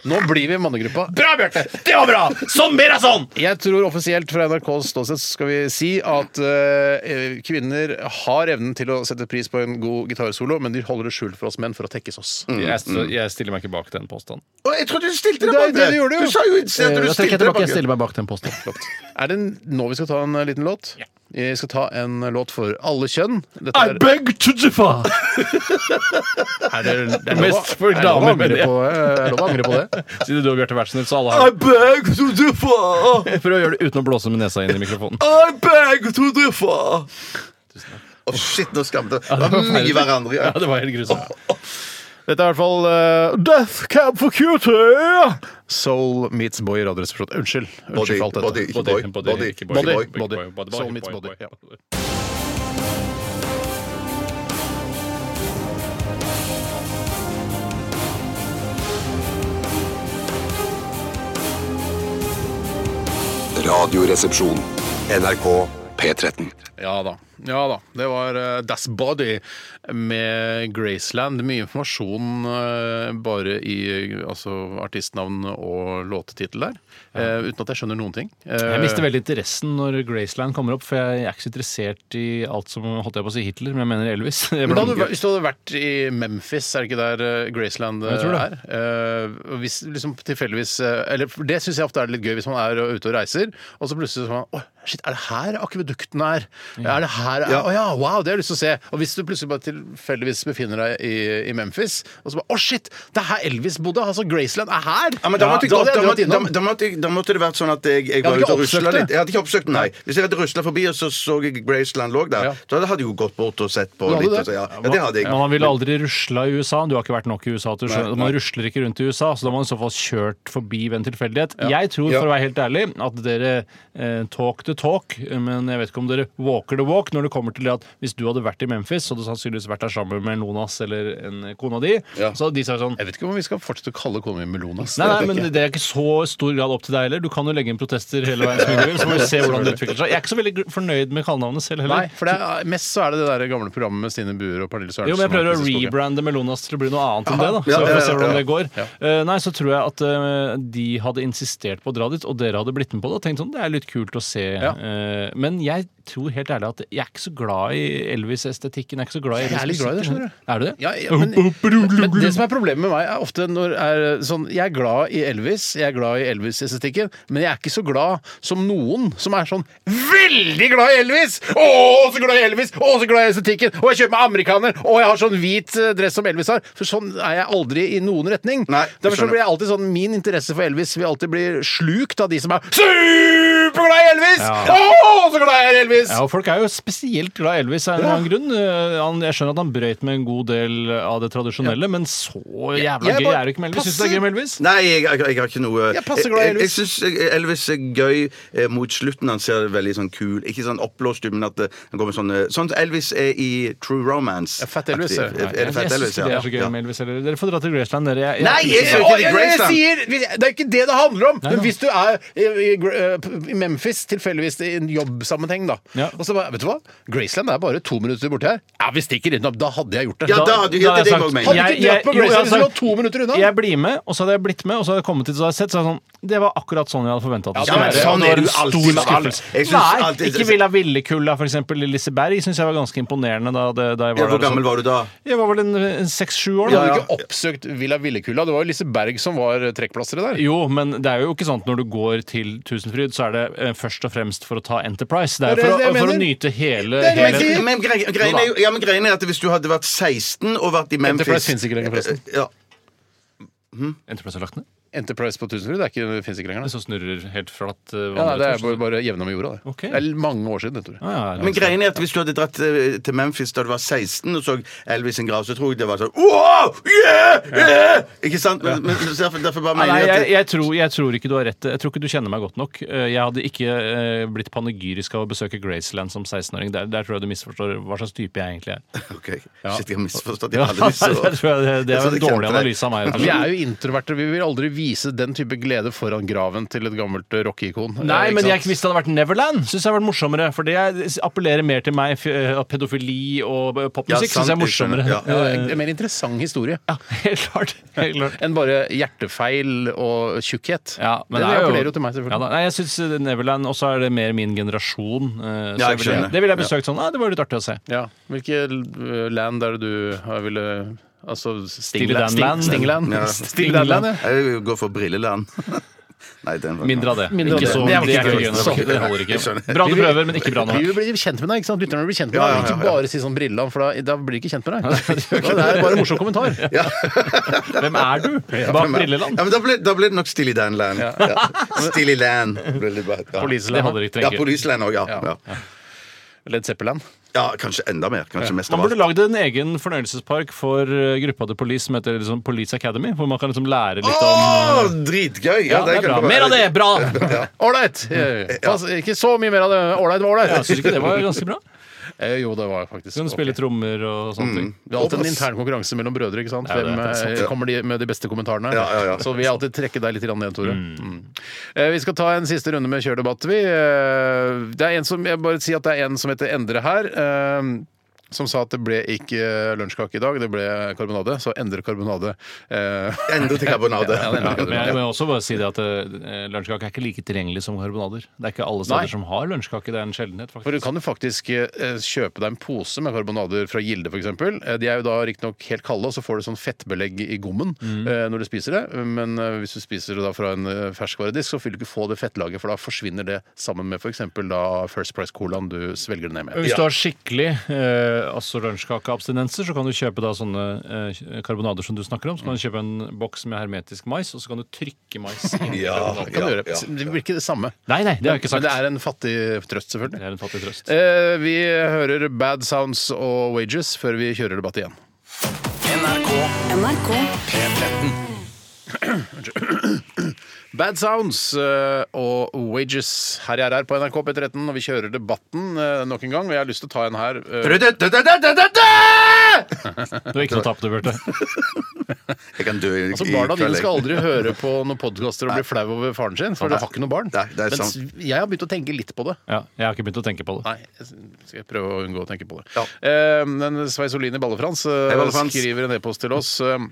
Speaker 1: Nå blir vi mannegruppa.
Speaker 3: Bra, Bjarte! Det var bra! Sånn mer er sånn!
Speaker 1: Jeg tror offisielt fra NRKs ståsted så skal vi si at eh, kvinner har evnen til å sette pris på en god gitarsolo, men de holder det skjult for oss menn for å tekkes oss.
Speaker 3: Mm. Jeg,
Speaker 2: Mm.
Speaker 3: så jeg stiller meg ikke bak den påstanden.
Speaker 2: Å, jeg trodde du stilte
Speaker 1: Det
Speaker 2: deg
Speaker 1: er jo
Speaker 2: bak
Speaker 1: det du gjorde, jo. Eh,
Speaker 2: Du sa jo i sted at
Speaker 3: Eh,
Speaker 2: du stilte deg bak det.
Speaker 3: meg bak den påstanden. <laughs>
Speaker 1: Er det nå vi skal ta en eh, liten låt? Vi skal ta en låt for alle kjønn. Dette
Speaker 3: I
Speaker 1: er-
Speaker 3: beg to
Speaker 2: <laughs>
Speaker 3: differ!
Speaker 1: er det- det er lov å-
Speaker 3: Mest for
Speaker 1: er det lov å
Speaker 3: damer,
Speaker 1: angre
Speaker 3: mener jeg.
Speaker 1: på, eh, er det lov å angre på det.
Speaker 2: <laughs>
Speaker 3: Siden du og Bjarte Wertsen så alle har
Speaker 2: beg to differ!
Speaker 3: Prøv å gjøre det uten å blåse med nesa inn i mikrofonen.
Speaker 2: I beg to differ! Å, shit, nå skamte jeg meg. Det var mye hverandre.
Speaker 3: Ja,
Speaker 2: Ja.
Speaker 3: det var helt grusomt.
Speaker 1: <laughs> Dette er i hvert fall eh, Death Cab for Cutie! Soul meets boy i Radioresepsjonen. Unnskyld.
Speaker 2: Body,
Speaker 1: Unnskyld for alt dette.
Speaker 2: body, ikke boy. Body,
Speaker 3: ikke
Speaker 1: Body,
Speaker 3: boy.
Speaker 1: body.
Speaker 3: Ikke boy.
Speaker 1: Soul meets body, ja.
Speaker 6: Radioresepsjon. NRK P13.
Speaker 1: Ja da. Ja da. Det var eh, Das Body med Graceland. Mye informasjon eh, bare i eh, altså, artistnavn og låttittel der. eh, uten at jeg skjønner noen ting. Eh,
Speaker 3: Jeg mister veldig interessen når Graceland kommer opp, for jeg er ikke så interessert i alt som holdt jeg på å si Hitler, men jeg mener Elvis. <laughs> Jeg
Speaker 1: men da hadde, du vært-
Speaker 3: blander.
Speaker 1: hvis du hadde vært i Memphis, er det ikke der eh, Graceland eh,
Speaker 3: Jeg tror
Speaker 1: er? Eh, og hvis liksom tilfeldigvis eh, Eller for det syns jeg ofte er litt gøy hvis man er eh, ute og reiser, og så plutselig sånn Å, shit, er det her akvedukten er? Er det her Å ja. wow, det har jeg lyst til å se. Og hvis du plutselig bare tilfeldigvis befinner deg i, i Memphis, og så bare Å, shit, det er her Elvis bodde! Altså, Graceland er her!
Speaker 2: Ja, men da, måtte jeg,
Speaker 1: da
Speaker 2: da,
Speaker 1: hadde jeg dratt
Speaker 2: måtte, da,
Speaker 1: innom.
Speaker 2: da, måtte, jeg- da måtte det vært sånn at jeg, jeg var
Speaker 1: hadde
Speaker 2: ute og
Speaker 1: ikke
Speaker 2: rusla
Speaker 1: oppsøkt det.
Speaker 2: litt. Jeg hadde ikke oppsøkt den, nei. Hvis jeg hadde rusla forbi, og så så jeg Graceland lå der,
Speaker 1: Ja.
Speaker 2: da hadde jeg jo gått bort og sett på
Speaker 1: Du hadde
Speaker 2: litt.
Speaker 1: det?
Speaker 2: Og så, ja. ja, det hadde jeg.
Speaker 3: Men man ville aldri rusla i USA. Du har ikke vært nok i USA. at Du
Speaker 2: Nei,
Speaker 3: skjønner.
Speaker 2: nei.
Speaker 3: Man rusler ikke rundt i USA, så da må man i så fall kjørt forbi ved en tilfeldighet. Jeg tror,
Speaker 2: Ja.
Speaker 3: for å være helt ærlig, at dere eh, talk the talk, men jeg vet ikke om dere walk walker the walk når det kommer til det at hvis du hadde vært i Memphis, så hadde du sannsynligvis vært der sammen med Lonas eller en kone av de.
Speaker 2: Ja.
Speaker 3: Så hadde de sagt sånn
Speaker 1: Jeg vet ikke om vi skal fortsette å kalle kona mi Melonas.
Speaker 3: Nei, nei, men det er ikke så stor grad opp til deg heller. Du kan jo legge inn protester hele veien. Så mye du vil, så må vi se hvordan det utvikler seg. Jeg er ikke så veldig fornøyd med kallenavnet selv heller.
Speaker 1: Nei, for det er, mest så er det det der gamle programmet med Stine Buer og Pernille Sørensen.
Speaker 3: Jo, men jeg prøver å
Speaker 1: og Chris Skoge.
Speaker 3: rebrande Melonas til å bli noe annet enn det, da. Så
Speaker 2: ja,
Speaker 3: vi
Speaker 2: ja,
Speaker 3: får se
Speaker 2: ja,
Speaker 3: hvordan
Speaker 2: ja.
Speaker 3: det går. Eh, nei, så tror jeg at eh, de hadde insistert på å dra dit, og dere hadde blitt med på det. Og tenkt sånn, det er litt kult å se. Eh, men jeg tror helt ærlig at jeg er ikke så glad i Elvis-estetikken. Jeg er ikke så glad i
Speaker 1: Jeg er litt glad i det, skjønner du.
Speaker 3: Er du det?
Speaker 1: Ja, ja,
Speaker 3: <laughs>
Speaker 1: men, men det som er problemet med meg, er ofte når er sånn Jeg er glad i Elvis, jeg er glad i Elvis-estetikken, men jeg er ikke så glad som noen som er sånn veldig glad i Elvis! Å, så glad i Elvis! Å, så glad i estetikken! Og jeg kjøper meg amerikaner! Og jeg har sånn hvit eh, dress som Elvis har! For sånn er jeg aldri i noen retning.
Speaker 2: Nei, jeg
Speaker 1: Derfor så
Speaker 2: skjønner.
Speaker 1: blir jeg alltid sånn Min interesse for Elvis vil alltid bli slukt av de som er superglad i Elvis! Å, så glad jeg er i Elvis!
Speaker 3: Ja, og Folk er jo spesielt glad i Elvis av en eller annen grunn. Eh, Han, jeg skjønner at han brøyt med en god del av det tradisjonelle, men så jævla
Speaker 1: Jeg
Speaker 3: gøy
Speaker 1: bare
Speaker 3: er det ikke med Elvis. Syns du
Speaker 1: passer-
Speaker 3: det er gøy med Elvis?
Speaker 2: Nei, jeg, jeg, jeg har ikke noe
Speaker 1: Jeg er passe glad i
Speaker 2: Jeg, jeg, jeg
Speaker 1: Elvis.
Speaker 2: syns Elvis er gøy eh, mot slutten. Han ser veldig sånn kul Ikke sånn oppblåst, ut, men at det- han går med sånn Sånn som Elvis er i True Romance.
Speaker 1: Ja, Fat Elvis,
Speaker 2: Aktiv.
Speaker 1: ja.
Speaker 2: Er, er det Fat
Speaker 3: jeg syns
Speaker 2: Elvis,
Speaker 3: ikke
Speaker 2: ja.
Speaker 3: det er så gøy
Speaker 2: ja.
Speaker 3: med Elvis heller. Dere får dra til Graceland, dere. Jeg- jeg-
Speaker 2: Nei, jeg
Speaker 1: Ja,
Speaker 2: skal ikke til
Speaker 1: jeg- jeg
Speaker 2: Graceland.
Speaker 1: sier, det er ikke det det handler om! Men
Speaker 3: da.
Speaker 1: hvis du er i, i, Gr- eh, i Memphis, tilfeldigvis i en jobbsammenheng, da
Speaker 3: Ja.
Speaker 1: og så bare, Vet du hva? Graceland er bare to minutter borti her. Ja, vi stikker innom. Da hadde jeg gjort det.
Speaker 2: Ja, da hadde ja,
Speaker 3: Da har
Speaker 2: det er
Speaker 3: jeg
Speaker 2: det jeg
Speaker 3: sagt-
Speaker 2: mener.
Speaker 1: Hadde du
Speaker 3: Jeg-
Speaker 1: ikke dratt på
Speaker 3: jeg- jo, jeg
Speaker 1: Graceland
Speaker 3: har
Speaker 1: hvis du lå
Speaker 3: sagt-
Speaker 1: to minutter unna?
Speaker 3: Jeg blir med, og så hadde jeg blitt med, og så hadde jeg kommet hit og så hadde jeg sett, så hadde jeg sånn Det var akkurat sånn jeg hadde forventa at det
Speaker 2: Ja, men
Speaker 3: skulle være.
Speaker 2: sånn
Speaker 3: og
Speaker 2: er
Speaker 3: det var en
Speaker 2: du alltid med alt. Jeg
Speaker 3: skuffelse.
Speaker 2: synes
Speaker 3: Nei,
Speaker 2: alltid-
Speaker 3: ikke Villa Villekulla, for eksempel. i Liseberg syns jeg var ganske imponerende da, det, da
Speaker 2: Ja,
Speaker 3: jeg var
Speaker 2: hvor
Speaker 3: der. og
Speaker 2: gammel
Speaker 3: sånn.
Speaker 2: var du da?
Speaker 3: Jeg var vel en- en seks-sju år,
Speaker 1: Du
Speaker 3: da.
Speaker 1: hadde ikke oppsøkt Villa Villekulla. Det var jo Liseberg som var trekkplasteret der.
Speaker 3: Jo, men det er jo ikke sant når du går til Tusenfryd, så er det eh, først og fremst for å ta Enterprise. Det er
Speaker 1: Det
Speaker 3: jo
Speaker 1: er
Speaker 3: for,
Speaker 1: det
Speaker 3: å,
Speaker 1: jeg
Speaker 3: for å
Speaker 1: mener.
Speaker 3: nyte hele,
Speaker 1: Det er det jeg
Speaker 3: hele
Speaker 1: sier.
Speaker 2: Men greien greien er, jo- ja, men greien er at hvis du hadde vært 16 og vært i Memphis Eh,
Speaker 1: Enterprise finnes ikke lenger, forresten.
Speaker 2: Ja.
Speaker 3: Enterprise er lagt ned?
Speaker 1: Enterprise på Tusenfryd det, er ikke- det fins ikke lenger.
Speaker 3: Så snurrer helt flatt eh,
Speaker 1: Ja, nei, det er
Speaker 3: vannet
Speaker 1: bare,
Speaker 3: ut.
Speaker 1: bare jevna med jorda. Det.
Speaker 3: Ok.
Speaker 1: det er mange år siden. Tror jeg.
Speaker 3: Ah, ja, ja.
Speaker 2: Men greien er at hvis du hadde dratt eh, til Memphis da du var 16 og så Elvis sin grav, så tror jeg det var sånn wow, yeah, yeah! Ikke sant? Men, men, så derfor, derfor bare
Speaker 3: Nei,
Speaker 2: mener jeg at
Speaker 3: jeg, jeg, tror, jeg tror ikke du har rett. Jeg tror ikke du kjenner meg godt nok. Eh, Jeg hadde ikke eh, blitt panegyrisk av å besøke Graceland som 16-åring. Der, der tror jeg du misforstår hva slags type jeg
Speaker 2: <laughs>
Speaker 3: egentlig er.
Speaker 2: Ok, Shit, jeg har misforstått. Jeg
Speaker 3: Ja,
Speaker 2: har
Speaker 3: det,
Speaker 2: aldri så-
Speaker 3: tror <laughs> jeg, det, det
Speaker 2: Jeg trodde
Speaker 3: er en
Speaker 2: jeg
Speaker 3: dårlig
Speaker 2: kjente deg.
Speaker 3: analyse av meg. rett og
Speaker 1: Vi
Speaker 3: slett. Eh,
Speaker 1: er jo introverte. Vi vil aldri vise den type glede foran graven til et gammelt eh, rockeikon. Eh,
Speaker 3: Nei,
Speaker 1: ikke
Speaker 3: men
Speaker 1: sant?
Speaker 3: jeg, hvis det hadde vært Neverland, syns jeg hadde vært morsommere. For det er- appellerer mer til meg. f- eh, Pedofili og eh,
Speaker 2: Ja,
Speaker 3: popmusikk
Speaker 2: sant,
Speaker 3: syns jeg er
Speaker 2: jeg skjønner.
Speaker 3: morsommere.
Speaker 2: Ja.
Speaker 1: Ja, en en mer interessant historie
Speaker 3: Ja, helt klart. <laughs> Helt klart.
Speaker 1: enn bare hjertefeil og tjukkhet.
Speaker 3: Ja, men
Speaker 1: det
Speaker 3: det er jo-
Speaker 1: appellerer jo til meg,
Speaker 3: Ja, da.
Speaker 1: selvfølgelig.
Speaker 3: Nei, jeg syns Neverland også er det mer min generasjon. eh, så
Speaker 2: Ja, jeg
Speaker 3: ville-
Speaker 2: skjønner.
Speaker 3: det ville jeg besøkt sånn. Ah, det var litt artig å se.
Speaker 1: Ja, Hvilke eh, land er det du har ville Altså
Speaker 3: Dan Land.
Speaker 1: Stingland. <laughs>
Speaker 2: Ja.
Speaker 1: Stingland, ja.
Speaker 2: Jeg går for brilleland. <laughs> Nei, den var
Speaker 3: Mindre av det.
Speaker 1: Mindre av
Speaker 3: ikke
Speaker 1: det.
Speaker 3: så,
Speaker 1: Det er
Speaker 3: det,
Speaker 1: ikke
Speaker 3: er ikke
Speaker 1: gøy
Speaker 3: gøy altså.
Speaker 1: nok.
Speaker 3: nok. Det holder ikke. Bra du prøver, men ikke bra nok.
Speaker 1: Vi vil bli kjent med deg, ikke sant? Lytterne vil bli kjent med
Speaker 2: Ja,
Speaker 1: deg.
Speaker 2: ja, ja,
Speaker 1: Ikke
Speaker 2: ja.
Speaker 1: bare si sånn brilleland, for da, da blir de ikke kjent
Speaker 3: <laughs>
Speaker 1: med deg. Det er bare en morsom kommentar.
Speaker 2: <laughs>
Speaker 3: Hvem er du bak Brilleland?
Speaker 2: Ja, men da ble, da ble det nok Stilly Dan Land. Ja. Stilly Land. ble det bare- Ja.
Speaker 3: Det hadde dere ikke
Speaker 2: Ja,
Speaker 3: trengt.
Speaker 2: Policeland òg, ja.
Speaker 1: Ja.
Speaker 2: Ja.
Speaker 1: Led Zeppelin.
Speaker 2: ja. Kanskje enda mer. Kanskje mest av
Speaker 3: Man burde
Speaker 2: alt.
Speaker 3: lagd en egen fornøyelsespark for eh, gruppa The Police som heter liksom Police Academy, hvor man kan liksom lære litt om
Speaker 2: Å, dritgøy! Ja,
Speaker 3: ja, det er
Speaker 2: kan
Speaker 3: bra.
Speaker 2: være-
Speaker 3: Mer av det! Bra! <laughs>
Speaker 1: Ålreit! Eh, pass- Ikke så mye mer av det. Ålreit var
Speaker 3: Jeg
Speaker 1: ålreit.
Speaker 3: syns ikke det var ganske bra. Mm.
Speaker 1: Eh, Jo, det var faktisk
Speaker 3: Du kan spille
Speaker 1: ok.
Speaker 3: trommer og sånne ting.
Speaker 1: Det er alltid en intern konkurranse mellom brødre. ikke sant?
Speaker 3: Ja, det er
Speaker 1: Hvem
Speaker 3: sant.
Speaker 1: eh, kommer de med de beste kommentarene?
Speaker 2: Ja, ja, ja.
Speaker 1: Så vi alltid trekker deg litt grann ned, Tore. Mm. Eh, Vi skal ta en siste runde med kjørdebatt. Vi. Eh, Det er en som, jeg bare sier at det er en som heter Endre her. eh, Som sa at det ble ikke lunsjkake i dag, det ble karbonade. Så endre karbonade. Eh, <laughs>
Speaker 2: Endre til karbonade.
Speaker 1: Ja, endre
Speaker 3: Men jeg
Speaker 1: karbonade.
Speaker 3: må også bare si det at eh, lunsjkake er ikke like tilgjengelig som karbonader. Det er ikke alle
Speaker 1: Nei.
Speaker 3: steder som har lunsjkake. Det er en sjeldenhet,
Speaker 1: For du
Speaker 3: faktisk.
Speaker 1: kan jo faktisk eh, kjøpe deg en pose med karbonader fra Gilde f.eks. De er jo da riktignok helt kalde, og så får du sånn fettbelegg i gommen eh, når du spiser det. Men eh, hvis du spiser det da fra en eh, ferskvaredisk, så vil du ikke få det fettlaget, for da forsvinner det sammen med f.eks. da First Price-colaen du svelger det ned med.
Speaker 3: Hvis du har skikkelig eh, altså lunsjkakeabstinenser, så kan du kjøpe da sånne eh, karbonader som du snakker om. Så kan du kjøpe en boks med hermetisk mais, og så kan du trykke mais inn
Speaker 1: <laughs>
Speaker 3: i
Speaker 2: Ja,
Speaker 3: karbonaden.
Speaker 1: Kan du gjøre.
Speaker 2: ja,
Speaker 1: Det blir ikke det samme.
Speaker 3: Nei, nei, det har jeg ikke sagt.
Speaker 1: Men det er en fattig trøst, selvfølgelig.
Speaker 3: Det er en fattig trøst.
Speaker 1: Eh, vi hører Bad Sounds og Wages før vi kjører debatt igjen.
Speaker 5: NRK
Speaker 4: NRK
Speaker 5: P13.
Speaker 1: Bad Sounds eh, og Wages her jeg er her på NRK P13, og vi kjører debatten eh, nok en gang. Og jeg har lyst til å ta en her. eh, <laughs>
Speaker 3: Du har ikke noe å tape, du, Bjarte.
Speaker 2: Jeg kan dø i
Speaker 1: Altså Barna dine
Speaker 2: kveld,
Speaker 1: skal
Speaker 2: jeg.
Speaker 1: aldri høre på noen podkaster og bli flau over faren sin, for de har ikke noe barn.
Speaker 2: Nei, det er
Speaker 1: Mens
Speaker 2: sant.
Speaker 1: jeg har begynt å tenke litt på det.
Speaker 3: Ja, jeg har ikke begynt å tenke på det.
Speaker 1: Nei, jeg skal jeg prøve å unngå å tenke på det.
Speaker 2: Ja.
Speaker 1: Eh, men Svein Solin i Ballefrans eh,
Speaker 2: Hei, Ballefrans.
Speaker 1: skriver en e-post til oss. eh,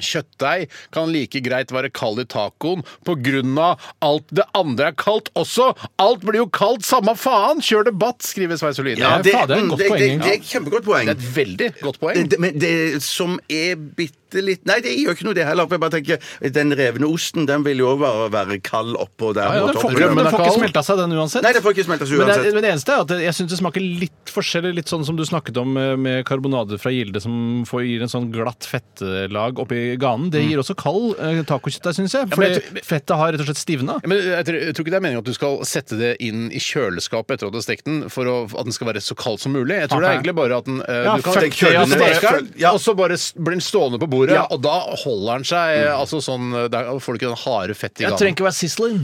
Speaker 1: Kjøttdeig kan like greit være kald i tacoen pga. alt det andre er kaldt også. Alt blir jo kaldt, samme faen! Kjør debatt, skriver Svein Solin.
Speaker 2: Ja, det,
Speaker 3: faen, det er et godt
Speaker 2: det, det,
Speaker 3: poeng,
Speaker 2: det er et kjempegodt poeng.
Speaker 1: Det er et veldig godt poeng.
Speaker 2: Det- det- Men det som er bitte litt Nei, det gjør ikke noe, det heller. for Jeg bare tenker, Den revne osten den vil jo bare være kald oppå der.
Speaker 3: Ja,
Speaker 2: mot
Speaker 3: den får
Speaker 2: oppstrømmen.
Speaker 3: ikke, den får
Speaker 1: kald.
Speaker 3: ikke smelta seg, den uansett.
Speaker 2: Nei, den får ikke smelta seg
Speaker 3: Men det,
Speaker 2: uansett.
Speaker 3: er- men det eneste er at jeg syns det smaker litt forskjellig, litt sånn som du snakket om eh, med karbonade fra Gilde som får, gir en sånn glatt fettlag oppi ganen. Det gir også kald eh, tacokjøttdeig, syns jeg. Fordi
Speaker 1: Mm. men jeg
Speaker 3: fettet har rett og slett stivna.
Speaker 1: Ja, Men jeg tror, jeg tror ikke det er meningen at du skal sette det inn i kjøleskapet etter at du har stekt den, for å, at den skal være så kald som mulig. Jeg tror det er
Speaker 3: Ok.
Speaker 1: egentlig bare at den eh,
Speaker 3: Ja,
Speaker 1: Du kan
Speaker 3: fuck
Speaker 1: den
Speaker 3: det,
Speaker 1: køler
Speaker 3: ja,
Speaker 1: den,
Speaker 3: bare-
Speaker 1: steker den,
Speaker 2: ja.
Speaker 1: og så bare s- blir den stående på bordet,
Speaker 2: Ja.
Speaker 1: og da holder den seg eh, altså sånn eh, Da får du ikke den harde fettet i
Speaker 3: Mm. Jeg
Speaker 1: gangen.
Speaker 3: trenger ikke være sizzling.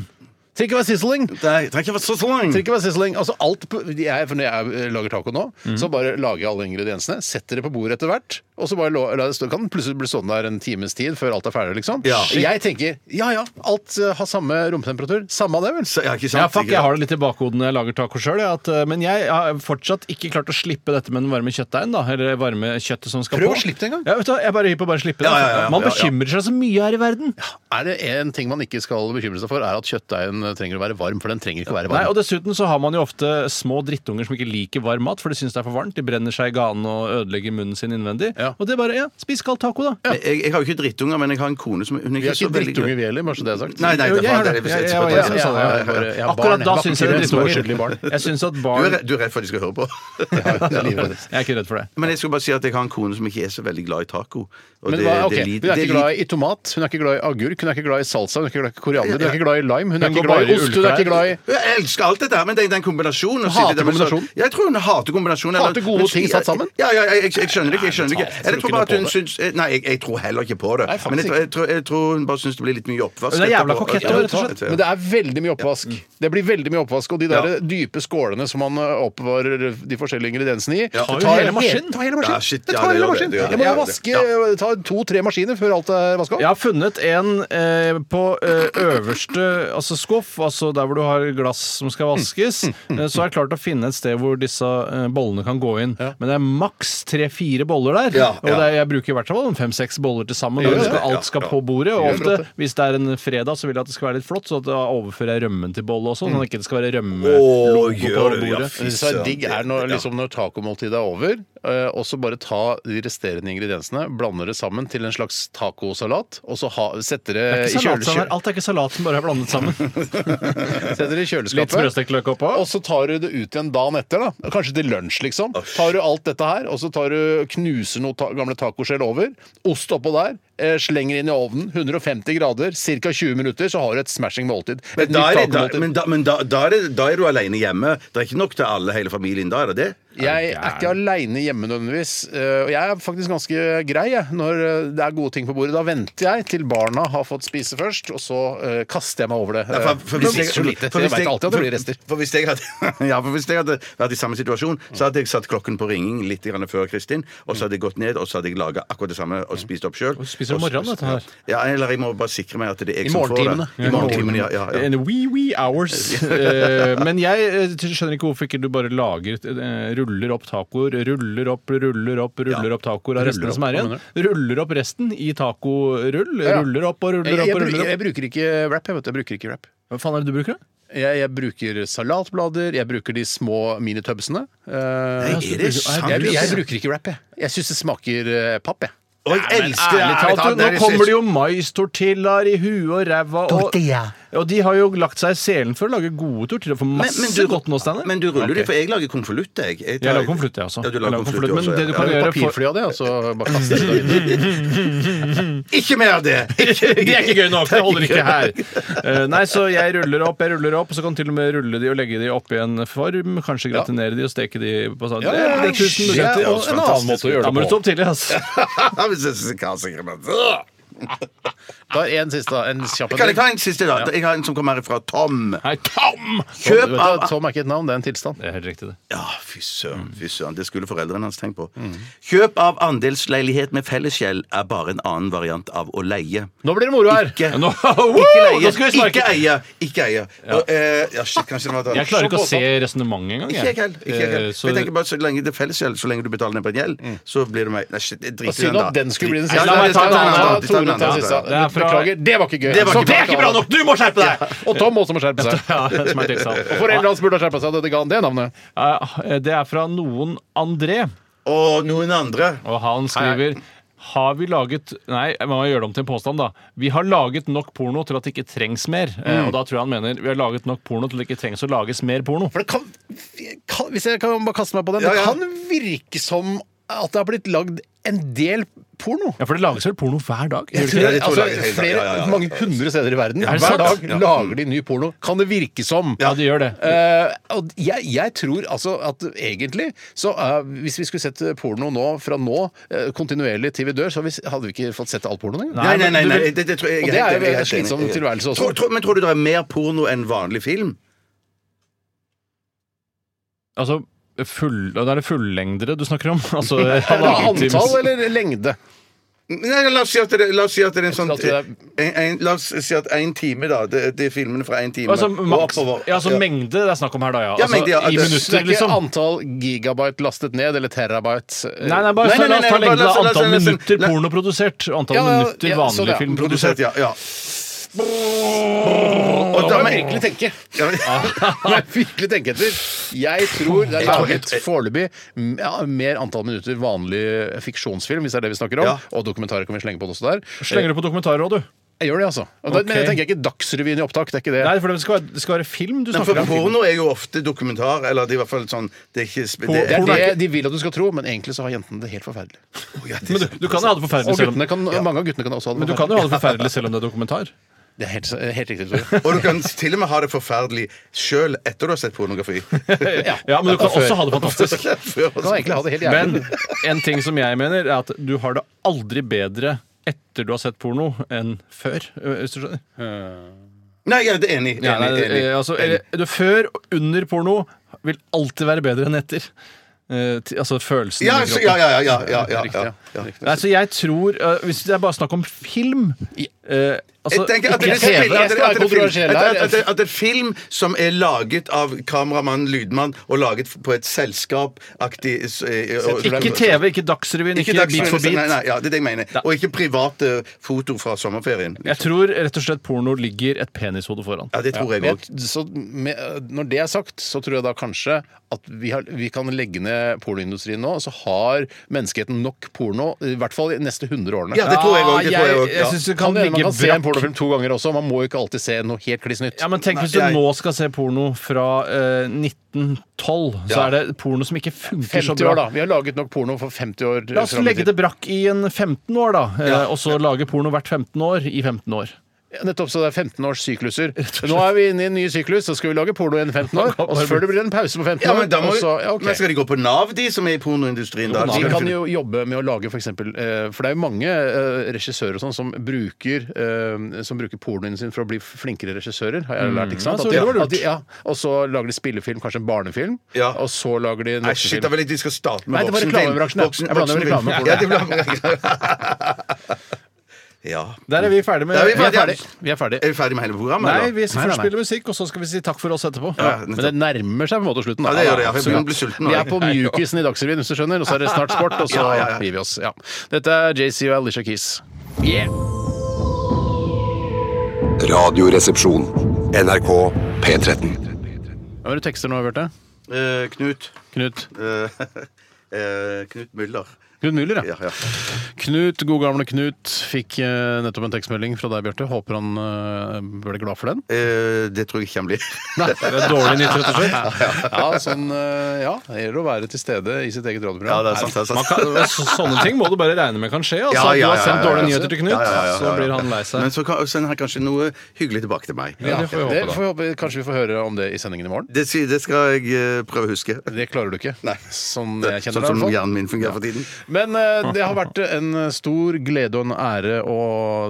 Speaker 1: Trenger ikke være sizzling.
Speaker 2: Nei, trenger ikke være så lang.
Speaker 1: Trenger ikke være sizzling. Altså alt på, jeg, for når jeg eh, lager taco nå,
Speaker 3: Mm.
Speaker 1: så bare lager jeg alle ingrediensene, setter det på bordet etter hvert, og så bare lå- la det stå, kan den plutselig bli stående der en times tid før alt er ferdig, liksom.
Speaker 2: Ja.
Speaker 1: Og Jeg tenker ja ja, alt eh, har samme romtemperatur. Samme av det, vel.
Speaker 2: Så, ja, ikke sant?
Speaker 3: Ja, fuck,
Speaker 2: Ikke
Speaker 3: jeg
Speaker 2: sant?
Speaker 3: har det litt i bakhodet når jeg lager taco sjøl. eh, Men jeg har fortsatt ikke klart å slippe dette med den varme kjøttdeigen. da, Eller varme kjøttet som skal
Speaker 1: Prøv å
Speaker 3: på.
Speaker 1: slippe det en gang.
Speaker 3: Ja, vet du, hva, jeg er bare hypp på å bare slippe det.
Speaker 2: Ja, ja, ja,
Speaker 3: Man
Speaker 2: ja, ja.
Speaker 3: bekymrer seg så mye her i verden.
Speaker 1: Er det en ting man ikke skal bekymre seg for, er at kjøttdeigen trenger å være varm, for den trenger ikke å være varm.
Speaker 3: Nei, og Dessuten så har man jo ofte små drittunger som ikke liker varm mat, for de syns det er for varmt. De brenner seg i ganen og ødelegger munnen sin innvendig.
Speaker 1: Ja.
Speaker 3: Og det er bare ja, spis kald taco, da.
Speaker 2: Men Jeg, jeg har jo ikke drittunger, men jeg har en kone som hun er
Speaker 1: vi
Speaker 2: ikke
Speaker 1: er
Speaker 2: så
Speaker 1: ikke
Speaker 2: veldig
Speaker 1: drittunge vi heller, bare så det er sagt.
Speaker 2: Nei, nei,
Speaker 3: Jo,
Speaker 2: det
Speaker 3: jeg
Speaker 2: er
Speaker 3: har
Speaker 2: faen, det
Speaker 3: det.
Speaker 2: er det vi sier.
Speaker 3: Jeg- jeg- jeg-
Speaker 1: jeg- jeg- jeg- jeg- jeg-
Speaker 3: Akkurat da syns jeg det er
Speaker 1: Små, skikkelige
Speaker 3: drittunger.
Speaker 1: barn.
Speaker 3: Jeg syns at
Speaker 2: Du er
Speaker 3: barn
Speaker 2: redd- Du er redd for at de skal høre på.
Speaker 1: det er
Speaker 3: <laughs>
Speaker 1: livet.
Speaker 3: Jeg er ikke redd for det.
Speaker 2: <laughs> Men jeg skal bare si at jeg har en kone som ikke er så veldig glad i taco.
Speaker 1: <laughs>
Speaker 2: Og
Speaker 1: Men
Speaker 2: det-
Speaker 1: hva, ok,
Speaker 2: det
Speaker 1: Hun
Speaker 2: lider-
Speaker 1: er ikke
Speaker 2: det lider-
Speaker 1: glad i tomat, hun er ikke glad i agurk, hun er ikke glad i salsa, hun er ikke glad i koriander, hun er ikke glad i lime, hun er
Speaker 3: Hun
Speaker 1: ikke
Speaker 3: går
Speaker 1: glad i
Speaker 3: bare i
Speaker 1: ost, hun er ikke glad i
Speaker 2: Jeg elsker alt dette, her, men den, den kombinasjonen å
Speaker 1: Hater
Speaker 2: sitte der med sånn-
Speaker 1: kombinasjonen?
Speaker 2: Jeg tror hun hater kombinasjonen.
Speaker 1: Hater gode
Speaker 2: men-
Speaker 1: ting satt sammen?
Speaker 2: Ja, ja, jeg, jeg, jeg skjønner det ikke. Jeg skjønner det
Speaker 1: Nei, jeg tror
Speaker 2: ikke. Jeg tror bare
Speaker 1: ikke
Speaker 2: at hun
Speaker 1: noe på
Speaker 2: syns eh, Nei, jeg, jeg tror heller ikke på det.
Speaker 1: Nei, faktisk
Speaker 2: Men jeg, tror- jeg, tror, jeg tror hun bare syns det blir litt mye oppvask.
Speaker 3: Hun er jævla
Speaker 2: etterpå.
Speaker 3: kokett,
Speaker 2: Ja,
Speaker 3: rett og slett.
Speaker 1: Men det er veldig mye oppvask. Det blir veldig mye oppvask, og de der
Speaker 2: Ja.
Speaker 1: dype skålene som man eh, oppbevarer de forskjellige ingrediensene i
Speaker 2: tar jo
Speaker 1: det tar
Speaker 3: hele maskinen.
Speaker 1: Ta hele
Speaker 2: Ja,
Speaker 1: maskinen.
Speaker 2: shit,
Speaker 1: det
Speaker 2: ja,
Speaker 1: tar
Speaker 2: det
Speaker 1: hele
Speaker 2: gjør det,
Speaker 1: maskinen.
Speaker 2: det gjør
Speaker 1: Jeg må
Speaker 2: det.
Speaker 1: vaske eh, ta to-tre maskiner før alt er vaska.
Speaker 3: Jeg har funnet en eh, på eh, øverste altså skuff, altså der hvor du har glass som skal vaskes. eh, så har jeg klart å finne et sted hvor disse eh, bollene kan gå inn. Men det er maks tre-fire boller der.
Speaker 2: Ja,
Speaker 3: Og
Speaker 2: ja.
Speaker 3: det er, jeg bruker i hvert fall fem-seks boller til sammen. når
Speaker 1: ja,
Speaker 3: det skal-
Speaker 2: ja,
Speaker 3: alt skal
Speaker 2: ja.
Speaker 3: på bordet.
Speaker 1: Gjør
Speaker 3: Og
Speaker 1: det.
Speaker 3: ofte, hvis det er en fredag, så vil jeg at det skal være litt flott, så at da overfører jeg rømmen til bolle også, sånn at det ikke skal være rømme.
Speaker 2: Å,
Speaker 3: på
Speaker 2: gjør det, ja,
Speaker 3: bordet.
Speaker 2: fy
Speaker 1: Det som er
Speaker 2: søren.
Speaker 1: digg, er når, liksom, når tacomåltidet er over, eh, og så bare ta de resterende ingrediensene, blander det sammen til en slags tacosalat, og så ha, setter det,
Speaker 3: Det er
Speaker 1: i
Speaker 3: ikke salat som er-
Speaker 1: kjøleskapet.
Speaker 3: Alt er ikke salat som bare er blandet sammen.
Speaker 1: <laughs> Setter det i
Speaker 3: Litt
Speaker 1: kjøleskapet.
Speaker 3: smørstekt løk oppå.
Speaker 1: Og så tar du det ut igjen dagen etter, da. kanskje til lunsj. liksom. Tar du alt dette her, og så tar du, knuser noen ta gamle tacoskjell over, ost oppå der, eh, slenger inn i ovnen, 150 grader, ca. 20 minutter, så har du et smashing måltid. Et
Speaker 2: Men, da er,
Speaker 1: nytt
Speaker 2: det, da,
Speaker 1: tacomåltid.
Speaker 2: men, da, men da, da, er det, da er du alene hjemme. Det er ikke nok til alle, hele familien. Da er det det.
Speaker 1: Jeg er ikke aleine hjemme nødvendigvis. eh, Og jeg er faktisk ganske grei jeg, når eh, det er gode ting på bordet. Da venter jeg til barna har fått spise først, og så eh, kaster jeg meg over det.
Speaker 2: Ja,
Speaker 1: Eh, de spiser så lite,
Speaker 2: for
Speaker 1: så jeg
Speaker 2: hvis
Speaker 1: vet
Speaker 2: jeg-
Speaker 1: alltid at det blir rester.
Speaker 2: For, for, hvis jeg hadde, <laughs> ja, for hvis jeg hadde vært i samme situasjon, så hadde jeg satt klokken på ringing litt grann før Kristin, og så hadde jeg gått ned og så hadde jeg laga akkurat det samme og spist opp sjøl.
Speaker 3: spiser om morgenen, dette her.
Speaker 2: Ja, eller jeg må bare sikre meg at det er
Speaker 1: I
Speaker 2: jeg som får det.
Speaker 1: morgentimene.
Speaker 2: I morgentimene. Ja, ja, ja.
Speaker 3: In wee wee hours.
Speaker 2: <laughs>
Speaker 3: Eh, Men jeg eh, skjønner ikke hvorfor ikke du bare lager eh, Ruller opp tacoer, ruller opp, ruller opp, ruller opp tacoer av restene
Speaker 1: opp,
Speaker 3: som er igjen.
Speaker 1: hva
Speaker 3: Ruller opp resten i tacorull.
Speaker 1: ja.
Speaker 3: Ruller opp
Speaker 1: Jeg,
Speaker 3: og ruller
Speaker 1: jeg,
Speaker 3: opp og
Speaker 1: bru-
Speaker 3: ruller
Speaker 1: jeg
Speaker 3: opp.
Speaker 1: bruker ikke wrap. Jeg vet, jeg bruker ikke wrap.
Speaker 3: Hva faen er det du bruker, da?
Speaker 1: Jeg, jeg bruker salatblader, jeg bruker de små minitubsene. Eh,
Speaker 2: Nei, er det sant?
Speaker 1: jeg, jeg bruker ikke wrap, jeg. Jeg syns det smaker eh, papp, jeg.
Speaker 2: Og jeg elsker det,
Speaker 3: Ærlig talt, du, nå kommer det jo maistortillaer i huet og ræva. Og,
Speaker 8: Tortilla.
Speaker 3: og de har jo lagt seg i selen for å lage gode tortillaer for
Speaker 2: Men,
Speaker 3: masse
Speaker 2: men, du,
Speaker 3: godt nå, Steinar.
Speaker 2: men du ruller
Speaker 3: Ok.
Speaker 2: de, for jeg lager konvolutt, jeg. jeg. tar-
Speaker 3: Jeg lager konvolutt, jeg også.
Speaker 2: Ja, du
Speaker 3: Jeg
Speaker 2: lager
Speaker 3: lager
Speaker 2: konvolutt,
Speaker 3: konvolutt, men
Speaker 2: også,
Speaker 3: det du kan
Speaker 2: ja.
Speaker 3: gjøre-
Speaker 1: Papirfly av det, og så bare kaster jeg det.
Speaker 2: Ikke mer av det! <laughs>
Speaker 3: Det er ikke gøy nok! Det holder ikke her. Eh, nei, så jeg ruller opp, jeg ruller opp, og så kan til og med rulle de og legge de oppi en form. Kanskje gratinere de og steke de på sånn. Det er- det er tusen
Speaker 1: Ja,
Speaker 3: muligheter.
Speaker 1: og en annen måte å gjøre
Speaker 3: Da må du
Speaker 1: det på.
Speaker 3: stå opp tidlig, ass.
Speaker 2: Hvis jeg skal ha sikre meg.
Speaker 1: Du har en siste, da. En kjapp en
Speaker 2: Kan jeg ta
Speaker 1: til.
Speaker 2: en siste, da? Jeg har en som kommer her fra Tom.
Speaker 3: Hei, Tom!
Speaker 1: Vet
Speaker 2: Kjøp
Speaker 1: du
Speaker 2: av
Speaker 1: hva, Tom er ikke et navn, det er en tilstand.
Speaker 3: Det er helt riktig, det.
Speaker 2: Ja, fy søren. fy søren. Det skulle foreldrene hans tenkt på. Kjøp av andelsleilighet med fellesgjeld er bare en annen variant av å leie.
Speaker 1: Nå blir det moro her!
Speaker 2: Ikke,
Speaker 3: Nå-
Speaker 2: ikke
Speaker 3: Wow, nå
Speaker 2: leie,
Speaker 3: skal vi sparke.
Speaker 2: ikke eie. Ikke eie. Og, eh, ja, shit, kanskje det var
Speaker 3: Jeg klarer ikke å se resonnementet engang.
Speaker 2: Ikke jeg heller. Ikke jeg heller.
Speaker 3: Eh,
Speaker 2: For
Speaker 3: så-
Speaker 2: jeg tenker bare Så lenge det er fellesgjeld, så lenge du betaler ned på en gjeld, så blir det meg Nei, shit, jeg driter i
Speaker 1: Synd
Speaker 2: den, da.
Speaker 1: at den skulle bli den
Speaker 2: Ja,
Speaker 1: siste.
Speaker 2: la meg ta en annen, da.
Speaker 1: Ta
Speaker 2: Vi tar en
Speaker 1: Tore
Speaker 2: annen,
Speaker 1: til
Speaker 2: da.
Speaker 1: siste.
Speaker 3: Det er fra-
Speaker 1: Beklager, det var ikke gøy.
Speaker 2: Det var
Speaker 1: Så
Speaker 2: ikke bra.
Speaker 3: Du må skjerpe deg!
Speaker 1: Og Tom også må skjerpe <laughs> seg.
Speaker 3: Ja, det som er tekst,
Speaker 1: Og
Speaker 3: da.
Speaker 1: foreldrene hans burde ha skjerpa seg da de ga han det navnet.
Speaker 3: Eh, Det er fra noen André,
Speaker 2: Og noen andre.
Speaker 3: og han skriver har vi laget Nei, jeg må gjøre det om til en påstand, da. Vi har laget nok porno til at det ikke trengs mer. Eh, Og da tror jeg han mener vi har laget nok porno til det ikke trengs å lages mer porno.
Speaker 1: For det kan, kan Hvis jeg kan bare kaste meg på den,
Speaker 2: Ja, ja.
Speaker 1: det kan virke som at det har blitt lagd en del porno.
Speaker 3: Ja, for det lages vel porno hver dag?
Speaker 1: Jeg
Speaker 2: tror
Speaker 1: tror
Speaker 2: det
Speaker 1: det,
Speaker 2: er de to
Speaker 1: altså,
Speaker 2: lagene hele tiden.
Speaker 1: flere,
Speaker 2: Ja, ja, ja.
Speaker 1: Mange hundre steder i verden.
Speaker 3: Er
Speaker 1: Hver
Speaker 3: det sant?
Speaker 1: dag lager de ny porno. Kan det virke som.
Speaker 3: Ja, det gjør det.
Speaker 1: Eh, og jeg, jeg tror altså at egentlig så eh, Hvis vi skulle sett porno nå fra nå eh, kontinuerlig til vi dør, så hadde vi- hadde vi ikke fått sett all pornoen engang.
Speaker 2: Nei, nei, nei.
Speaker 3: men du
Speaker 2: nei
Speaker 3: vil-
Speaker 2: det, det tror jeg, jeg
Speaker 1: Og det er
Speaker 2: helt
Speaker 1: jo
Speaker 2: enig, jeg
Speaker 1: en
Speaker 2: helt enig.
Speaker 1: slitsom tilværelse også.
Speaker 2: Tror- tror- Men tror du det er mer porno enn vanlig film?
Speaker 3: Altså, full, da er det fullengdere du snakker om? <laughs> Altså,
Speaker 1: Eller
Speaker 3: halvannen times-
Speaker 1: antall eller lengde?
Speaker 2: Nei, la oss si at det, la oss si at det er en sånn
Speaker 1: Jeg tror
Speaker 2: en, en, La oss si at én time, da. Det, det er filmene fra én time.
Speaker 3: Altså,
Speaker 2: og
Speaker 3: maks,
Speaker 2: oppover.
Speaker 3: ja, altså mengde det er snakk om her, da. Ja.
Speaker 2: Ja,
Speaker 3: Altså,
Speaker 2: mengde, ja,
Speaker 3: I
Speaker 2: det-
Speaker 1: Det
Speaker 3: minutter,
Speaker 1: er ikke
Speaker 3: liksom.
Speaker 1: antall gigabyte lastet ned, eller terabyte. eh,
Speaker 3: Nei, nei, bare
Speaker 2: Nei, nei,
Speaker 3: la oss
Speaker 2: nei,
Speaker 3: ta
Speaker 2: nei,
Speaker 3: lengde
Speaker 2: la oss- la oss-
Speaker 3: antall
Speaker 2: la oss-
Speaker 3: minutter
Speaker 2: la-
Speaker 3: porno produsert, og antall
Speaker 1: Ja, ja,
Speaker 3: minutter
Speaker 1: ja, sånn,
Speaker 3: vanlig
Speaker 1: ja.
Speaker 3: film
Speaker 2: Produsert,
Speaker 3: produsert.
Speaker 2: ja. ja. Og
Speaker 1: Da
Speaker 2: da
Speaker 1: må jeg virkelig
Speaker 2: men,
Speaker 1: tenke.
Speaker 2: ja,
Speaker 1: <laughs> Da må jeg virkelig tenke etter. Jeg tror det er
Speaker 2: Jeg tror-
Speaker 1: laget foreløpig m- ja, mer antall minutter vanlig fiksjonsfilm, hvis det er det vi snakker om,
Speaker 2: Ja.
Speaker 1: og dokumentarer kan vi slenge på det også der.
Speaker 3: Slenger du på dokumentarer òg, du?
Speaker 1: Jeg gjør det, altså. Og da, Men
Speaker 3: Ok.
Speaker 1: jeg tenker ikke Dagsrevyen i opptak. Det er ikke det.
Speaker 3: Nei, for det skal være, det skal være film du
Speaker 2: men for
Speaker 3: snakker om.
Speaker 2: porno er jo ofte dokumentar, eller det er i hvert fall sånn Det er ikke
Speaker 1: det
Speaker 2: spe- det
Speaker 1: er
Speaker 2: er,
Speaker 1: det
Speaker 3: er ikke-
Speaker 1: de vil at du skal tro, men egentlig så har jentene det helt forferdelig.
Speaker 3: Men du, du kan jo ha det forferdelig
Speaker 1: Og
Speaker 3: selv om
Speaker 1: guttene kan, mange av guttene kan også ha det
Speaker 3: men du kan jo ha det forferdelig selv om det er dokumentar.
Speaker 1: Det er helt, helt riktig,
Speaker 3: <laughs>
Speaker 1: Tore.
Speaker 2: Og du kan til og med ha det forferdelig sjøl etter du har sett pornografi.
Speaker 3: Ja, Men du kan også ha det fantastisk.
Speaker 2: Før-
Speaker 1: Du kan egentlig ha det helt jævlig.
Speaker 3: Men en ting som jeg mener, er at du har det aldri bedre etter du har sett porno enn før. Hvis du skjønner.
Speaker 2: Nei, jeg er enig.
Speaker 3: Ja,
Speaker 2: enig,
Speaker 3: nei,
Speaker 2: enig.
Speaker 3: eh, altså, eller, du, før og under porno vil alltid være bedre enn etter. Eh, ti- altså følelsen
Speaker 2: Ja,
Speaker 3: i
Speaker 2: så-
Speaker 3: kroppen.
Speaker 2: ja, ja, ja, ja, ja, ja,
Speaker 1: Riktig,
Speaker 2: ja,
Speaker 1: ja.
Speaker 2: ja.
Speaker 3: Nei, så jeg tror eh, Hvis det er bare snakk om film eh, altså,
Speaker 2: Jeg tenker at det, er
Speaker 3: ikke
Speaker 1: TV.
Speaker 2: spill- at det, at det,
Speaker 1: Jeg skal være
Speaker 2: er
Speaker 1: kontroversiell
Speaker 2: film-
Speaker 1: her. altså.
Speaker 2: at, at, at, at det er film som er laget av kameramann, lydmann, og laget på et selskapaktig s- eh, og-
Speaker 3: Ikke TV, ikke Dagsrevyen, ikke, Bit for bit.
Speaker 2: Nei, nei, ja, det er det jeg mener.
Speaker 3: Ja.
Speaker 2: Og ikke private foto fra sommerferien.
Speaker 3: Jeg tror rett og slett porno ligger et penishode foran.
Speaker 2: Ja, det tror jeg
Speaker 1: Men
Speaker 2: òg.
Speaker 1: jeg- så med, når det er sagt, så tror jeg da kanskje at vi, har, vi kan legge ned pornoindustrien nå, og så har menneskeheten nok porno, i hvert fall de neste 100 årene.
Speaker 2: Ja, det tror jeg òg.
Speaker 3: jeg
Speaker 2: Det tror jeg også,
Speaker 3: Ah, jeg
Speaker 2: ja.
Speaker 3: synes det
Speaker 1: Kan
Speaker 3: kan,
Speaker 1: det hende man kan
Speaker 3: ligge
Speaker 1: se en
Speaker 3: brakk.
Speaker 1: pornofilm to ganger også. Man må jo ikke alltid se noe helt kliss nytt.
Speaker 3: Ja, men tenk hvis du
Speaker 2: Nei, jeg-
Speaker 3: nå skal se porno fra eh, 1912, så
Speaker 2: Ja.
Speaker 3: er det porno som ikke funker så
Speaker 1: 50 år,
Speaker 3: bra.
Speaker 1: da. Vi har laget nok porno for 50 år.
Speaker 3: La oss
Speaker 1: frem i
Speaker 3: legge
Speaker 1: tid.
Speaker 3: det brakk i en 15 år, da. eh, Og så lage porno hvert 15 år i 15 år.
Speaker 1: Ja, Nettopp, så det er 15 års
Speaker 2: <laughs>
Speaker 1: sykluser. Nå er vi inne i en ny syklus, så skal vi lage porno igjen 15 år. Og så før det blir en pause på 15
Speaker 2: Ja,
Speaker 1: år.
Speaker 2: men, da må,
Speaker 1: og
Speaker 2: vi-
Speaker 1: så, ja, ok.
Speaker 2: men skal de gå på Nav, de som er i pornoindustrien? Da?
Speaker 1: Vi
Speaker 2: De-
Speaker 1: kan jo jobbe med å lage f.eks. For, eksempel, eh, for det er jo mange eh, regissører og sånn som bruker eh, Som bruker pornoen sin for å bli flinkere regissører, har jeg lært. ikke sant? At
Speaker 2: Mm,
Speaker 3: Ja, så det var
Speaker 1: de,
Speaker 3: lurt.
Speaker 1: at de, ja, og så lager de spillefilm, kanskje en barnefilm.
Speaker 2: Ja.
Speaker 1: Og så lager de en
Speaker 2: Nei, shit, da
Speaker 1: voksenfilm.
Speaker 2: vil jeg de skal starte med
Speaker 1: Nei, det var
Speaker 2: voksenfilm.
Speaker 1: reklamebransjen, ja.
Speaker 2: Voksen-
Speaker 1: Jeg blander
Speaker 2: voksenfilm.
Speaker 1: reklame og
Speaker 2: Ja, de blander
Speaker 1: <laughs>
Speaker 2: Ja.
Speaker 3: Der er vi ferdig med
Speaker 2: Da er vi
Speaker 1: Vi er
Speaker 2: ferdig.
Speaker 1: ferdig. Vi er ferdig.
Speaker 2: Er vi ferdig med hele programmet?
Speaker 3: Nei,
Speaker 2: eller?
Speaker 3: vi
Speaker 1: Nei,
Speaker 3: skal
Speaker 1: nei,
Speaker 3: først
Speaker 1: nei.
Speaker 3: spille musikk, og så skal vi si takk for oss etterpå.
Speaker 2: Ja,
Speaker 1: Men det nærmer seg på en måte slutten. da.
Speaker 2: Ja, det gjør det, ja. Jeg
Speaker 1: Absolutt.
Speaker 2: begynner å bli sulten nå,
Speaker 1: Vi
Speaker 2: jeg.
Speaker 1: er på mjukisen i Dagsrevyen, hvis du skjønner. Og så er det snart sport, og så
Speaker 2: <laughs> Ja, ja, ja.
Speaker 1: gir vi oss. Ja. Dette er JC og Alicia Keys.
Speaker 6: Radioresepsjon. NRK P13.
Speaker 1: Hva er det du tekster nå, Bjarte?
Speaker 2: Eh, Knut
Speaker 1: Knut.
Speaker 2: eh, <laughs> eh, Knut Müller.
Speaker 1: Knut Müller,
Speaker 2: Ja, ja.
Speaker 1: Knut, god gamle Knut, fikk eh, nettopp en tekstmelding fra deg, Bjarte. Håper han eh, ble glad for den.
Speaker 2: Eh, det tror jeg ikke han blir.
Speaker 3: Det er dårlig nytt, rett og slett.
Speaker 1: <laughs> Ja, sånn, eh, ja, det gjelder å være til stede i sitt eget
Speaker 2: Ja,
Speaker 1: radioprogram.
Speaker 2: det er sant. Det er sant.
Speaker 3: Man kan, så- sånne ting må du bare regne med kan skje. Altså.
Speaker 2: Ja, ja,
Speaker 3: du har sendt
Speaker 2: ja, ja, ja.
Speaker 3: dårlige nyheter til Knut,
Speaker 2: Ja, ja, ja, ja,
Speaker 3: så
Speaker 2: ja.
Speaker 3: blir han lei seg.
Speaker 2: Men så kan, sender han kanskje noe hyggelig tilbake til meg.
Speaker 3: Ja, det får vi
Speaker 1: det
Speaker 3: håpe,
Speaker 1: får vi håpe, kanskje vi får høre om det i sendingen i morgen.
Speaker 2: Det, si- det skal jeg eh, prøve å huske.
Speaker 1: Det klarer du ikke,
Speaker 2: Nei.
Speaker 1: sånn
Speaker 2: Det,
Speaker 1: jeg
Speaker 2: sånn
Speaker 1: kjenner deg. i
Speaker 2: som
Speaker 1: hvert fall.
Speaker 2: hjernen min fungerer for tiden.
Speaker 1: Men eh, det har vært en stor glede og en ære å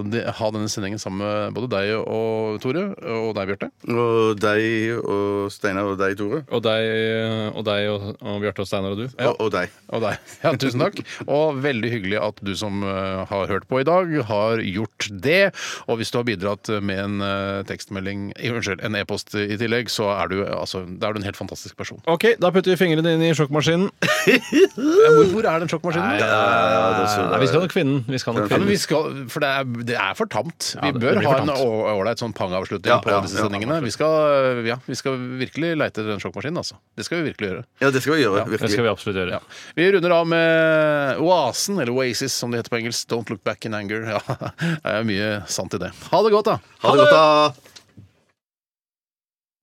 Speaker 1: de- ha denne sendingen sammen med både deg og Tore, og deg, Bjarte.
Speaker 2: Og deg og Steinar og deg, Tore.
Speaker 3: Og deg og, deg, og, og Bjarte og Steinar og du.
Speaker 2: Og, og deg.
Speaker 1: Og deg. <laughs> Ja, tusen takk. Og veldig hyggelig at du som eh, har hørt på i dag, har gjort det. Og hvis du har bidratt med en eh, tekstmelding, eh, unnskyld, en e-post i tillegg, så er du, eh, altså, da er du en helt fantastisk person.
Speaker 3: OK, da putter vi fingrene inn i <laughs> sjokkmaskinen.
Speaker 1: Ja, Hvor, hvor er den sjokkmaskinen? da?
Speaker 3: Nei, vi skal nok kvinne den. Vi skal
Speaker 1: Ja,
Speaker 3: nok
Speaker 1: men
Speaker 3: kvinne
Speaker 1: vi
Speaker 3: den.
Speaker 1: skal, for det er, det er for tamt. Vi
Speaker 3: Ja, det-
Speaker 1: bør
Speaker 3: det blir
Speaker 1: ha
Speaker 3: for
Speaker 1: en
Speaker 3: tamt.
Speaker 1: å- ålreit sånn pang-avslutning
Speaker 2: Ja,
Speaker 1: på
Speaker 2: ja,
Speaker 1: disse
Speaker 2: ja,
Speaker 1: sendingene. Vi skal, ja, vi skal virkelig leite etter den sjokkmaskinen, altså. Det skal vi virkelig gjøre.
Speaker 2: Ja, det skal vi gjøre.
Speaker 3: Det skal
Speaker 2: virkelig.
Speaker 3: vi absolutt gjøre.
Speaker 1: Ja. Vi runder av med Oasen, eller Oasis som <laughs> det heter på engelsk. Don't look back in anger. Ja, det er mye sant i det. Ha det godt, da.
Speaker 2: Ha det godt, da!